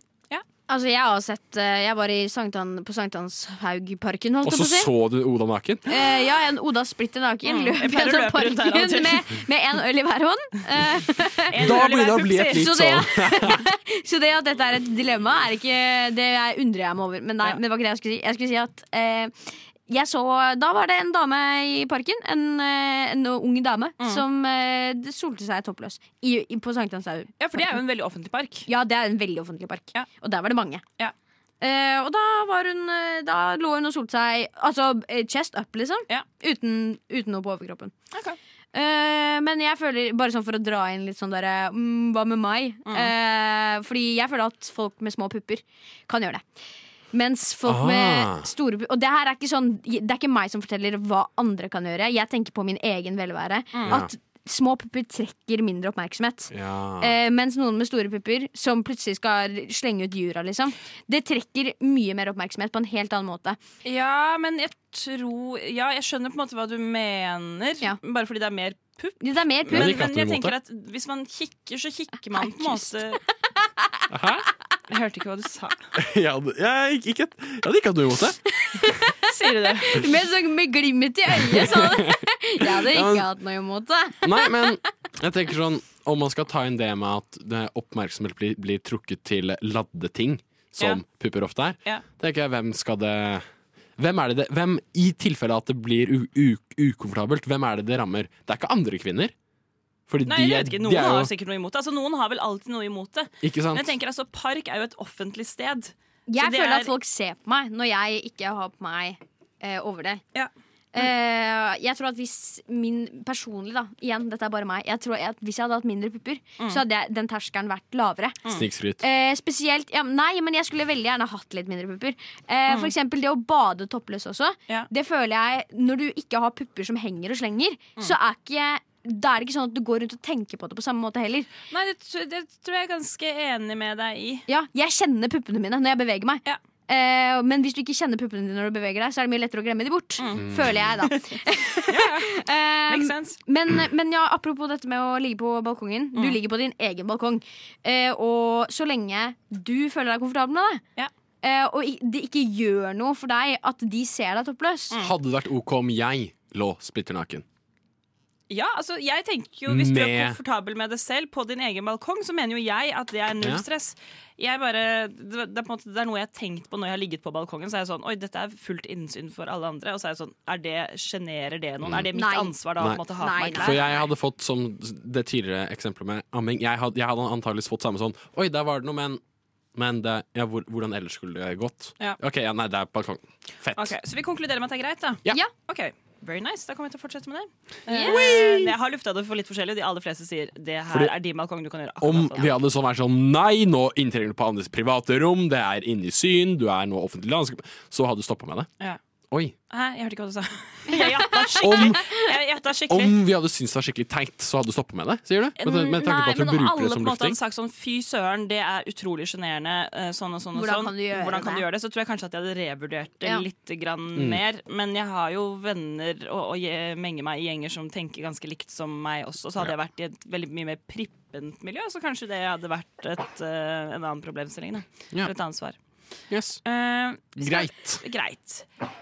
Speaker 5: Altså, jeg har sett eh, Jeg var i Sanktan, på Sankthanshaugparken,
Speaker 4: og
Speaker 5: holdt jeg
Speaker 4: så
Speaker 5: på å si.
Speaker 4: så du Oda naken.
Speaker 5: Eh, ja, en Oda splitter naken løp
Speaker 3: Mm, Jeg pleier å
Speaker 5: gjennom
Speaker 3: løpe rundt her av og
Speaker 5: parken
Speaker 3: til.
Speaker 5: med, med en øl i hver hånd. Eh,
Speaker 3: En
Speaker 4: Da
Speaker 3: rull i
Speaker 4: blir det
Speaker 3: hver
Speaker 4: å bli
Speaker 3: pupp, sier-
Speaker 4: et
Speaker 5: Så
Speaker 4: litt
Speaker 5: det,
Speaker 4: sånn
Speaker 5: ja. Så det at dette er et dilemma, er ikke, det jeg undrer jeg meg over. Men nei,
Speaker 3: Ja.
Speaker 5: men det var ikke det jeg skulle si. Jeg skulle si at eh, jeg så, Da var det en dame i parken, en, eh, en ung dame, som eh, det solte seg toppløs i, i, på Sankthanshaug.
Speaker 3: Ja, for det er jo en veldig offentlig park.
Speaker 5: Ja, det er en veldig offentlig park,
Speaker 3: Ja.
Speaker 5: og der var det mange.
Speaker 3: Ja.
Speaker 5: Eh, og da, var hun, eh, da lå hun og solte seg Altså eh, chest up, liksom.
Speaker 3: Ja.
Speaker 5: Uten, uten noe på overkroppen.
Speaker 3: Ok.
Speaker 5: Eh, men jeg føler, bare sånn for å dra inn litt sånn derre
Speaker 3: Mhm.
Speaker 5: Eh, mm, Hva med meg? Eh, fordi jeg føler at folk med små pupper kan gjøre det. Mens folk
Speaker 4: Ah.
Speaker 5: med store bu- Og det her er ikke sånn Det er ikke meg som forteller hva andre kan gjøre. Jeg tenker på min egen velvære.
Speaker 3: Mm.
Speaker 5: At små pupper trekker mindre oppmerksomhet.
Speaker 4: Ja.
Speaker 5: Eh, mens noen med store pupper, som plutselig skal slenge ut jura, liksom, det trekker mye mer oppmerksomhet på en helt annen måte.
Speaker 3: Ja, men jeg tror Ja, jeg skjønner på en måte hva du mener,
Speaker 5: Ja.
Speaker 3: bare fordi det er mer pupp.
Speaker 5: Det er mer pupp.
Speaker 3: Men,
Speaker 4: ikke
Speaker 3: men
Speaker 4: at du
Speaker 3: jeg
Speaker 4: er imot
Speaker 3: tenker at hvis man kikker, så kikker man på en måte
Speaker 4: Hæ?
Speaker 3: Jeg hørte ikke hva du sa.
Speaker 4: Jeg hadde, jeg, ikke, ikke, jeg hadde ikke hatt noe imot det.
Speaker 3: Sier du det?
Speaker 5: Med, sånn, med glimt i øyet, sånn. Jeg hadde
Speaker 4: Ja, men-
Speaker 5: ikke hatt noe imot det.
Speaker 4: Nei, men jeg tenker sånn Om man skal ta inn det med at det- oppmerksomhet blir, blir trukket til ladde ting, som
Speaker 3: Ja.
Speaker 4: pupper ofte er,
Speaker 3: Ja.
Speaker 4: tenker jeg hvem skal det hvem er det det, hvem I tilfelle at det blir u, u, ukomfortabelt, hvem er det det rammer? Det er ikke andre kvinner. Fordi
Speaker 3: Nei,
Speaker 4: de,
Speaker 3: jeg
Speaker 4: er-
Speaker 3: vet ikke.
Speaker 4: de
Speaker 3: Noen
Speaker 4: er jo
Speaker 3: har sikkert noe imot det. Altså, noen har vel alltid noe imot det.
Speaker 4: Ikke sant?
Speaker 3: Men jeg tenker altså, park er jo et offentlig sted. Så
Speaker 5: Jeg
Speaker 3: det
Speaker 5: føler
Speaker 3: er-
Speaker 5: at folk ser på meg når jeg ikke har på meg eh, overdel.
Speaker 3: Ja.
Speaker 5: Eh, jeg tror at hvis min personlig da Igjen, dette er bare meg. Jeg tror at Hvis jeg hadde hatt mindre pupper,
Speaker 3: Mm.
Speaker 5: så hadde jeg, den terskelen vært lavere.
Speaker 4: Snikskryt.
Speaker 5: Eh, spesielt ja, men Nei, men jeg skulle veldig gjerne hatt litt mindre pupper. Eh, For eksempel det å bade toppløs også.
Speaker 3: Mm. Ja.
Speaker 5: Det føler jeg Når du ikke har pupper som henger og slenger,
Speaker 3: Mm.
Speaker 5: så er ikke da er det ikke sånn at du går rundt og tenker på det på samme måte heller.
Speaker 3: Nei, det, tr- det tror jeg er ganske enig med deg i.
Speaker 5: Ja, Jeg kjenner puppene mine når jeg beveger meg.
Speaker 3: Ja.
Speaker 5: Eh, men hvis du ikke kjenner puppene dine når du beveger deg, så er det mye lettere å glemme de bort. Føler jeg, da. Eh,
Speaker 3: Mm. Makes sense.
Speaker 5: men, men ja, apropos dette med å ligge på balkongen. Du
Speaker 3: Mm.
Speaker 5: ligger på din egen balkong. Eh, og så lenge du føler deg komfortabel med det,
Speaker 3: Ja.
Speaker 5: eh, og i- det ikke gjør noe for deg at de ser deg toppløs
Speaker 3: Mm.
Speaker 4: Hadde det vært OK om jeg lå splitter naken?
Speaker 3: Ja, altså, jeg tenker jo Hvis du er
Speaker 4: Med-
Speaker 3: komfortabel med det selv på din egen balkong, så mener jo jeg at det er null
Speaker 4: Ja.
Speaker 3: stress. Jeg bare, det, det, er på en måte, det er noe jeg har tenkt på når jeg har ligget på balkongen. Så er jeg sånn, oi, dette er fullt innsyn for alle andre. Og så er jeg sånn, er det, Sjenerer det noen? Er det mitt
Speaker 5: Nei.
Speaker 3: ansvar da? å
Speaker 4: Nei.
Speaker 3: på en måte ha på
Speaker 5: Nei,
Speaker 3: meg
Speaker 5: nei.
Speaker 4: For
Speaker 3: klær?
Speaker 4: jeg hadde fått, som det tidligere eksempelet med amming Jeg hadde, jeg hadde antageligvis fått samme sånn Oi, der var det noe, men, men det, ja, hvor, hvordan ellers skulle det gått?
Speaker 3: Ja.
Speaker 4: OK, ja, nei, det er balkong. Fett.
Speaker 3: Ok, så vi konkluderer med at det er greit, da?
Speaker 4: Ja.
Speaker 5: Ja.
Speaker 3: Ok, Very nice. Da kommer jeg til å fortsette med det.
Speaker 5: Yeah.
Speaker 3: Eh, jeg har lufta det for litt forskjellig, og de aller fleste sier det her
Speaker 4: Fordi-
Speaker 3: er din balkong. Du kan gjøre
Speaker 4: Om
Speaker 3: akkurat hva du
Speaker 4: vi hadde sånn vært sånn Nei, nå inntrenger du på andres private rom, det er inne i syn, du er nå offentlig landskap Så hadde du stoppa med det.
Speaker 3: Ja.
Speaker 4: Oi.
Speaker 3: Hæ, jeg hørte ikke hva du sa. Jeg gjetta
Speaker 4: Om,
Speaker 3: skikkelig. Jeg gjettet skikkelig.
Speaker 4: om vi hadde syntes det var skikkelig teit, så hadde du stoppa med det, sier du? Med, med tanke på
Speaker 3: Nei,
Speaker 4: at du
Speaker 3: men alle
Speaker 4: bruker
Speaker 3: på en
Speaker 4: det som
Speaker 3: måte hadde
Speaker 4: lufting?
Speaker 3: sagt sånn fy søren, det er utrolig sjenerende, eh, sånn og sånn og
Speaker 5: Hvordan
Speaker 3: sånn.
Speaker 5: kan du gjøre
Speaker 3: Hvordan kan du
Speaker 5: det?
Speaker 3: gjøre det? Så tror jeg kanskje at jeg hadde revurdert det
Speaker 5: Ja.
Speaker 3: litt grann
Speaker 4: Mm.
Speaker 3: mer. Men jeg har jo venner og, og jeg menger meg i gjenger som tenker ganske likt som meg også. Så hadde jeg vært i et veldig mye mer prippent miljø, så kanskje det hadde vært et, eh, en annen problemstilling, da.
Speaker 4: Ja.
Speaker 3: For et ansvar.
Speaker 4: Yes.
Speaker 3: Eh,
Speaker 4: Greit.
Speaker 3: greit.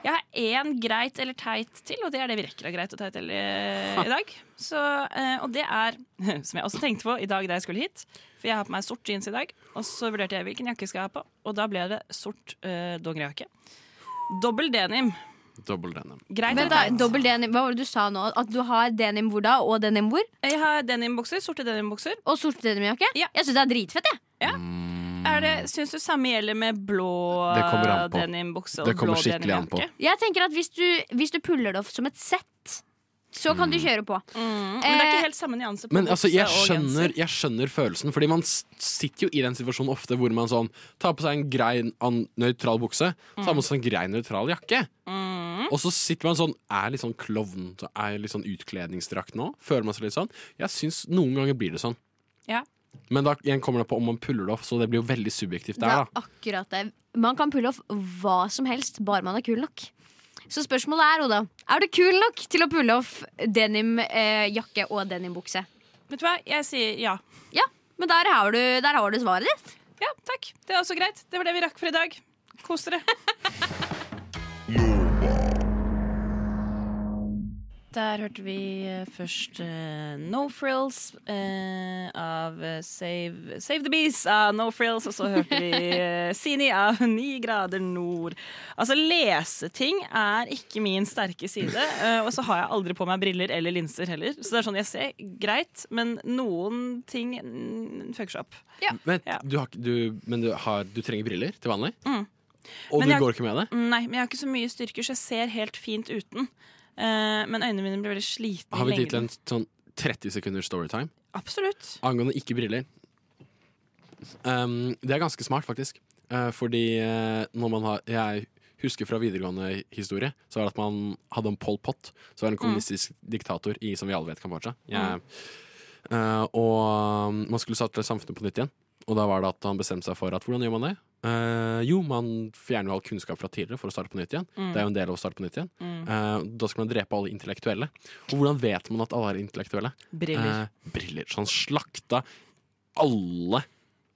Speaker 3: Jeg har én greit eller teit til, og det er det vi rekker av greit og teit eller, eh, i dag. Så, eh, og det er, som jeg også tenkte på i dag da jeg skulle hit For jeg har på meg sort jeans i dag, og så vurderte jeg hvilken jakke jeg skal ha på, og da ble det sort eh, dongerijakke. Dobbel denim.
Speaker 4: Dobbel denim.
Speaker 3: Greit
Speaker 5: Vent
Speaker 3: eller
Speaker 5: da,
Speaker 3: teit?
Speaker 5: dobbel denim, Hva var det du sa nå? At du har denim hvor da, og denim hvor?
Speaker 3: Jeg har denimbukser, sorte denimbukser.
Speaker 5: Og sort denimjakke?
Speaker 3: Ja.
Speaker 5: Jeg syns det er dritfett. jeg
Speaker 3: Er det- Syns du samme gjelder med blå
Speaker 4: Mm. Det kommer an på.
Speaker 3: denimbukse og
Speaker 4: Det kommer
Speaker 3: blå
Speaker 4: skikkelig an på.
Speaker 3: denimjakke?
Speaker 5: Jeg tenker at Hvis du, hvis du puller det opp som et sett, så kan du kjøre på.
Speaker 3: Mm, Men det er ikke helt samme nyanse på
Speaker 4: Men altså,
Speaker 3: bukse
Speaker 4: jeg
Speaker 3: og
Speaker 4: skjønner,
Speaker 3: genser.
Speaker 4: jeg skjønner følelsen, fordi man s- sitter jo i den situasjonen ofte hvor man sånn tar på seg en grei, an- nøytral bukse, tar
Speaker 3: Mm.
Speaker 4: på seg en grei, nøytral jakke. Og så sitter man sånn Er jeg litt sånn klovn? så Er jeg litt sånn utkledningsdrakt nå? Føler man seg litt sånn? Jeg syns noen ganger blir det sånn.
Speaker 3: Ja.
Speaker 4: Men da igjen kommer det på om man puller det off, så det blir jo veldig subjektivt
Speaker 5: Det
Speaker 4: der,
Speaker 5: er
Speaker 4: da.
Speaker 5: akkurat det. Man kan pulle off hva som helst, bare man er kul nok. Så spørsmålet er, Oda, er du kul nok til å pulle off denimjakke og denimbukse?
Speaker 3: Vet du hva, jeg sier ja.
Speaker 5: Ja, men der har du, der har du svaret ditt.
Speaker 3: Ja, takk. Det er også greit. Det var det vi rakk for i dag. Kos dere. Der hørte vi eh, først eh, No Frills eh, av eh, Save, Save the Bees av No Frills, og så hørte vi eh, Sini av Ni grader nord. Altså, leseting er ikke min sterke side, eh, og så har jeg aldri på meg briller eller linser heller. Så det er sånn jeg ser greit, men noen ting mm, fucker seg opp.
Speaker 4: Vent,
Speaker 3: Ja. Mm.
Speaker 4: du har, ikke- du, men du, har, du trenger briller til vanlig? Og
Speaker 3: Men
Speaker 4: du
Speaker 3: jeg-
Speaker 4: går ikke med det?
Speaker 3: Nei, men jeg har ikke så mye styrker, så jeg ser helt fint uten. Eh, men øynene mine blir veldig slitne. i
Speaker 4: Har vi tid til
Speaker 3: lengden.
Speaker 4: en sånn 30 sekunder storytime?
Speaker 3: Absolutt.
Speaker 4: Angående ikke briller. Um, det er ganske smart, faktisk. Eh, fordi eh, når man har Jeg husker fra videregående historie Så var det at man hadde en Pol Pot, som var det en kommunistisk diktator i som vi alle vet, Kambodsja. Jeg, eh, og um, man skulle satse samfunnet på nytt igjen. Og da var det at han bestemte seg for at hvordan gjør man det? Eh, jo, man fjerner jo all kunnskap fra tidligere for å starte på nytt igjen. Det er jo en del av å starte på nytt igjen. Eh, da skal man drepe alle intellektuelle. Og hvordan vet man at alle er intellektuelle?
Speaker 3: Briller.
Speaker 4: Eh, briller. Så han slakta alle.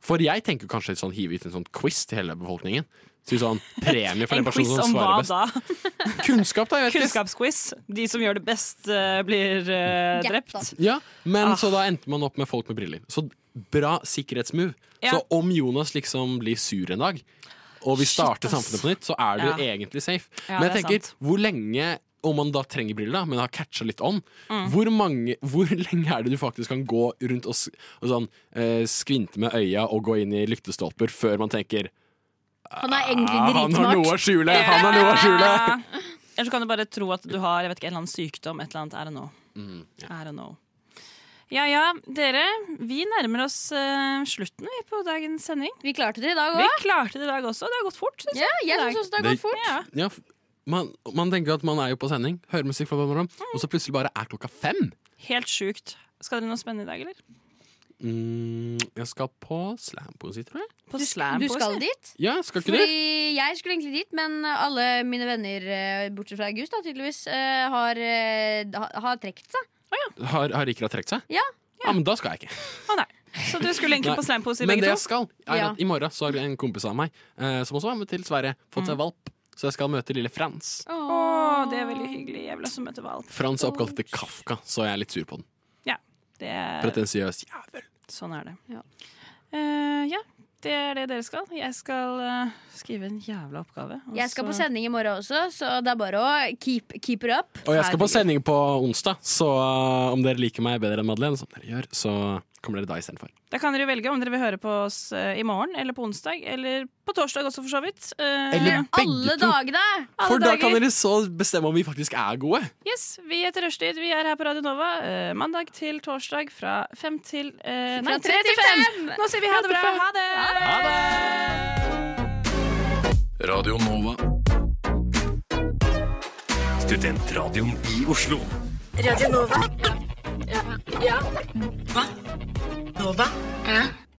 Speaker 4: For jeg tenker kanskje sånn, hive ut en sånn quiz til hele befolkningen. Så sånn premie for den
Speaker 3: en quiz
Speaker 4: personen
Speaker 3: om
Speaker 4: som
Speaker 3: hva
Speaker 4: svarer best.
Speaker 3: da?
Speaker 4: Kunnskap, da. jeg vet ikke.
Speaker 3: Kunnskapsquiz. De som gjør det best, eh, blir eh,
Speaker 5: Gjett, da.
Speaker 3: drept.
Speaker 4: Ja, men
Speaker 3: Ah.
Speaker 4: så da endte man opp med folk med briller. Så bra sikkerhetsmove.
Speaker 3: Ja.
Speaker 4: Så om Jonas liksom blir sur en dag, og vi
Speaker 3: Shit,
Speaker 4: starter
Speaker 3: ass.
Speaker 4: samfunnet på nytt, så er det jo egentlig safe.
Speaker 3: Ja,
Speaker 4: men jeg
Speaker 3: det er
Speaker 4: tenker, hvor lenge om man da trenger briller, da, men har catcha litt ånd,
Speaker 3: Mm.
Speaker 4: hvor, mange, hvor lenge er det du faktisk kan gå rundt og, s- og sånn, eh, skvinte med øya og gå inn i lyktestolper før man tenker
Speaker 5: Han er egentlig
Speaker 4: «Ah, Han har noe
Speaker 5: dritsmart.
Speaker 4: å skjule! Han har noe å skjule!
Speaker 3: Eller så kan du bare tro at du har jeg vet ikke, en eller annen sykdom. Et eller annet, I don't know.
Speaker 4: Mm,
Speaker 3: I don't know. Ja ja, dere. Vi nærmer oss eh, slutten vi, på dagens sending.
Speaker 5: Vi klarte det i dag
Speaker 3: Vi
Speaker 5: òg.
Speaker 3: klarte det i dag også. Det har gått fort. Synes jeg.
Speaker 5: Ja, jeg synes også det har
Speaker 4: Det-
Speaker 5: gått fort.
Speaker 3: Ja.
Speaker 4: Ja, f- man, man tenker at man er jo på sending, hører musikk, fra hverandre,
Speaker 3: Mm.
Speaker 4: og så plutselig bare er klokka fem.
Speaker 3: Helt sjukt. Skal dere noe spennende i dag, eller?
Speaker 4: Mm, jeg skal på slampoesi, tror jeg.
Speaker 3: På slam
Speaker 5: Du skal dit?
Speaker 4: Ja, skal ikke du?
Speaker 5: Fordi jeg skulle egentlig dit, men alle mine venner, eh, bortsett fra August, da, tydeligvis, eh, har, eh, ha- har trukket seg.
Speaker 4: Har, har Rikard trukket seg?
Speaker 5: Ja.
Speaker 4: ja. men da skal jeg ikke.
Speaker 3: Å nei. Så dere skulle egentlig
Speaker 4: Nei.
Speaker 3: på slampoesi
Speaker 4: Men
Speaker 3: begge
Speaker 4: det
Speaker 3: to?
Speaker 4: jeg skal, er
Speaker 5: Ja.
Speaker 4: at i morgen så har en kompis av meg eh, som også var med til Sverige, fått seg valp. Så jeg skal møte lille Frans.
Speaker 3: Å, det er veldig hyggelig. Jeg vil også møte valp.
Speaker 4: Frans er oppkalt etter Kafka, så jeg er litt sur på den.
Speaker 3: Det er,
Speaker 4: Pretensiøs jævel.
Speaker 3: sånn er det.
Speaker 5: Ja.
Speaker 3: Eh, ja, det er det dere skal. Jeg skal eh, skrive en jævla oppgave. og
Speaker 5: Jeg skal
Speaker 3: så-
Speaker 5: på sending i morgen også, så det er bare å keep, keep it up.
Speaker 4: Og jeg skal på sending på onsdag, så eh, om dere liker meg bedre enn Madeleine, som dere gjør, så kommer dere da istedenfor.
Speaker 3: Da kan dere velge om dere vil høre på oss eh, i morgen eller på onsdag. Eller på torsdag også, for så vidt. Eh,
Speaker 4: Eller
Speaker 5: Alle
Speaker 4: begge to.
Speaker 5: dagene!
Speaker 4: For da
Speaker 3: dager.
Speaker 4: kan dere så bestemme om vi faktisk er gode.
Speaker 3: Yes, Vi heter Rushtid. Vi er her på Radio Nova eh, mandag til torsdag fra fem til eh, Nei,
Speaker 5: Fra
Speaker 3: tre til fem! Nå sier vi ha det bra. Ha det! Ha det!
Speaker 7: Radio Nova.
Speaker 1: Studentradioen i Oslo.